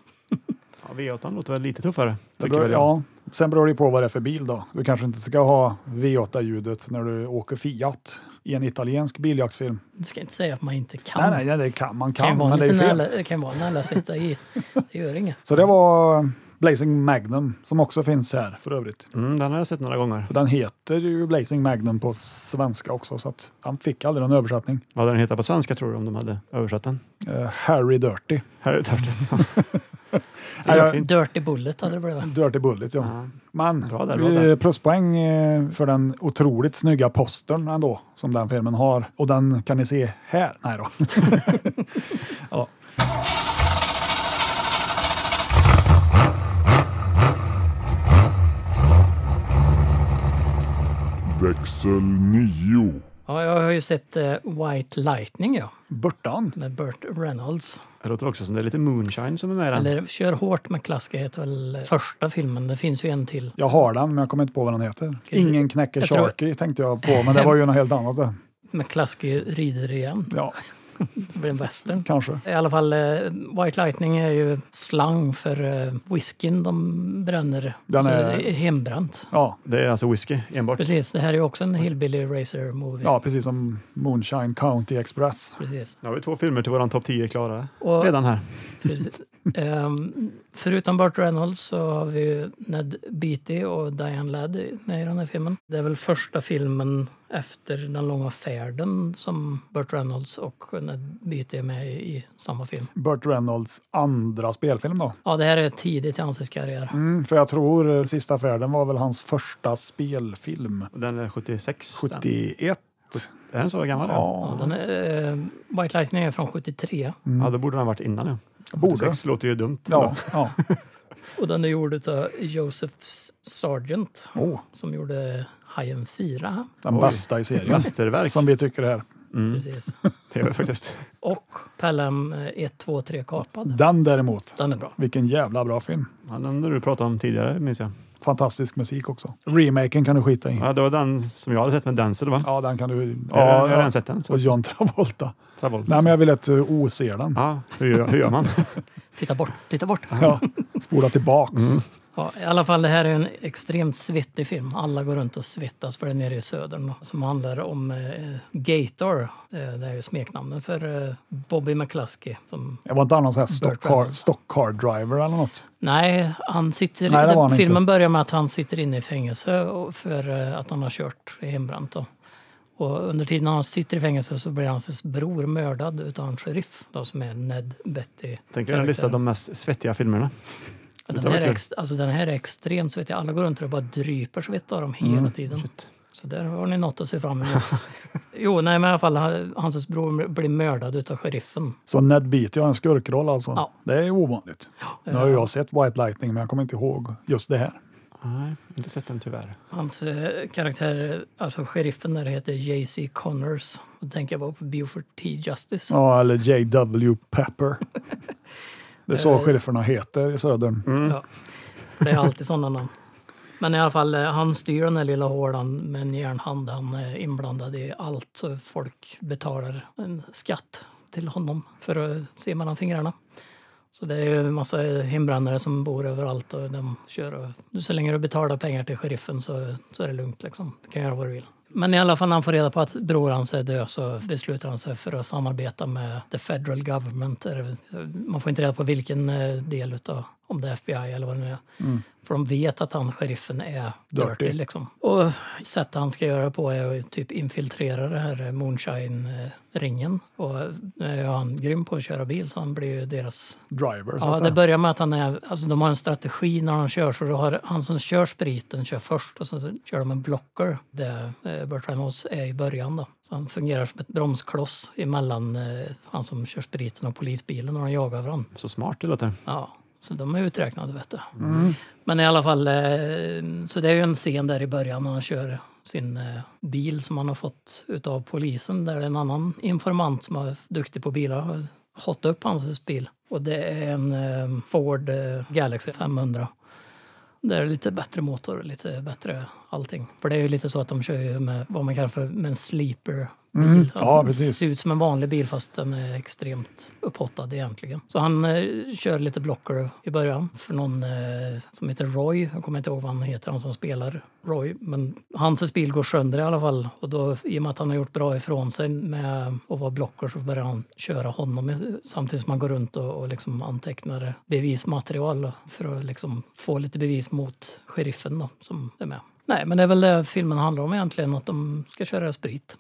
S3: Ja, V8 låter väl lite tuffare,
S2: Det
S3: tycker
S2: beror,
S3: väl jag.
S2: ja. Sen beror det ju på vad det är för bil då. Du kanske inte ska ha V8-ljudet när du åker Fiat i en italiensk biljaktsfilm.
S4: Du ska inte säga att man inte kan.
S2: Nej, nej, nej, det kan man
S4: kan
S2: kan,
S4: ju vara
S2: men det är
S4: lite
S2: ju fel.
S4: nära, det kan ju vara nära sitta i. Det gör inget.
S2: Så det var eh, Blazing Magnum, som också finns här för övrigt.
S3: Mm, den har jag sett några gånger.
S2: Den heter ju Blazing Magnum på svenska också, så att han fick aldrig någon översättning.
S3: Vad hade den hetat på svenska tror du om de hade översatt den?
S2: Eh, Harry Dirty.
S3: Harry Turtle. det
S2: Ja,
S3: är
S2: jag-
S3: helt fint.
S4: Dirty Bullet hade det blivit.
S2: Dirty Bullet, ja.
S3: Ja.
S2: Men
S3: Bra där, bra där.
S2: eh, pluspoäng eh, för den otroligt snygga postern ändå, som den filmen har. Och den kan ni se här. Nej då. ja.
S5: växel 9,
S4: Ja, jag har ju sett eh, White Lightning ja,
S2: Burtan.
S4: med Burt Reynolds.
S3: Det låter också som det är lite moonshine som är med i den.
S4: Eller Kör hårt med klassiker heter väl eh, första filmen. Det finns ju en till.
S2: Jag har den, men jag kommer inte på vad den heter.
S4: Okej.
S2: Ingen knäcker
S4: Jag tror-
S2: Sharky tänkte jag på, men det var ju något helt annat. det.
S4: McCluskey rider igen.
S2: Ja,
S4: Det blir en western.
S2: kanske.
S4: I alla fall, eh, White Lightning är ju slang för eh, whiskyn de bränner.
S2: Den
S4: så
S2: är-
S4: det är hembränt.
S2: Ja,
S3: Det är alltså whisky enbart.
S4: Precis, det här är ju också en Hillbilly Racer Movie.
S2: ja precis som Moonshine County Express.
S4: Precis.
S3: Nu har vi två filmer till våran topp 10 klara
S4: Och-
S3: redan här.
S4: precis. Ehm, förutom Burt Reynolds så har vi ju Ned Beatty och Diane Ladd med i den här filmen. Det är väl första filmen efter Den långa färden som Burt Reynolds och Ned Beatty är med i, i samma film.
S2: Burt Reynolds andra spelfilm då.
S4: Ja, det här är tidigt i hans karriär.
S2: Mm, för jag tror eh, Sista färden var väl hans första spelfilm.
S3: Och Den är 76. den.
S2: 71.
S3: Är den så gammal?
S4: Ja,
S2: Ja,
S4: den är, eh, White Lightning är från 73
S3: Ja, då borde den ha varit innan. Mm. Ja.
S2: borde.
S3: 76 låter ju dumt.
S2: Ja, ja.
S4: och den är gjord av Joseph S- Sargent
S2: Åh,
S4: som gjorde Hajen 4.
S2: den
S3: Oj. Mm.
S2: bästa i serien.
S3: Mästerverk.
S2: Som vi tycker är.
S4: Precis.
S3: Det är faktiskt.
S4: Och Pelham eh, 1, 2, 3 Kapad.
S2: Den däremot,
S4: Den är bra.
S2: vilken jävla bra film.
S3: Ja, den du pratade om tidigare minns jag.
S2: Fantastisk musik också. Remaken kan du skita i.
S3: Ja, det var den som jag hade sett med Denzel va?
S2: Ja, den kan du...
S3: Ja, jag har
S2: Ja,
S3: redan
S2: ja.
S3: sett den. Så.
S2: Och John Travolta.
S3: Travolta.
S2: Nej, men jag vill att uh, O ser den.
S3: Ja, hur gör, hur gör man?
S4: Titta bort, titta bort.
S2: Ja. Spola tillbaks.
S3: Mm.
S4: Ja, I alla fall, det här är en extremt svettig film. Alla går runt och svettas för det är nere i södern. Som handlar om eh, Gator. Eh, det är ju smeknamnet för eh, Bobby McCluskey. Som,
S2: Det var inte annars här stock
S4: Burt
S2: car,
S4: Reynolds.
S2: stock car driver eller något.
S4: nej, han sitter,
S2: Nej, det var han
S4: filmen
S2: inte.
S4: börjar med att han sitter inne i fängelse och- för eh, att han har kört i hembränt. Då. Och under tiden han sitter i fängelse så blir hans bror mördad utav en sheriff då, som är Ned Betty.
S3: Tänk er en lista av de mest svettiga filmerna.
S4: Ja,
S3: Det var
S4: Den här, är
S3: kul.
S4: ex, alltså den här är extremt svettig. Alla går runt och bara dryper svett av dem hela tiden. Så där har ni något att se fram emot. jo, nej, men i alla fall, han- hans bror blir mördad utav sheriffen.
S2: Så Ned Beatty har en skurkroll alltså.
S4: Ja.
S2: Det är ovanligt. Nu har ju jag sett White Lightning, men jag kommer inte ihåg just det här.
S3: Nej, inte sett den tyvärr.
S4: Hans eh, karaktär, alltså sheriffen där, heter J.C. Connors. Då tänker jag bara på Buford T. Justice.
S2: Ja, eller J.W. Pepper. Det är
S4: Eh.
S2: så sherifferna heter i södern.
S3: Mm.
S4: Ja. Det är alltid sådana namn. Men i alla fall, eh, han styr den här lilla hålan med en järnhand. Han är inblandad i allt. Så folk betalar en skatt till honom för att se mellan fingrarna. Så det är ju en massa hembrännare som bor överallt och de kör. Och så länge du betalar pengar till sheriffen så, så är det lugnt liksom. Du kan göra vad du vill. Men i alla fall när han får reda på att bror hans är död så beslutar han sig för att samarbeta med the federal government. Eller, eh, Man får inte reda på vilken eh, del utav, om det är FBI eller vad det nu är. För de vet att han, sheriffen, är dirty.
S2: Dirty.
S4: liksom. Och sättet han ska göra på är att typ infiltrera den här eh, moonshine-ringen. Och eh, nu är han grym på att köra bil så han blir ju deras
S2: Driver, så
S4: Ja,
S2: att
S4: det
S2: säga.
S4: börjar med att han är, alltså de har en strategi när de kör. Så då har han som kör spriten kör först och sen så kör de en blocker där eh, Burt Reynolds är i början. Då. Så han fungerar som ett bromskloss emellan eh, han som kör spriten och polisbilen när de jagar varandra.
S3: Så smart det låter.
S4: Ja, så de är uträknade vet du.
S2: Mm.
S4: Men i alla fall, eh, så det är ju en scen där i början när han kör sin eh, bil som han har fått utav polisen. Där det är en annan informant som är duktig på bilar har hotat upp hans bil. Och det är en eh, Ford eh, Galaxy 500. Där är det lite bättre motor, lite bättre allting. För det är ju lite så att de kör ju med vad man kallar för med en Alltså, sleeper bil.
S2: Mm. Ja,
S4: den
S2: precis.
S4: ser ut som en vanlig bil fast den är extremt upphottad egentligen. Så han eh, kör lite blocker i början för någon eh, som heter Roy. Jag kommer inte ihåg vad han heter, han som spelar Roy. Men hans bil går sönder i alla fall och då i och med att han har gjort bra ifrån sig med att vara blocker så börjar han köra honom eh, samtidigt som han går runt och, och liksom antecknar bevismaterial för att liksom få lite bevis mot sheriffen då, som är med. Nej, men det är väl det filmen handlar om egentligen, att de ska köra sprit.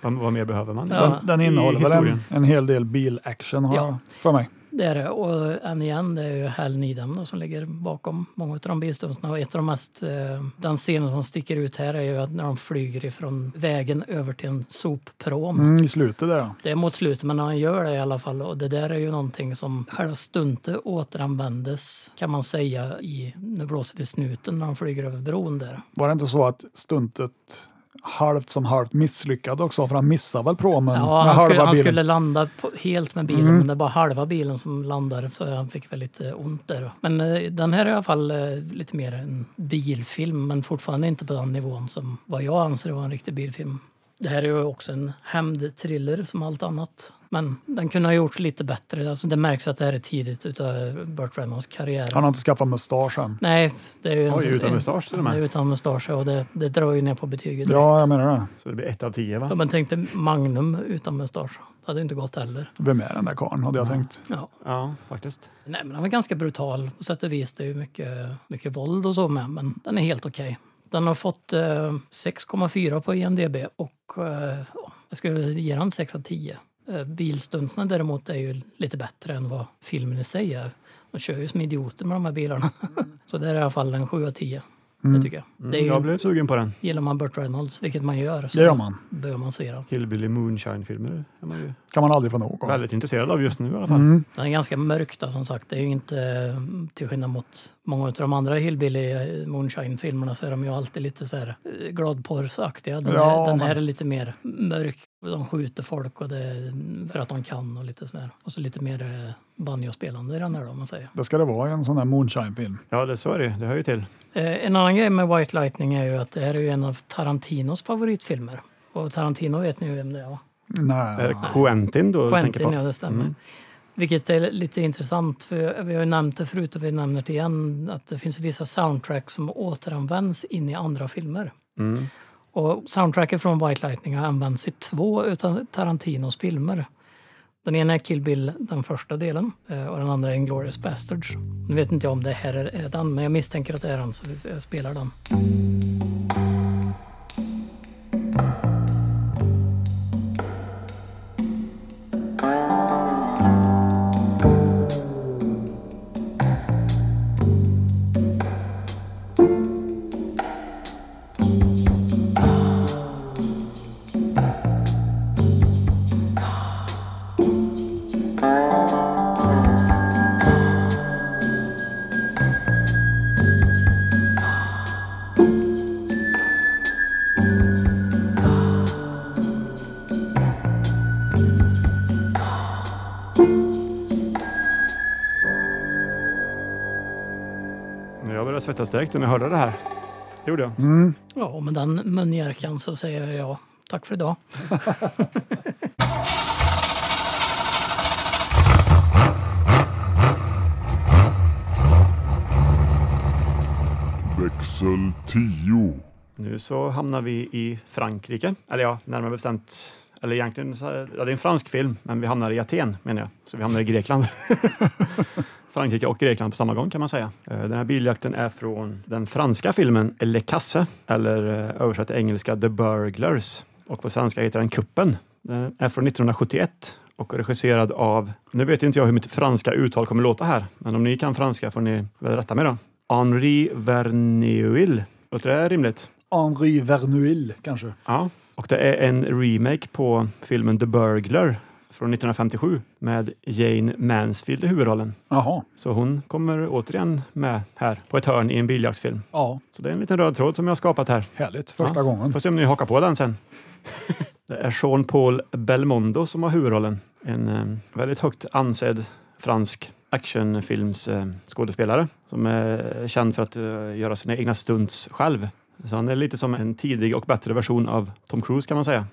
S3: Vad, vad mer behöver man?
S4: Ja.
S2: Den, den
S3: I
S2: innehåller väl en,
S3: historien.
S2: en hel del bilaction har
S4: Ja.
S2: jag för mig.
S4: Det är det. Och än igen, det är ju Hal Needham då, som ligger bakom många av de bilstunterna. Och ett av de mest, eh, den scenen som sticker ut här är ju att när de flyger ifrån vägen över till en soppråm.
S2: Mm, I slutet där ja.
S4: Det är mot slutet, men han gör det i alla fall. Och det där är ju någonting som själva stuntet återanvändes, kan man säga, i Nu blåser vi snuten när de flyger över bron där.
S2: Var det inte så att stuntet halvt som halvt misslyckad också? För han missade väl promen
S4: Ja,
S2: med
S4: han skulle,
S2: halva
S4: han
S2: bilen?
S4: skulle landa på, helt med bilen, men det är bara halva bilen som landar så han fick väldigt eh, ont där. Men eh, den här är i alla fall eh, lite mer en bilfilm, men fortfarande inte på den nivån som vad jag anser vara en riktig bilfilm. Det här är ju också en hämndthriller som allt annat. Men den kunde ha gjorts lite bättre. Alltså, det märks att det här är tidigt utav Burt Reynolds karriär.
S2: Han har inte skaffat mustasch än.
S4: Nej, det är ju... en-
S3: Oj, utan mustasch till och
S4: Han är
S3: med.
S4: utan mustasch och det, det drar ju ner på betyget.
S2: Ja, jag menar det.
S3: Så det blir ett av tio
S4: Ja,
S3: va?
S4: men tänk dig Magnum utan mustasch. Det hade ju inte gått heller.
S2: Vem är den där karln hade jag tänkt.
S4: Ja.
S3: Ja, faktiskt.
S4: Nej, men han var ganska brutal på sätt och vis. Det är ju mycket, mycket våld och så med, men den är helt okej. Den har fått eh, 6,4 på E IMDB och eh, ja, jag skulle ge den 6 av 10. Eh, bilstuntsarna däremot är ju lite bättre än vad filmen i sig är. De kör ju som idioter med de här bilarna. så det är i alla fall en 7 av 10. Det tycker jag. det är
S3: Mm,
S4: ju,
S3: jag blev sugen på den.
S4: Gillar man Burt Reynolds, vilket man gör, så
S2: Det gör man.
S4: bör man se den.
S3: Hillbilly Moonshine-filmer är man ju
S2: Kan man aldrig få nog av. Mm.
S3: väldigt intresserad av just nu i alla fall.
S4: Den är ganska mörk då, som sagt. Det är ju inte, eh, till skillnad mot många av de andra Hillbilly eh, Moonshine-filmerna så är de ju alltid lite så här eh, gladporrsaktiga. Den,
S2: Ja,
S4: här, den
S2: men-
S4: här är lite mer mörk. De skjuter folk och det, för att de kan och lite sådär. Och så lite mer eh, banjospelande i den här då, om man säger.
S2: Det ska det vara i en sån här moonshine-film.
S3: Ja, det, så är det ju. Det hör ju till.
S4: Eh, En annan grej med White Lightning är ju att det här är ju en av Tarantinos favoritfilmer. Och Tarantino vet ni ju vem det är va?
S3: Är
S2: Nej.
S3: det Eh, Quentin då du tänker
S4: Quentin,
S3: på? Mm.
S4: ja det stämmer. Vilket är lite intressant, för vi har ju nämnt det förut och vi nämner det igen, att det finns vissa soundtrack som återanvänds in i andra filmer.
S3: Mm.
S4: Och soundtracket från White Lightning har använts i två utav Tarantinos filmer. Den ena är Kill Bill, den första delen, eh, och den andra är Inglourious Basterds. Nu vet inte jag om det här är är den, men jag misstänker att det är den, så jag spelar den.
S3: Jag började svettas direkt när jag hörde det här. Det gjorde jag.
S4: Ja, och med den munjärkan så säger jag tack för idag.
S5: växel 10,
S3: Nu så hamnar vi i Frankrike. Eller ja, närmare bestämt. Eller egentligen, så här- ja, det är en fransk film, men vi hamnar i Aten menar jag. Så vi hamnar i Grekland. Frankrike och Grekland på samma gång kan man säga. Eh, Den här biljakten är från den franska filmen Le Casse, eller eh, översatt till engelska The Burglars. Och på svenska heter den Kuppen. Den är från 1971 och är regisserad av, nu vet inte jag hur mitt franska uttal kommer låta här, men om ni kan franska får ni väl rätta mig då. Henri Verneuil. Låter det rimligt?
S2: Henri Verneuil kanske.
S3: Ja, och det är en remake på filmen The Burglar från 1957 med Jane Mansfield i huvudrollen.
S2: Jaha.
S3: Så hon kommer återigen med här på ett hörn i en biljaktsfilm.
S2: Ja,
S3: Så det är en liten röd tråd som jag har skapat här.
S2: härligt. Första
S3: Ja.
S2: gången.
S3: Får se om ni hakar på den sen. Det är Sean Paul Belmondo som har huvudrollen. En eh, väldigt högt ansedd fransk actionfilms eh, skådespelare som är känd för att eh, göra sina egna stunts själv. Så han är lite som en tidig och bättre version av Tom Cruise kan man säga.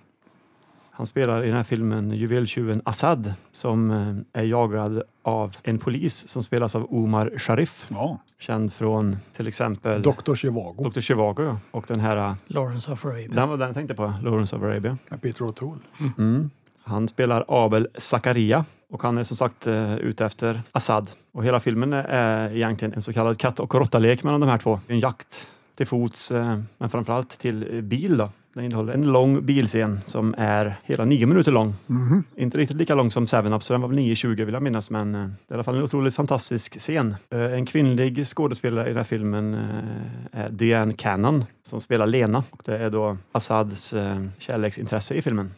S3: Han spelar i den här filmen juveltjuven Assad som eh, är jagad av en polis som spelas av Omar Sharif,
S2: Ja.
S3: känd från till exempel
S2: Dr. Chivago
S3: Dr. Chivago ja. och den här, eh,
S4: Lawrence of Arabia.
S3: den var den jag tänkte på, Lawrence of Arabia.
S2: med Peter O'Toole.
S3: Mm. Han spelar Abel Zakaria och han är som sagt eh, ute efter Assad. Och hela filmen är egentligen en så kallad katt och råttalek mellan de här två. En jakt till fots, eh, men framförallt till eh, bil. Då. Den innehåller en lång bilscen som är hela nio minuter lång.
S2: Mhm.
S3: Inte riktigt lika lång som Seven Up, så den var väl 9.20 vill jag minnas, men eh, det är i alla fall en otroligt fantastisk scen. Eh, En kvinnlig skådespelare i den här filmen eh, är Diane Cannon som spelar Lena. Och det är då Assads eh, kärleksintresse i filmen.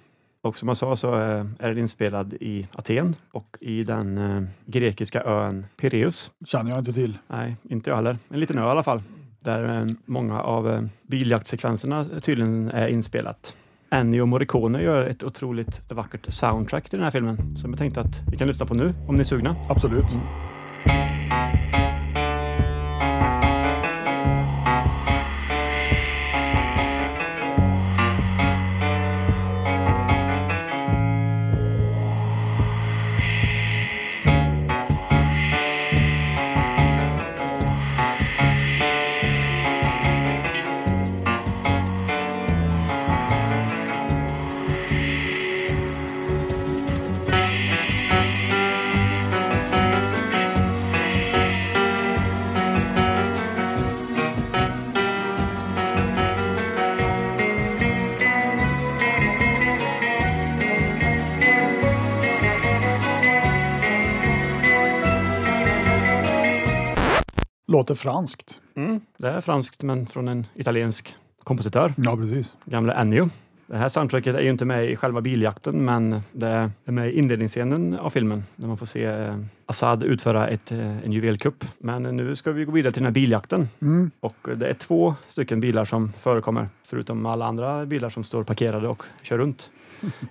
S3: Och som jag sa så eh, är den inspelad i Aten och i den eh, grekiska ön Pireus.
S2: Känner jag inte till.
S3: Nej, inte jag heller. En liten ö i alla fall. Där eh, många av eh, biljaktsekvenserna tydligen är inspelat. Ennio Morricone gör ett otroligt vackert soundtrack till den här filmen som jag tänkte att vi kan lyssna på nu om ni är sugna.
S2: Absolut. Låter franskt.
S3: Mm, det är franskt men från en italiensk kompositör,
S2: Ja, precis.
S3: gamle Ennio. Det här soundtracket är ju inte med i själva biljakten men det är med i inledningsscenen av filmen när man får se eh, Assad utföra ett, eh, en juvelkupp. Men eh, nu ska vi gå vidare till den här biljakten.
S2: Mm.
S3: Och det är två stycken bilar som förekommer, förutom alla andra bilar som står parkerade och kör runt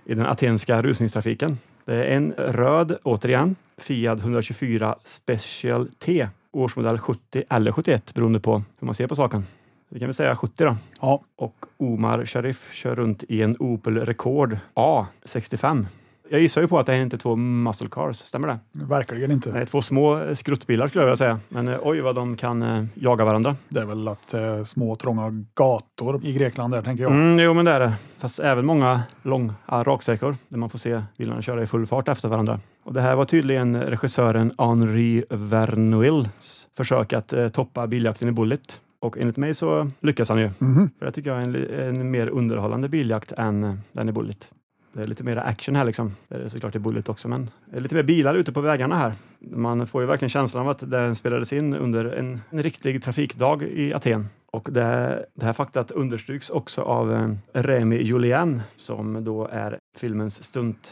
S3: i den atenska rusningstrafiken. Det är en röd, återigen, Fiat 124 Special T, årsmodell 70 eller 71 beroende på hur man ser på saken. Vi kan väl säga 70 då.
S2: Ja.
S3: Och Omar Sharif kör runt i en Opel Rekord A65. Jag gissar ju på att det här inte är två muscle cars, stämmer det?
S2: Verkligen inte.
S3: Nej, två små skruttbilar skulle jag vilja säga. Men eh, oj vad de kan eh, jaga varandra.
S2: Det är väl att eh, små trånga gator i Grekland där, tänker jag.
S3: Mm, jo, men det är det. Fast även många långa raksträckor där man får se bilarna köra i full fart efter varandra. Och det här var tydligen regissören Henri Vernouilles försök att eh, toppa biljakten i Bullet. Och enligt mig så lyckas han ju.
S2: Mhm.
S3: För det tycker jag är en, li- en mer underhållande biljakt än eh, den i Bullet. Det är lite mer action här liksom. Det är såklart i Bullet också, men det är lite mer bilar ute på vägarna här. Man får ju verkligen känslan av att den spelades in under en, en riktig trafikdag i Aten. Och det, det här faktat understryks också av eh, Remy Julien som då är filmens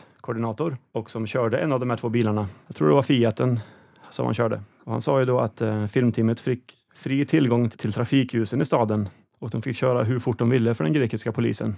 S3: stuntkoordinator och som körde en av de här två bilarna. Jag tror det var Fiaten som han körde. Och han sa ju då att eh, filmteamet fick fri tillgång till trafikljusen i staden och de fick köra hur fort de ville för den grekiska polisen.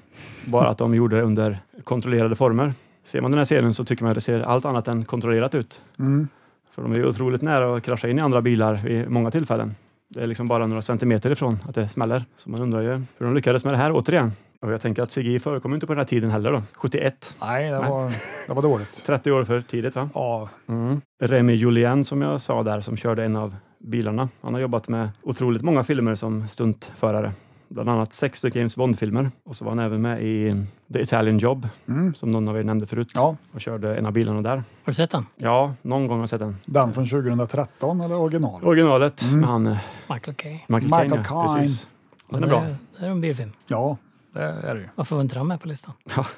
S3: Bara att de gjorde det under kontrollerade former. Ser man den här scenen så tycker man att det ser allt annat än kontrollerat ut.
S2: Mm.
S3: För de är ju otroligt nära att krascha in i andra bilar vid många tillfällen. Det är liksom bara några centimeter ifrån att det smäller. Så man undrar ju hur de lyckades med det här återigen. Och jag tänker att CGI förekom inte på den här tiden heller då. 71.
S2: Nej, det
S3: Nej.
S2: var, det var dåligt.
S3: 30 år för tidigt va?
S2: Ja,
S3: Mm. Remy Julien som jag sa där, som körde en av bilarna. Han har jobbat med otroligt många filmer som stuntförare. Bland annat sex stycken James Bond-filmer. Och så var han även med i The Italian Job,
S2: Mm.
S3: som någon av er nämnde förut,
S2: ja,
S3: och körde en av bilarna där.
S4: Har du sett den?
S3: Ja, någon gång har jag sett den.
S2: den från 2013 eller originalet?
S3: Originalet
S2: Mm.
S3: med han eh,
S4: Michael Caine.
S3: Michael,
S2: Michael
S3: Caine. ja.
S2: Caine. Mm.
S3: Precis. Den är
S4: Det
S3: bra.
S4: Det är en bilfilm.
S2: Ja, det är det ju.
S4: Varför var inte den med på listan?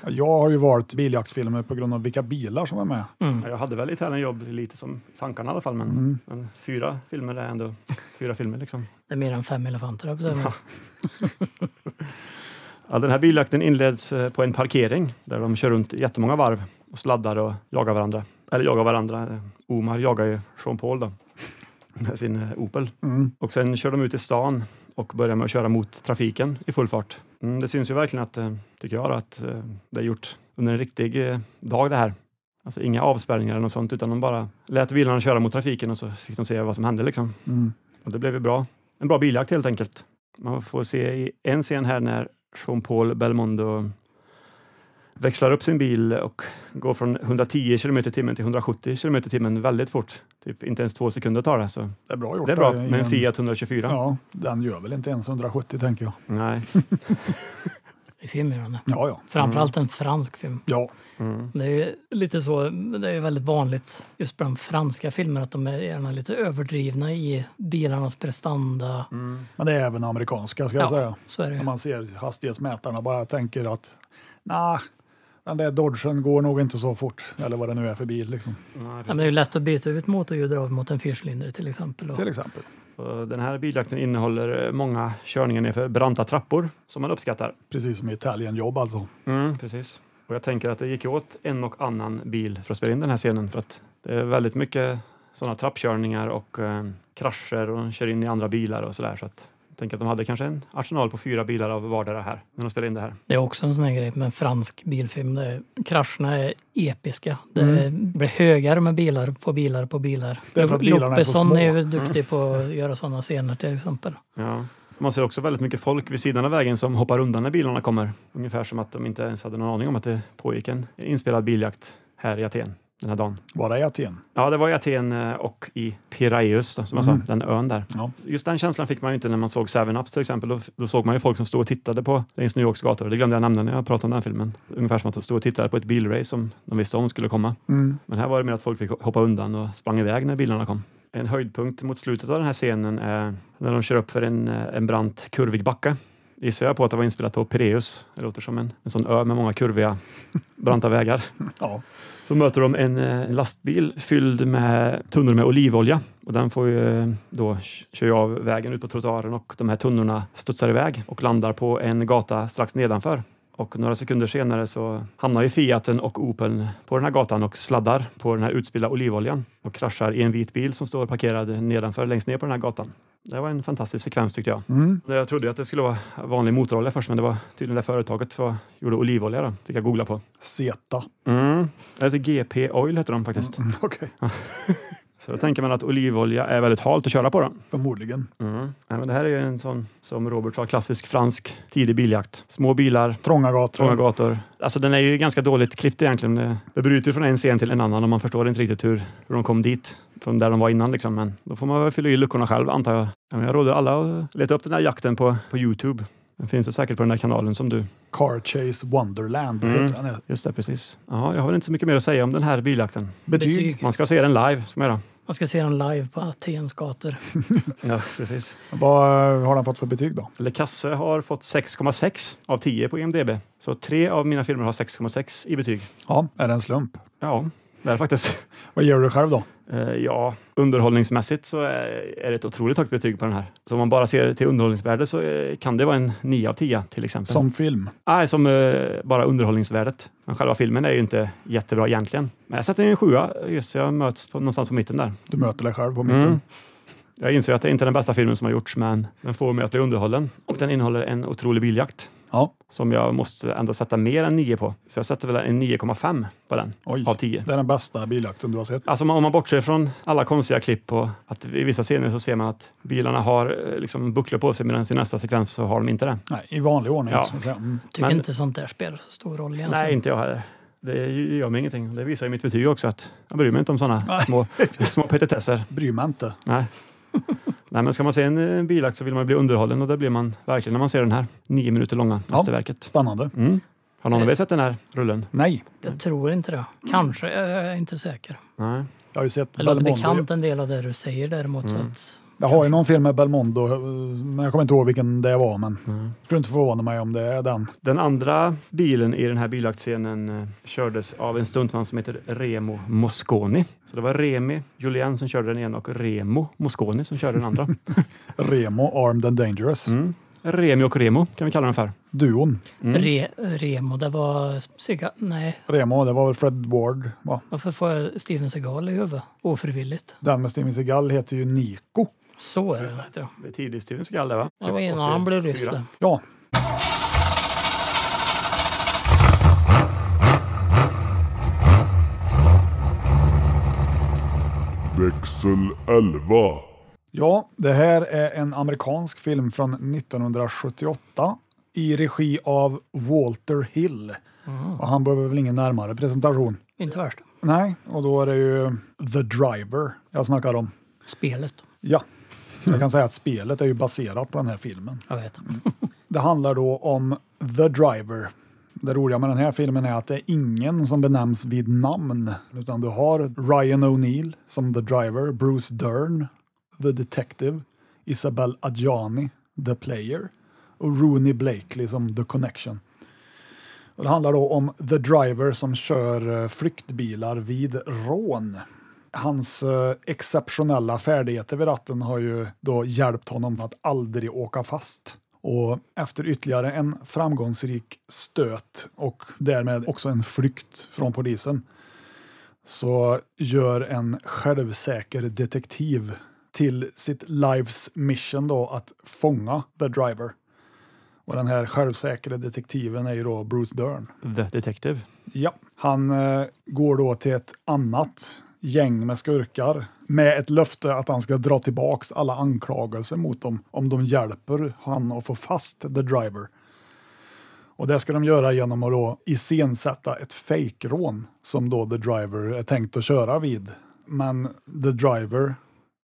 S2: Jag har ju valt biljaktsfilmer på grund av vilka bilar som är med.
S4: Mm.
S3: Ja, Jag hade väl Italian Job lite som tankarna i alla fall, men,
S2: Mm.
S3: men fyra filmer är ändå fyra filmer liksom.
S4: Det är mer än fem elefanter, höll jag på att säga.
S3: Ja, den här biljakten inleds eh, på en parkering där de kör runt jättemånga varv och sladdar och jagar varandra. Eller jagar varandra. Eh, Omar jagar ju Jean Paul då, med sin eh, Opel.
S2: Mm.
S3: Och sen kör de ut i stan och börjar med att köra mot trafiken i full fart. Mm, det syns ju verkligen att, eh, tycker jag, då, att eh, det är gjort under en riktig eh, dag det här. Alltså inga avspärrningar eller något sånt, utan de bara lät bilarna köra mot trafiken och så fick de se vad som hände liksom.
S2: Mm.
S3: Och det blev ju bra. En bra biljakt helt enkelt. Man får se i en scen här när Jean-Paul Belmondo växlar upp sin bil och går från 110 km i timmen till 170 km i timmen väldigt fort. Typ inte ens två sekunder tar det. Så
S2: Det är bra gjort.
S3: det är bra
S2: då, i
S3: med en Fiat 124.
S2: Ja, den gör väl inte ens 170 tänker jag.
S3: Nej.
S4: I filmgörande.
S2: Ja, ja.
S4: Framförallt
S2: Mm.
S4: en fransk film.
S2: Ja,
S3: Mm.
S4: Det är ju lite så, det är ju väldigt vanligt just bland franska filmer att de är gärna lite överdrivna i bilarnas prestanda.
S2: men det är även amerikanska ska
S4: Ja,
S2: jag säga.
S4: så är det
S2: När
S4: ju.
S2: man ser hastighetsmätarna bara tänker att nah, den där Dodgen går nog inte så fort. Eller vad det nu är för bil liksom.
S4: Ja, men det är ju lätt att byta ut motorljud av mot en fyrcylindrig till exempel. Och
S2: Till exempel.
S3: Och Den här biljakten innehåller eh, många körningar nerför branta trappor som man uppskattar.
S2: Precis som i Italian Job alltså.
S3: precis. Och jag tänker att det gick åt en och annan bil för att spela in den här scenen för att det är väldigt mycket sådana trappkörningar och eh, krascher och kör in i andra bilar och sådär. Så att jag tänker att de hade kanske en arsenal på fyra bilar av vardera här när de spelade in det här.
S4: Det är också en sån här grej med en fransk bilfilm. Det är, krascherna är episka. Det blir högar med bilar på bilar på bilar.
S2: Mm. Det är för att bilarna är så
S4: Loppesson
S2: små. Mm.
S4: är ju duktig på att göra sådana scener till exempel.
S3: Ja. Man ser också väldigt mycket folk vid sidan av vägen som hoppar undan när bilarna kommer. Ungefär som att de inte ens hade någon aning om att det pågick en inspelad biljakt här i Aten den här dagen.
S2: Bara i Aten.
S3: Ja, det var i Aten eh, och i Piraeus, då, som jag
S2: Mm.
S3: sa, den ön där.
S2: Ja.
S3: Just den känslan fick man ju inte när man såg Seven Ups till exempel. Då, då såg man ju folk som stod och tittade på längs New Yorks gator. Det glömde jag nämna när jag pratade om den filmen. Ungefär som att de stod och tittade på ett bilrace som de visste om skulle komma.
S2: Mm.
S3: Men här var det mer att folk fick hoppa undan och sprang iväg när bilarna kom. En höjdpunkt mot slutet av den här scenen är när de kör upp för en, eh, en brant kurvig backe. Gissar jag på att det var inspelat på Pireus. Det låter som en, en sån ö med många kurviga, branta vägar.
S2: Ja.
S3: Så möter de en eh, lastbil fylld med tunnor med olivolja och den får ju eh, då kör jag av vägen ut på trottoaren och de här tunnorna studsar iväg och landar på en gata strax nedanför. Och några sekunder senare så hamnar ju Fiaten och Opeln på den här gatan och sladdar på den här utspillda olivoljan och kraschar i en vit bil som står parkerad nedanför längst ner på den här gatan. Det var en fantastisk sekvens tyckte jag.
S2: Mm.
S3: Jag trodde ju att det skulle vara vanlig motorolja först men det var tydligen det företaget som gjorde olivolja då, fick jag googla på.
S2: Zeta.
S3: Mm. Det heter GP Oil heter de faktiskt.
S2: Mm, Okej,
S3: Så då tänker man att olivolja är väldigt halt att köra på. Då.
S2: förmodligen.
S3: Ja, men det här är ju en sån, som Robert sa, klassisk fransk tidig biljakt. Små bilar,
S2: Trånga gator.
S3: trånga gator. Alltså den är ju ganska dåligt klippt egentligen. Det- Det bryter ju från en scen till en annan och man förstår inte riktigt hur, hur de kom dit från där de var innan. Liksom. Men då får man väl fylla i luckorna själv antar jag. Ja, men jag råder alla att leta upp den här jakten på, på Youtube. Den finns ju säkert på den där kanalen som du.
S2: Car Chase Wonderland.
S3: Mm.
S2: heter den.
S3: Just det, precis. Ja, jag har väl inte så mycket mer att säga om den här biljakten.
S2: Betyg.
S3: Man ska se den live, ska man göra.
S4: Man ska se den live på Atens gator.
S3: Ja, precis.
S2: Vad eh, har den fått för betyg då?
S3: Le Casse har fått 6,6 av 10 på E IMDB. Så tre av mina filmer har 6,6 i betyg.
S2: Ja, är det en slump?
S3: Ja, det är det faktiskt.
S2: Vad gör du själv då?
S3: Eh, Ja, underhållningsmässigt så är är det ett otroligt högt betyg på den här. Så om man bara ser till underhållningsvärde så eh, kan det vara en 9 av 10 till exempel.
S2: Som film?
S3: Nej, som eh, bara underhållningsvärdet. Men själva filmen är ju inte jättebra egentligen. Men jag sätter den i en sjua. Just så jag möts på, någonstans på mitten där.
S2: Du möter dig själv på mitten.
S3: Mm. Jag inser att det inte är den bästa filmen som har gjorts, men den får mig att bli underhållen. Och den innehåller en otrolig biljakt.
S2: Ja.
S3: som jag måste ändå sätta mer än 9 på. Så jag sätter väl en 9,5 på den
S2: Oj,
S3: av 10.
S2: det är den bästa biljakten du har sett.
S3: Alltså om man- om man bortser från alla konstiga klipp och att i vissa scener så ser man att bilarna har eh, liksom bucklor på sig medan i nästa sekvens så har de inte det.
S2: Nej, I vanlig ordning.
S3: Ja.
S2: så att säga. Mm.
S4: Tycker
S3: Men-
S4: inte sånt där spelar så stor roll egentligen.
S3: Nej, inte jag heller. Det gör mig ingenting. Det visar ju mitt betyg också att jag bryr mig inte om sådana små, små petitesser.
S2: Bryr mig inte.
S3: Nej. Nej, men ska man se en eh, bilakt så vill man bli underhållen och det blir man verkligen när man ser den här nio minuter långa mästerverket.
S2: Spännande.
S3: Mm. Har någon av er sett den här rullen?
S2: Nej,
S4: Jag tror inte det. Kanske, jag är inte säker.
S3: Nej.
S2: jag har ju sett
S4: Det låter
S2: Belmondo.
S4: bekant en del av det du säger däremot. Så
S3: Mm.
S4: att,
S2: Jag har ju någon film med Belmondo, eh, men jag kommer inte ihåg vilken det var. Men jag tror inte förvåna mig om det är den.
S3: Den andra bilen i den här biljaktscenen eh, kördes av en stuntman som heter Remo Mosconi. Så det var Remi Julien som körde den ena och Remo Mosconi som körde den andra.
S2: Remo, Armed and Dangerous.
S3: Remi och Remo kan vi kalla den för.
S2: Duon.
S3: Mm.
S4: Re, Remo, det var Seagal. Nej,
S2: Remo, det var väl Fred Ward? Va?
S4: varför får jag Steven Seagal i huvudet? Ofrivilligt.
S2: Den med Steven Seagal heter ju Nico.
S4: Så är det. vet jag.
S3: Det är tidigt Steven Seagal det va?
S4: Det var innan han blev ryss.
S3: 84.
S4: det.
S2: Ja,
S5: växel 11,
S2: Ja, det här är en amerikansk film från 1978 i regi av Walter Hill Och han behöver väl ingen närmare presentation.
S4: eh, Inte värst.
S2: Nej, och då är det ju The Driver jag snackar om.
S4: Spelet.
S2: Ja, jag kan säga att spelet är ju baserat på den här filmen.
S4: Jag vet.
S3: Mm.
S2: Det handlar då om The Driver. Det roliga med den här filmen är att det är ingen som benämns vid namn, utan du har Ryan O'Neill som The Driver, Bruce Dern, The Detective, Isabel Adjani, The Player och Rooney Blakely som The Connection. Och det handlar då om The Driver som kör eh, flyktbilar vid rån. Hans eh, exceptionella färdigheter vid ratten har ju då hjälpt honom att aldrig åka fast. Och efter ytterligare en framgångsrik stöt och därmed också en flykt från polisen så gör en självsäker detektiv till sitt lives mission då att fånga the driver. Och den här självsäkra detektiven är ju då Bruce Dern.
S3: The Detective.
S2: Ja, han eh, går då till ett annat gäng med skurkar med ett löfte att han ska dra tillbaks alla anklagelser mot dem om de hjälper han att få fast the driver. Och det ska de göra genom att då iscensätta ett fejkrån som då the driver är tänkt att köra vid. Men the driver,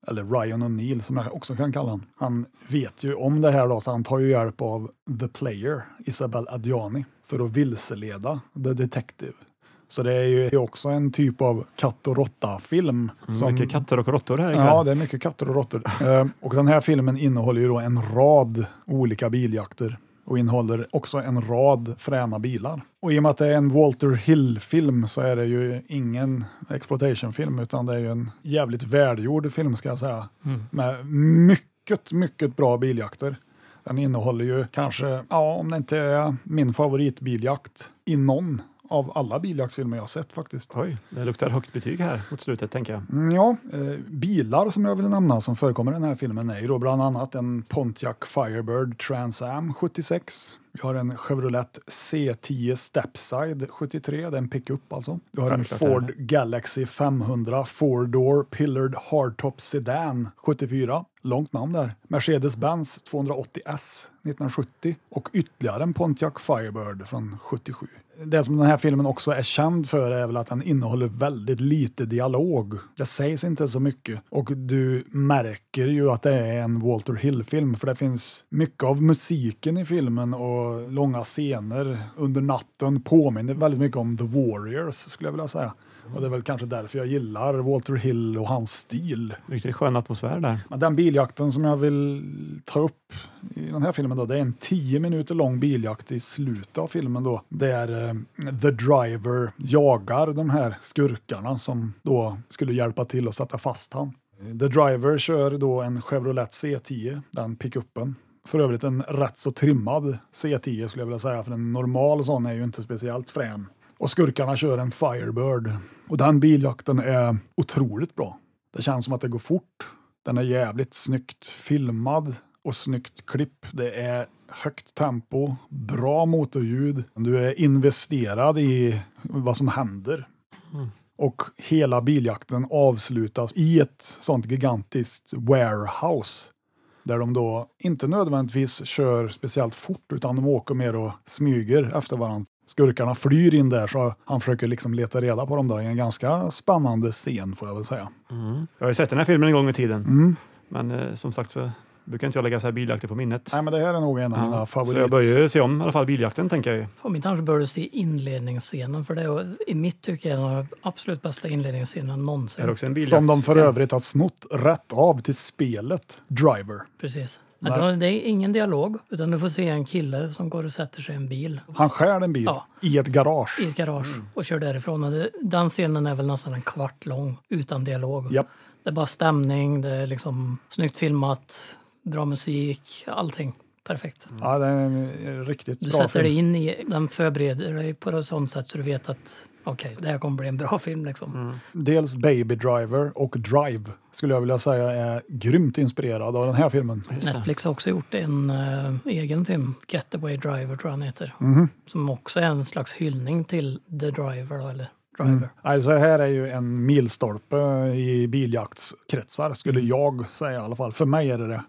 S2: eller Ryan O'Neill som jag också kan kalla han, han vet ju om det här då, så han tar ju hjälp av the player, Isabel Adjani, för att vilseleda the detective. Så det är ju också en typ av katt och råtta-film.
S3: Som... Mycket katter och råttor här ikväll.
S2: Mm. Ja, det är mycket katter och råttor. Eh, och den här filmen innehåller ju då en rad olika biljakter och innehåller också en rad fräna bilar. Och i och med att det är en Walter Hill-film så är det ju ingen exploitation-film utan det är ju en jävligt välgjord film ska jag säga.
S3: Mm.
S2: Med mycket, mycket bra biljakter. Den innehåller ju kanske, ja om det inte är min favoritbiljakt i någon av alla biljaktsfilmer jag har sett faktiskt.
S3: Oj, det luktar högt betyg här mot slutet tänker jag.
S2: Mm, Ja, eh, bilar som jag vill nämna som förekommer i den här filmen är ju då bland annat en Pontiac Firebird Trans Am 76. Vi har en Chevrolet C10 Stepside 73, det är en pickup alltså. Du har en
S3: Självklart är det.
S2: Ford Galaxy 500 Four Door Pillared Hardtop Sedan 74. Långt namn där. Mercedes-Benz 280S 1970 och ytterligare en Pontiac Firebird från 77. Det som den här filmen också är känd för är väl att den innehåller väldigt lite dialog. Det sägs inte så mycket och du märker ju att det är en Walter Hill-film för det finns mycket av musiken i filmen och långa scener under natten påminner väldigt mycket om The Warriors skulle jag vilja säga. Och det är väl kanske därför jag gillar Walter Hill och hans stil.
S3: Riktigt skön atmosfär där.
S2: Men den biljakten som jag vill ta upp i den här filmen då, det är en tio minuter lång biljakt i slutet av filmen då, där eh, The Driver jagar de här skurkarna som då skulle hjälpa till att sätta fast han. The Driver kör då en Chevrolet C10, den pickuppen. För övrigt en rätt så trimmad C10 skulle jag vilja säga, för en normal sån är ju inte speciellt frän. Och skurkarna kör en Firebird. Och den biljakten är otroligt bra. Det känns som att det går fort. Den är jävligt snyggt filmad och snyggt klipp. Det är högt tempo, bra motorljud. Du är investerad i vad som händer. Och hela biljakten avslutas i ett sånt gigantiskt warehouse där de då inte nödvändigtvis kör speciellt fort utan de åker mer och smyger efter varandra. Skurkarna flyr in där så han försöker liksom leta reda på dem där i en ganska spännande scen får jag väl säga.
S3: Jag har ju sett den här filmen en gång i tiden,
S2: Mm.
S3: men eh, som sagt så brukar inte jag lägga så här biljakter på minnet.
S2: Nej men det här är nog en av mina
S3: Ja,
S2: favorit...
S3: Så jag börjar ju se om i alla fall biljakten tänker jag ju.
S4: På min kanske bör du se inledningsscenen för det är i mitt tycke en av de absolut bästa inledningsscenen
S3: Är det
S4: någonsin.
S3: också en biljakt?
S2: Som de för övrigt har snott rätt av till spelet Driver.
S4: Precis. Att det- Det är ingen dialog utan du får se en kille som går och sätter sig i en bil
S2: Han stjäl en bil
S4: Ja.
S2: i ett garage.
S4: i ett garage
S2: Mm.
S4: och kör därifrån. Och det- Den scenen är väl nästan en kvart lång utan dialog.
S2: Japp.
S4: Det är bara stämning, det är liksom snyggt filmat, bra musik, allting. Perfekt.
S2: Ja, det är en eh, riktigt
S4: Du
S2: Mm. bra
S4: sätter
S2: film.
S4: dig in i, den förbereder dig på ett sånt sätt så du vet att okej, det här kommer bli en bra film liksom.
S2: Dels Baby Driver och Drive skulle jag vilja säga är grymt inspirerad av den här filmen.
S4: Netflix har också gjort en eh, egen film, Getaway Driver tror jag den heter. Som också är en slags hyllning till The Driver då, eller Driver.
S2: Alltså, det här är ju en milstolpe i biljaktskretsar, skulle
S3: Mm.
S2: jag säga i alla fall. För mig är det det.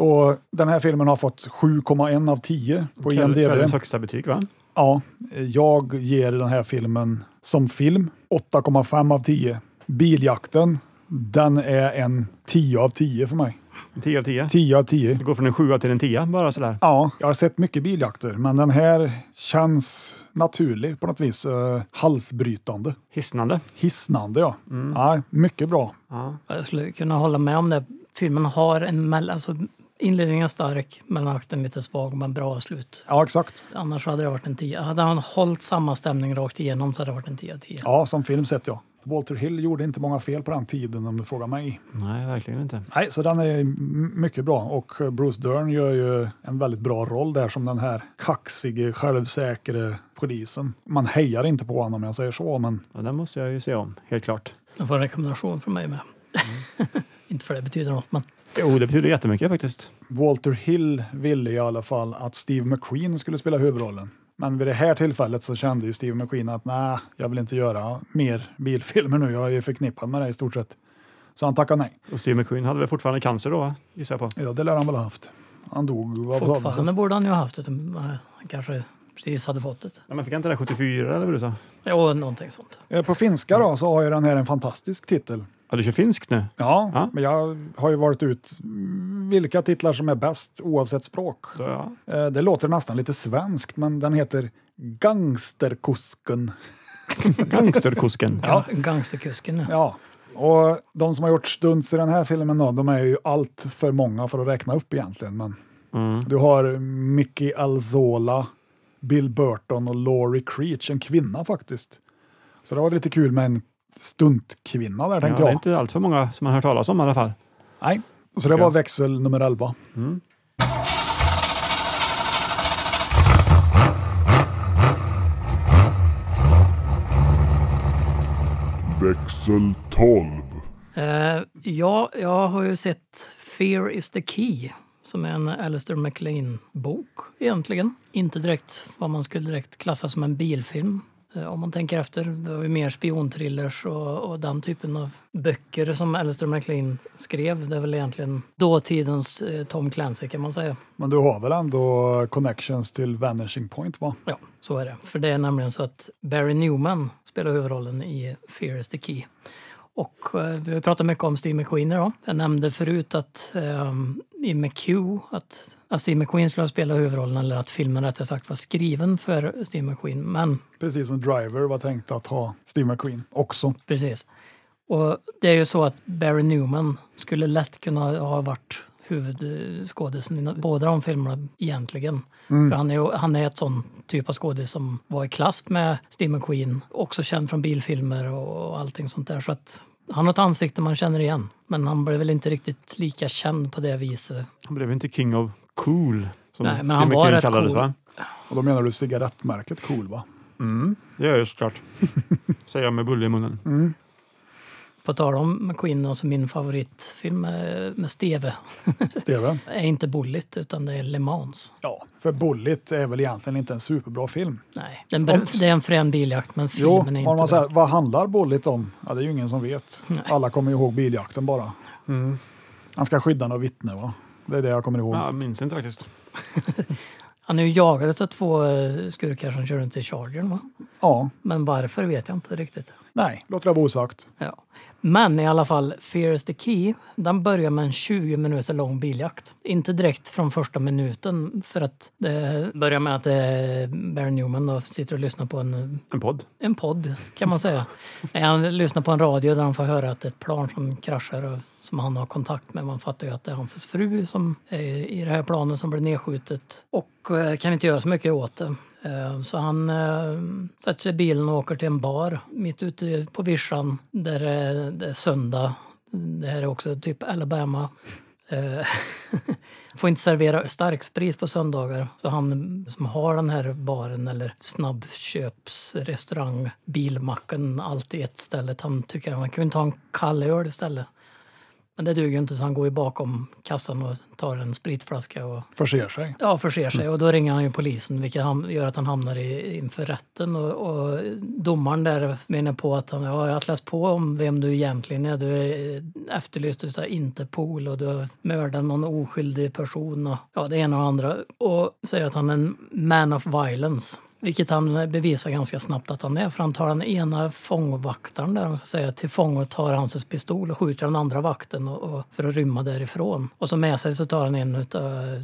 S2: Och den här filmen har fått 7,1 av 10 på
S3: Kväll-
S2: IMDB.
S3: Kvällens högsta betyg va?
S2: Ja, jag ger den här filmen som film 8,5 av 10. Biljakten, den är en 10 av 10 för mig.
S3: 10 av 10.
S2: 10 av 10.
S3: Det går från en 7 till en 10 bara sådär.
S2: Ja, jag har sett mycket biljakter, men den här känns naturlig på något vis. Eh, halsbrytande.
S3: Hisnande.
S2: Hisnande ja. ja. Mycket bra.
S3: Ja.
S4: Jag skulle kunna hålla med om det. Filmen har en mellan... Alltså, inledningen är stark, mellanakten lite svag, men bra slut.
S2: Ja, exakt.
S4: Annars hade det varit en 10. Hade han hållit samma stämning rakt igenom så hade det varit en 10 av 10.
S2: Ja, som film sett jag. Walter Hill gjorde inte många fel på den tiden om du frågar mig.
S3: Nej, verkligen inte.
S2: Nej, så den är m- mycket bra och eh, Bruce Dern gör ju en väldigt bra roll där som den här kaxige, självsäkre polisen. Man hejar inte på honom om jag säger så, men
S3: Ja, den måste jag ju se om, helt klart.
S4: Du får en rekommendation från mig med. Inte för det betyder något, men
S3: Jo, det betyder jättemycket faktiskt.
S2: Walter Hill ville i alla fall att Steve McQueen skulle spela huvudrollen. Men vid det här tillfället så kände ju Steve McQueen att nej, jag vill inte göra mer bilfilmer nu. Jag är ju förknippad med det i stort sett. Så han tackade nej.
S3: Och Steve McQueen hade väl fortfarande cancer då, va? gissar jag på.
S2: Ja, det lär han väl ha haft. Han dog. vad var det?
S4: fortfarande borde han ju ha haft det. eh, Han kanske precis hade fått det.
S3: Ja, men fick han inte det där 74 eller vad du sa?
S4: Jo, någonting sånt.
S2: Eh, På finska då så har ju den här en fantastisk titel.
S3: Ja, du kör finskt nu?
S2: Ja,
S3: Ja.
S2: men jag har ju valt ut vilka titlar som är bäst oavsett språk.
S3: Då, ja.
S2: Eh, Det låter nästan lite svenskt, men den heter Gangsterkusken.
S3: Gangsterkusken.
S4: Ja. Gangsterkusken. Ja.
S2: Ja, och de som har gjort stunts i den här filmen då, de är ju allt för många för att räkna upp egentligen. Men
S3: Mm.
S2: du har Mickey Alzola, Bill Burton och Laurie Creech, en kvinna faktiskt. Så det var lite kul med en stuntkvinna där
S3: Ja,
S2: tänkte
S3: det är
S2: jag.
S3: inte allt för många som man har hört talas om i alla fall.
S2: Nej. Så det var växel nummer 11.
S5: växel 12,
S4: Eh, ja, jag har ju sett Fear is the key som är en Alistair MacLean-bok egentligen. Inte direkt vad man skulle direkt klassa som en bilfilm. eh, Om man tänker efter, det var ju mer spionthrillers och, och den typen av böcker som Alistair MacLean skrev. Det är väl egentligen dåtidens eh, Tom Clancy kan man säga.
S2: Men du har väl ändå connections till Vanishing Point va?
S4: Ja, så är det. För det är nämligen så att Barry Newman spelar huvudrollen i Fear is the Key. Och eh, vi har ju pratat mycket om Steve McQueen idag. Jag nämnde förut att eh, i McHugh, att, att Steve McQueen skulle ha spelat huvudrollen eller att filmen rättare sagt var skriven för Steve McQueen. Men
S2: Precis som Driver var tänkt att ha Steve McQueen också.
S4: precis. Och det är ju så att Barry Newman skulle lätt kunna ha varit huvudskådisen i båda de filmerna egentligen. För han, är ju, han är ett sån typ av skådis som var i klass med Steve McQueen. Också känd från bilfilmer och allting sånt där. Så att han har ett ansikte man känner igen. Men han blev väl inte riktigt lika känd på det viset.
S3: Han blev ju inte king of cool, som
S4: Nej, men
S3: Steve
S4: han var
S3: McQueen
S4: rätt
S3: kallades,
S4: cool.
S3: va?
S2: Och då menar du cigarettmärket Cool va? Mm.
S3: Det gör jag såklart. Säger jag med bulle i munnen.
S4: På tal om McQueen, alltså min favoritfilm eh, med Steve
S2: Steven?
S4: är inte Bullet utan det är Le Mans.
S2: Ja, för Bullet är väl egentligen inte en superbra film.
S4: Nej, den, ber- det är en frän biljakt men filmen är inte
S2: om man
S4: bra.
S2: säger, vad handlar Bullet om? Ja, det är ju ingen som vet. Alla kommer ihåg biljakten bara. Han ska skydda några vittne, va? Det är det jag kommer ihåg.
S3: Ja, jag minns inte faktiskt.
S4: Han är ju jagad av två eh, skurkar som kör runt i chargern. Va?
S2: Ja,
S4: Men varför vet jag inte riktigt.
S2: nej, låter det vara osagt.
S4: Ja. Men i alla fall, Fear is the Key, den börjar med en 20 minuter lång biljakt. Inte direkt från första minuten för att det börjar med att eh, Barry Newman då sitter och lyssnar på en,
S3: En podd.
S4: en podd kan man säga. Nej, han lyssnar på en radio där han får höra att det är ett plan som kraschar och som han har kontakt med. Man fattar ju att det är hans fru som är i det här planet som blir nedskjutet och eh, kan inte göra så mycket åt det. Eh, Så han eh, sätter sig i bilen och åker till en bar mitt ute på vischan där eh, det är söndag. Det här är också typ Alabama. Eh, Får inte servera starksprit på söndagar. Så han som har den här baren eller snabbköpsrestaurang, bilmacken, allt i ett ställe. Han tycker att man kunde ta en kall öl istället. Men det duger ju inte så han går ju bakom kassan och tar en spritflaska och
S2: Förser sig.
S4: ja, förser sig. Och då ringer han ju polisen vilket ham- gör att han hamnar i, inför rätten. Och, och domaren där menar på att han ja, jag har läst på om vem du egentligen är. Du är eh, efterlyst utav Interpol och du har mördat någon oskyldig person och ja, det ena och det andra. Och säger att han är en man of violence. Vilket han bevisar ganska snabbt att han är, för han tar den ena fångvaktaren där, om man ska säga, till fånge och tar hans pistol och skjuter den andra vakten och, och, för att rymma därifrån. Och så med sig så tar han en av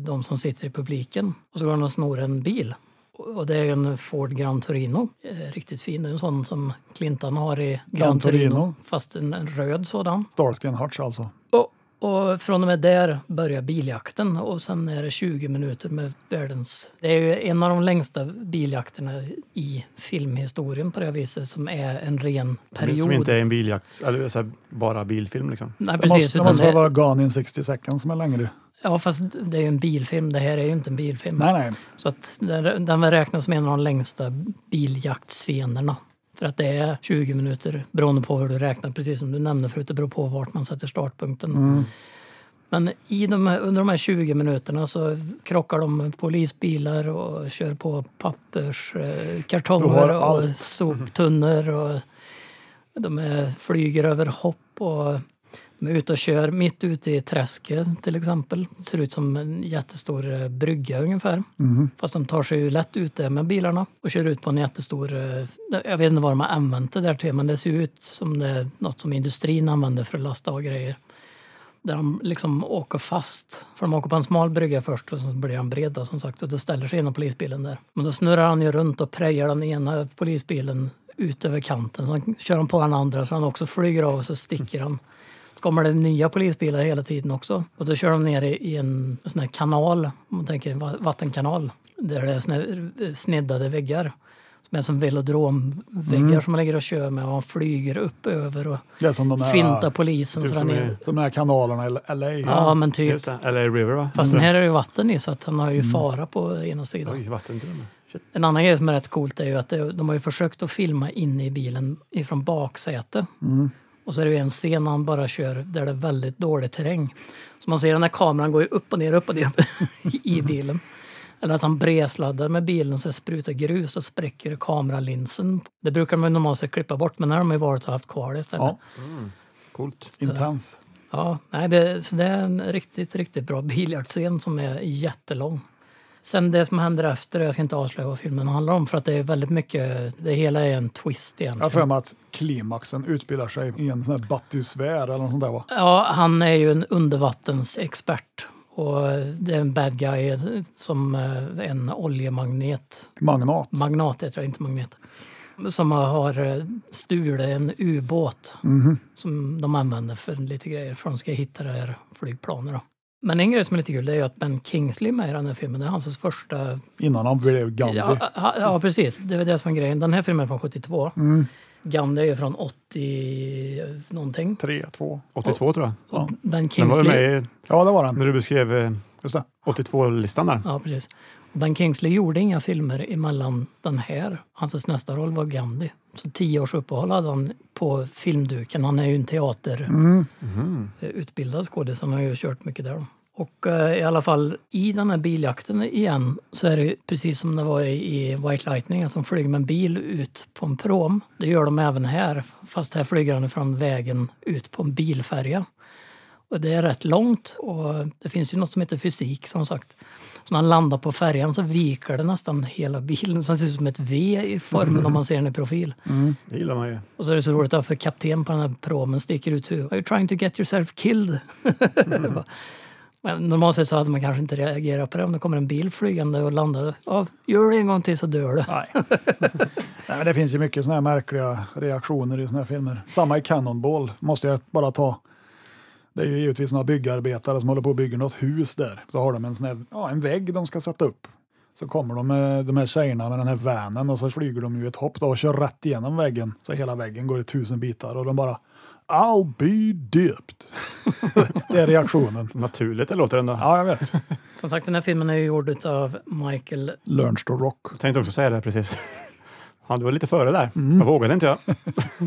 S4: de som sitter i publiken och så går han och snor en bil. Och och det är en Ford Gran Torino, Eh, riktigt fin, Det är en sån som Clintan har i Gran,
S2: Gran Torino.
S4: Torino, fast en, en röd sådan.
S2: Starsky and Hutch alltså.
S4: Och, och från och med där börjar biljakten och sen är det 20 minuter med världens... Det är ju en av de längsta biljakterna i filmhistorien på det här viset som är en ren period.
S3: Som inte är en biljakt, eller så här, bara bilfilm liksom.
S4: Nej,
S2: Det
S4: precis.
S2: måste, det måste
S4: utan det,
S2: vara Gone in 60 seconds som är längre.
S4: ja, fast det är ju en bilfilm. Det här är ju inte en bilfilm.
S2: Nej, nej.
S4: Så att den, den räknas som en av de längsta biljaktscenerna. För att det är 20 minuter beroende på hur du räknar, precis som du nämnde förut, det beror på vart man sätter startpunkten.
S2: Mm.
S4: Men i de här, under de här 20 minuterna så krockar de med polisbilar och kör på papperskartonger eh,
S2: Du har
S4: kartonger och
S2: allt.
S4: soptunnor och de är, flyger över hopp och de är ute och kör mitt ute i träsket till exempel. Det ser ut som en jättestor eh, brygga ungefär. Fast de tar sig ju lätt ut där med bilarna och kör ut på en jättestor... eh, Jag vet inte vad de har använt det där till men det ser ut som det är något som industrin använder för att lasta av grejer. Där de liksom åker fast. För de åker på en smal brygga först och sen blir han bred då, som sagt och då ställer sig ena polisbilen där. Men då snurrar han ju runt och prejar den ena polisbilen ut över kanten. Sen kör han på den andra så han också flyger av och så sticker han. Så kommer det nya polisbilar hela tiden också. Och då kör de ner i- i en sån här kanal, om man tänker en va- vattenkanal, där det är såna här eh, sneddade väggar. Som är som velodromväggar som man lägger och kör med och han flyger upp över och
S2: Det är som de här,
S4: fintar polisen.
S3: typ
S4: så den
S3: som
S4: är-
S3: i-
S2: som Eh, de här kanalerna i LA.
S4: Ja, men typ.
S3: Just det, LA River va?
S4: Fast den här är ju vatten i så att han har ju fara på ena sidan.
S3: Mm. Oj, vatten till och med. Shit.
S4: En annan grej som är rätt coolt är ju att det, de har ju försökt att filma inne i bilen ifrån baksäte. Och så är det ju en scen när han bara kör där det är väldigt dålig terräng. Så man ser den här kameran går ju upp och ner, upp och ner i bilen. Eller att han bredsladdar med bilen så det sprutar grus och spräcker kameralinsen. Det brukar man ju normalt sett klippa bort men här har man ju varit och haft kvar det istället.
S2: Ja,
S3: Coolt.
S2: intens.
S4: Ja, nej, det, så det är en riktigt, riktigt bra biljaktscen som är jättelång. Sen det som händer efter, jag ska inte avslöja vad filmen handlar om för att det är väldigt mycket, det hela är en twist
S2: Jag har
S4: egentligen.
S2: för mig att klimaxen utspelar sig i en sån här batysfär eller något sånt där va?
S4: Ja, han är ju en undervattensexpert och eh, det är en bad guy som eh, en oljemagnet
S2: Magnat.
S4: magnat heter det, inte magnet, som har eh, stulit en ubåt
S2: Mhm.
S4: som de använder för lite grejer, för de ska hitta det här flygplanet. Då. Men en grej som är lite kul det är ju att Ben Kingsley är med i den här filmen. Det är hans första...
S2: Innan han blev Gandhi.
S4: Ja, ja, ja, precis. Det är väl det som är grejen. Den här filmen är från 72.
S2: Mm.
S4: Gandhi är ju från 80 någonting.
S2: Tre, två.
S3: 82 tror jag.
S2: Ja.
S4: Ben
S3: Den var ju
S4: Kingsley...
S3: med i,
S2: Ja, det var den.
S3: när du beskrev eh,
S2: Just det.
S3: 82-listan där.
S4: Ja, precis. Och Ben Kingsley gjorde inga filmer emellan den här. Hans nästa roll var Gandhi. Så tio års uppehåll hade han på filmduken. Han är ju en teaterutbildad skådis. Han har ju kört mycket där. då. Och eh, i alla fall i den här biljakten igen så är det ju precis som det var i i White Lightning att de flyger med en bil ut på en prom. Det gör de även här fast här flyger han från vägen ut på en bilfärja. Och det är rätt långt och det finns ju något som heter fysik som sagt. Så när han landar på färjan så viker det nästan hela bilen. Så det ser ut som ett V i formen om man ser den i profil.
S3: Det gillar man ju.
S4: Och så är det så roligt att för kapten på den här promen sticker ut huvudet. Are you trying to get yourself killed? Men normalt sett så hade man kanske inte reagerat på det om det kommer en bil flygande och landar. Ja, gör det en gång till så dör du.
S2: Nej. Nej, men det finns ju mycket såna här märkliga reaktioner i såna här filmer. Samma i Cannonball, måste jag bara ta. Det är ju givetvis några byggarbetare som håller på och bygger något hus där. Så har de en, sån här, ja, en vägg de ska sätta upp. Så kommer de med de här tjejerna med den här vanen och så flyger de ju ett hopp då och kör rätt igenom väggen. Så hela väggen går i tusen bitar och de bara I'll be dipped. det är reaktionen.
S3: Naturligt det låter ändå.
S2: Ja, jag vet.
S4: Som sagt, den här filmen är ju gjord av Michael
S2: Lernst to rock.
S3: Jag tänkte också säga det precis. Ja, du var lite före där.
S4: Mm.
S3: Jag vågade inte jag.
S4: Nej,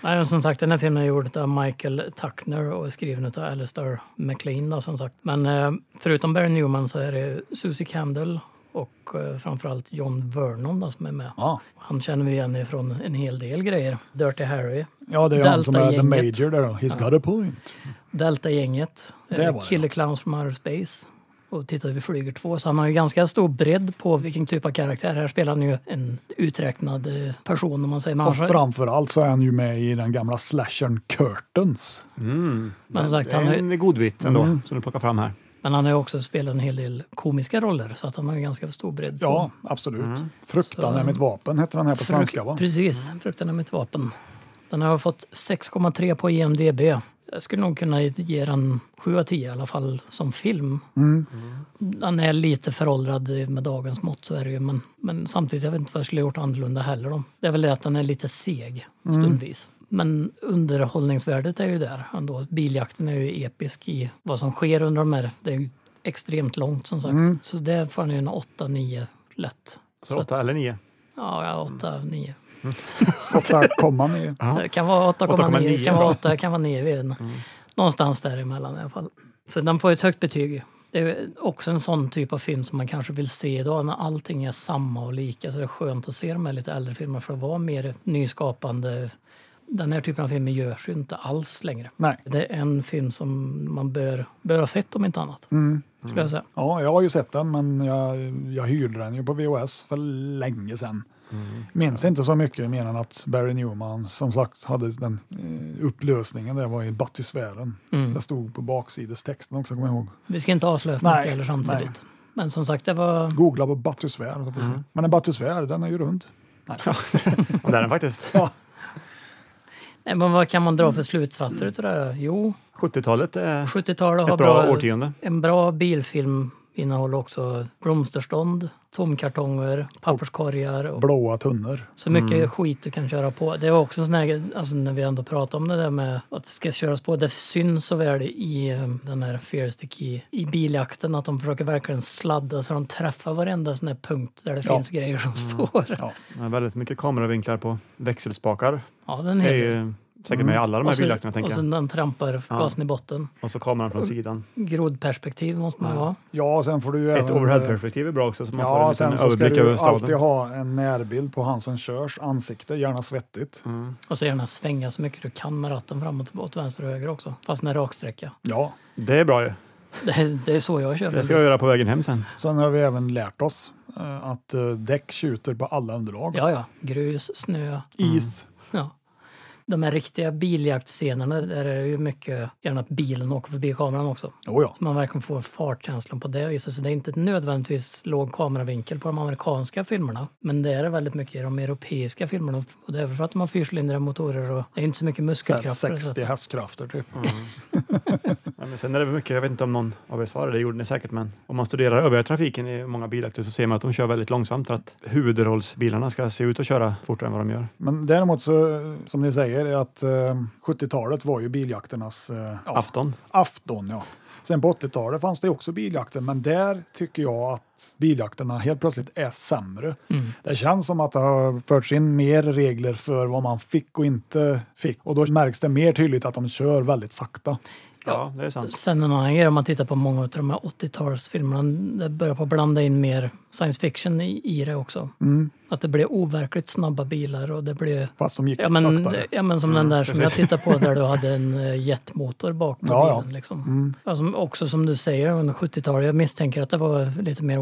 S4: men som sagt, den här filmen är gjord av Michael Tuckner och skriven av Alistair MacLean. Då, som sagt. Men eh, förutom Barry Newman så är det Susie Candle och eh, framförallt John Vernon då, som är med.
S2: Ja,
S4: Han känner vi igen ifrån en hel del grejer. Dirty Harry,
S2: ja det är han som är the
S4: Delta-gänget.
S2: major där då. He's got a point.
S4: Delta-gänget,
S2: Där
S4: eh,
S2: var det,
S4: Killer
S2: ja.
S4: Clowns from Outer Space, och tittade vi Flyger 2. Så han har ju ganska stor bredd på vilken typ av karaktär. Här spelar han ju en uträknad eh, person om man säger. Men,
S2: Och
S4: han,
S2: framförallt så är han ju med i den gamla slashern Curtains.
S4: men Mm. som sagt,
S3: Det
S4: han har,
S3: är
S4: ju- Mm.
S3: en godbit ändå som du plockar fram här.
S4: men han har ju också spelat en hel del komiska roller så att han har ju ganska stor bredd. på-
S2: Ja, absolut. Fruktan är mitt Mm. vapen heter den här på svenska va?
S4: Precis, Fruktan är mitt vapen. Den har fått 6,3 på E IMDB. Jag skulle nog kunna ge den 7 av 10 i alla fall som film. Den är lite föråldrad med dagens mått, så är det ju. Men, men samtidigt, jag vet inte vad jag skulle ha gjort annorlunda heller. Då. Det är väl det att den är lite seg stundvis. Men underhållningsvärdet är ju där ändå. Biljakten är ju episk i vad som sker under de här. Det är ju extremt långt som sagt. Så där får den ju en 8-9 lätt.
S3: Så
S4: att-
S3: åtta eller nio.
S4: Ja, ja 8, 9.
S2: 8,9.
S4: Det kan vara 8,9,
S3: 8,9,
S4: kan vara
S3: bra. Mm.
S4: 8, kan vara 9. vi vet inte. Någonstans däremellan i alla fall. Så den får ett högt betyg. Det är också en sån typ av film som man kanske vill se idag när allting är samma och lika. Så det är skönt att se de här lite äldre filmerna för att vara mer nyskapande. Den här typen av filmer görs ju inte alls längre.
S2: Nej.
S4: Det är en film som man bör, bör ha sett om inte annat.
S3: Mm.
S4: Skulle jag säga.
S2: Ja, jag har ju sett den, men jag, jag hyrde den ju på VHS för länge sedan. Minns inte så mycket mer än att Barry Newman som sagt hade den eh, upplösningen där var i battisfären. Det stod på baksidestexten också, kommer jag ihåg.
S4: Vi ska inte avslöja för
S2: Nej,
S4: mycket heller samtidigt.
S2: nej.
S4: Men som sagt, det var...
S2: Googla på battisfär. så får vi se. Men en battisfär, den är ju rund.
S3: Och där är den faktiskt.
S4: Nej, men vad kan man dra för slutsatser utav det här? Jo,
S3: 70-talet är
S4: 70-talet har
S3: ett bra
S4: bra
S3: årtionde.
S4: En bra bilfilm innehåller också blomsterstånd, tomkartonger, papperskorgar och
S2: Blåa tunnor.
S4: så
S3: Mm.
S4: mycket skit du kan köra på. Det var också en sån här, alltså när vi ändå pratar om det där med att det ska köras på. Det syns så väl i eh, den här Fearless the Key, i biljakten att de försöker verkligen sladda så de träffar varenda sån här punkt där det
S2: Ja.
S4: finns grejer som
S3: Mm.
S4: står. Ja,
S3: Det är väldigt mycket kameravinklar på växelspakar.
S4: den
S3: Det är
S4: är
S3: ju säkert med i alla de
S4: Mm. och
S3: här
S4: så,
S3: biljakterna
S4: och
S3: tänker
S4: så
S3: jag.
S4: den trampar gasen i botten.
S3: Och så kameran från sidan.
S4: Grodperspektiv måste man ju ha.
S2: Ja, sen får du ju
S3: Ett
S2: även- eh,
S3: overheadperspektiv är bra också så man
S2: Ja,
S3: får en
S2: sen
S3: liten
S2: så ska
S3: överblick över
S2: du alltid
S3: staden.
S2: ha en närbild på han som körs ansikte, gärna svettigt.
S3: Mm.
S4: Och så gärna svänga så mycket du kan med ratten fram och tillbaka, åt vänster och höger också. Fast en raksträcka.
S2: Ja,
S3: Det är bra ju.
S4: Det, är- det är så jag kör.
S3: Det ska jag göra på vägen hem sen.
S2: sen har vi även lärt oss eh, att eh, däck tjuter på alla underlag.
S4: Ja, ja. Grus, snö.
S2: Is.
S3: Mm.
S4: Ja. De här riktiga biljaktscenerna, där är det ju mycket gärna att bilen åker förbi kameran också.
S2: Oh, ja.
S4: Så man verkligen får fartkänslan på det viset. Så det är inte nödvändigtvis låg kameravinkel på de amerikanska filmerna. Men det är det väldigt mycket i de europeiska filmerna. Och det är väl för att de har fyrcylindriga motorer och det är inte så mycket
S2: Så här
S4: muskelkraft. på det
S2: 60
S4: sättet.
S2: hästkrafter typ.
S3: Mm. Ja, men sen är det väl mycket, jag vet inte om någon av er svarade, det gjorde ni säkert, men om man studerar övriga trafiken i många bilakter så ser man att de kör väldigt långsamt för att huvudrollsbilarna ska se ut att köra fortare än vad de gör.
S2: Men däremot så, eh, som ni säger, är att eh, 70-talet var ju biljakternas eh, ja,
S3: Afton.
S2: afton. Ja. Sen på 80-talet fanns det också biljakter, men där tycker jag att biljakterna helt plötsligt är sämre.
S4: Mm.
S2: Det känns som att det har förts in mer regler för vad man fick och inte fick och då märks det mer tydligt att de kör väldigt sakta.
S3: Ja, det är sant.
S4: Sen en annan grej om man tittar på många av de här 80-talsfilmerna, det börjar på att blanda in mer science fiction i, i det också. Att det blir overkligt snabba bilar och det blir
S2: Mm, Fast de gick
S4: Ja men, eh,
S2: saktare.
S4: ja men som den där som jag tittade på där du hade en eh, jetmotor bak på
S2: Ja, ja.
S4: bilen. Liksom. Alltså, också som du säger under 70-talet, jag misstänker att det var lite mer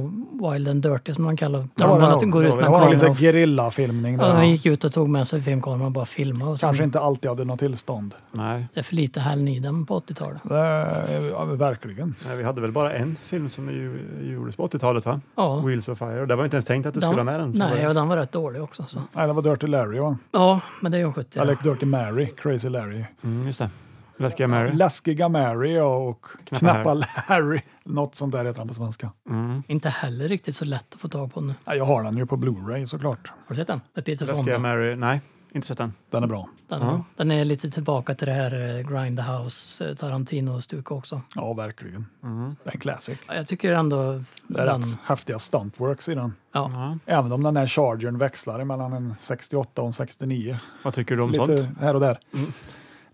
S4: wild and dirty som man kallar
S2: Det var
S4: man
S2: det
S4: alltid
S2: nog.
S4: går ut med
S2: Det
S4: en
S2: var
S4: kamera.
S2: lite
S4: och-
S2: gerillafilmning
S4: Ja,
S2: där.
S4: de gick ut och tog med sig filmkameran och bara filmade. Och sen,
S2: Kanske inte alltid hade något tillstånd.
S3: Nej,
S4: Det är för lite Hal Needham på 80-talet.
S2: Det är, ja, verkligen.
S3: nej, vi hade väl bara en film som ju, gjordes på 80-talet, va?
S4: Ja.
S3: Wheels of Fire. Och Det var inte ens tänkt att du skulle ha med den. så var
S4: nej,
S3: det-
S4: och den var rätt dålig också. Så.
S2: Nej, det var Dirty Larry va?
S4: Ja, men det är ju en 70
S2: Eller Dirty Mary, Crazy Larry.
S3: Mm, just det. Läskiga Mary.
S2: Läskiga Mary och
S3: Knappa
S2: Knappa Larry. Något sånt där heter han på svenska.
S4: Inte heller riktigt så lätt att få tag på nu.
S2: Ja, jag har den ju på Blu-ray såklart.
S4: Har du sett den? Med Peter
S3: Läskiga
S4: Fonda.
S3: Mary. Nej, inte sett den.
S2: Den är bra.
S4: Den, den är lite tillbaka till det här eh, Grindhouse, eh, Tarantino-stuk också.
S2: Ja, verkligen.
S3: Mm.
S2: Det är en classic.
S4: Ja, Jag tycker ändå
S2: Det är
S4: den...
S2: rätt häftiga stuntworks i den.
S4: Ja.
S2: Även om den här chargern växlar mellan en 68 och en 69.
S3: Vad tycker du om
S2: Lite
S3: sånt? Mm.
S2: här och där.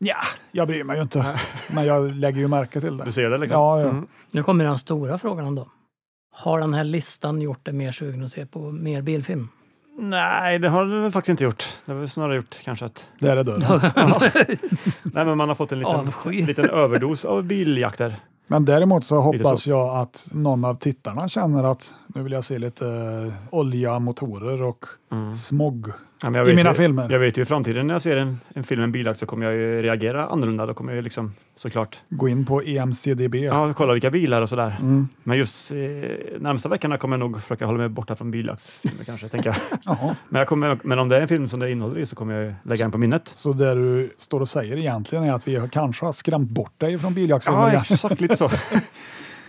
S2: Ja, jag bryr mig ju inte. Men jag lägger ju märke till det.
S3: Du ser det liksom?
S2: Ja, ja.
S4: Nu kommer den stora frågan då. Har den här listan gjort dig mer sugen att se på mer bilfilm?
S3: Nej, det har det väl faktiskt inte gjort. Det har väl snarare gjort kanske att
S2: Där är dörren.
S3: Nej, men man har fått en liten,
S4: Avsky.
S3: liten överdos av biljakter.
S2: Men däremot så
S3: Lite
S2: hoppas jag att någon av tittarna känner att nu vill jag se lite eh, olja, motorer och smog.
S3: Ja, men Mm.
S2: Mm.
S3: jag
S2: I
S3: vet
S2: mina
S3: ju,
S2: filmer.
S3: Jag vet ju i framtiden när jag ser en, en film, en biljakt, så kommer jag ju reagera annorlunda. Då kommer jag ju liksom såklart,
S2: Gå in på E EMCDB.
S3: ja, kolla vilka bilar och sådär. Men just eh, närmsta veckorna kommer jag nog försöka hålla mig borta från biljaktsfilmer kanske, tänker jag.
S2: Jaha.
S3: Men, jag kommer, men om det är en film som det innehåller i så kommer jag ju lägga den på minnet.
S2: Så det du står och säger egentligen är att vi har- kanske har skrämt bort dig från biljaktsfilmer.
S3: Ja,
S2: igen.
S3: exakt lite så.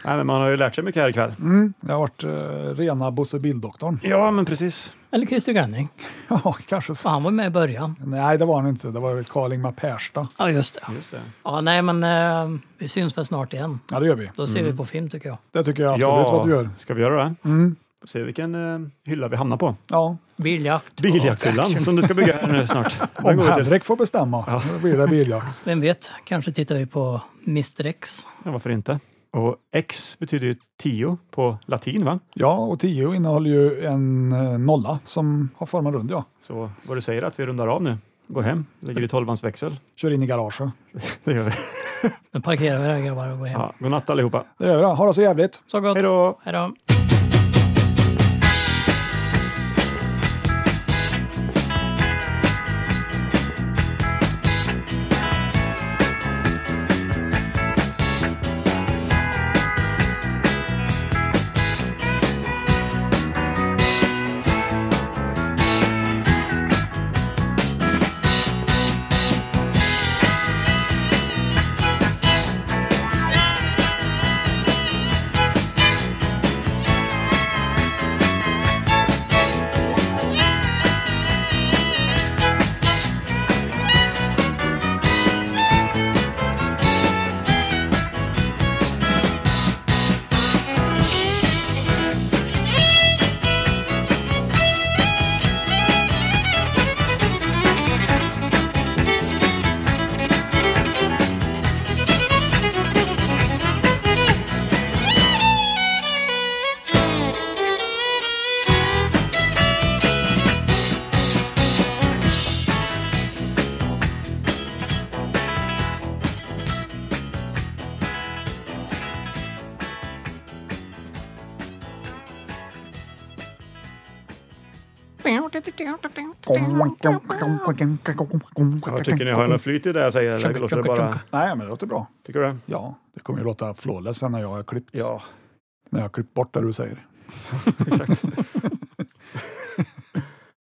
S3: Nej, men man har ju lärt sig mycket här ikväll.
S2: Mm, det har varit eh, rena Bosse Bildoktorn.
S3: Ja, men precis.
S4: Eller Christer Granning.
S2: Ja, kanske
S4: För
S2: så.
S4: han var ju med i början.
S2: Nej, det var han inte. Det var Karl-Ingmar Persta.
S4: Ja, just det.
S3: Just det.
S4: Ja, nej, men eh, vi syns väl snart igen.
S2: Ja, det gör vi.
S4: Då ser vi på film tycker jag.
S2: Det tycker jag absolut
S3: ja,
S2: att du gör. Mm.
S3: ska vi göra det? Se vilken eh, hylla vi hamnar på.
S2: Ja,
S4: Biljakt.
S3: Biljaktshyllan som du ska bygga här nu snart. Den
S2: om
S3: går ju till-
S2: Henrik får bestämma, då blir det biljakt.
S4: Vem vet, kanske tittar vi på Mr X.
S3: Ja, varför inte? Och X betyder ju 10 på latin, va?
S2: Ja, och 10 innehåller ju en eh, nolla som har formen rund, ja.
S3: Så vad du säger är att vi rundar av nu, går hem, lägger i tolvans växel.
S2: Kör in i garaget.
S3: Det gör vi.
S4: Nu parkerar vi här grabbar och går hem.
S3: Ja, god natt allihopa.
S2: Det gör jag. Ha det så jävligt!
S4: Så gott.
S3: Hej då!
S4: Hej då.
S3: Vad tycker ni? Har jag något flyt i det jag säger? Eller låter det bara...
S2: Nej, men det låter bra.
S3: Tycker du det?
S2: Ja, det kommer ju låta flawless sen när jag har klippt,
S3: Ja,
S2: när jag har klippt bort det du säger.
S3: exakt.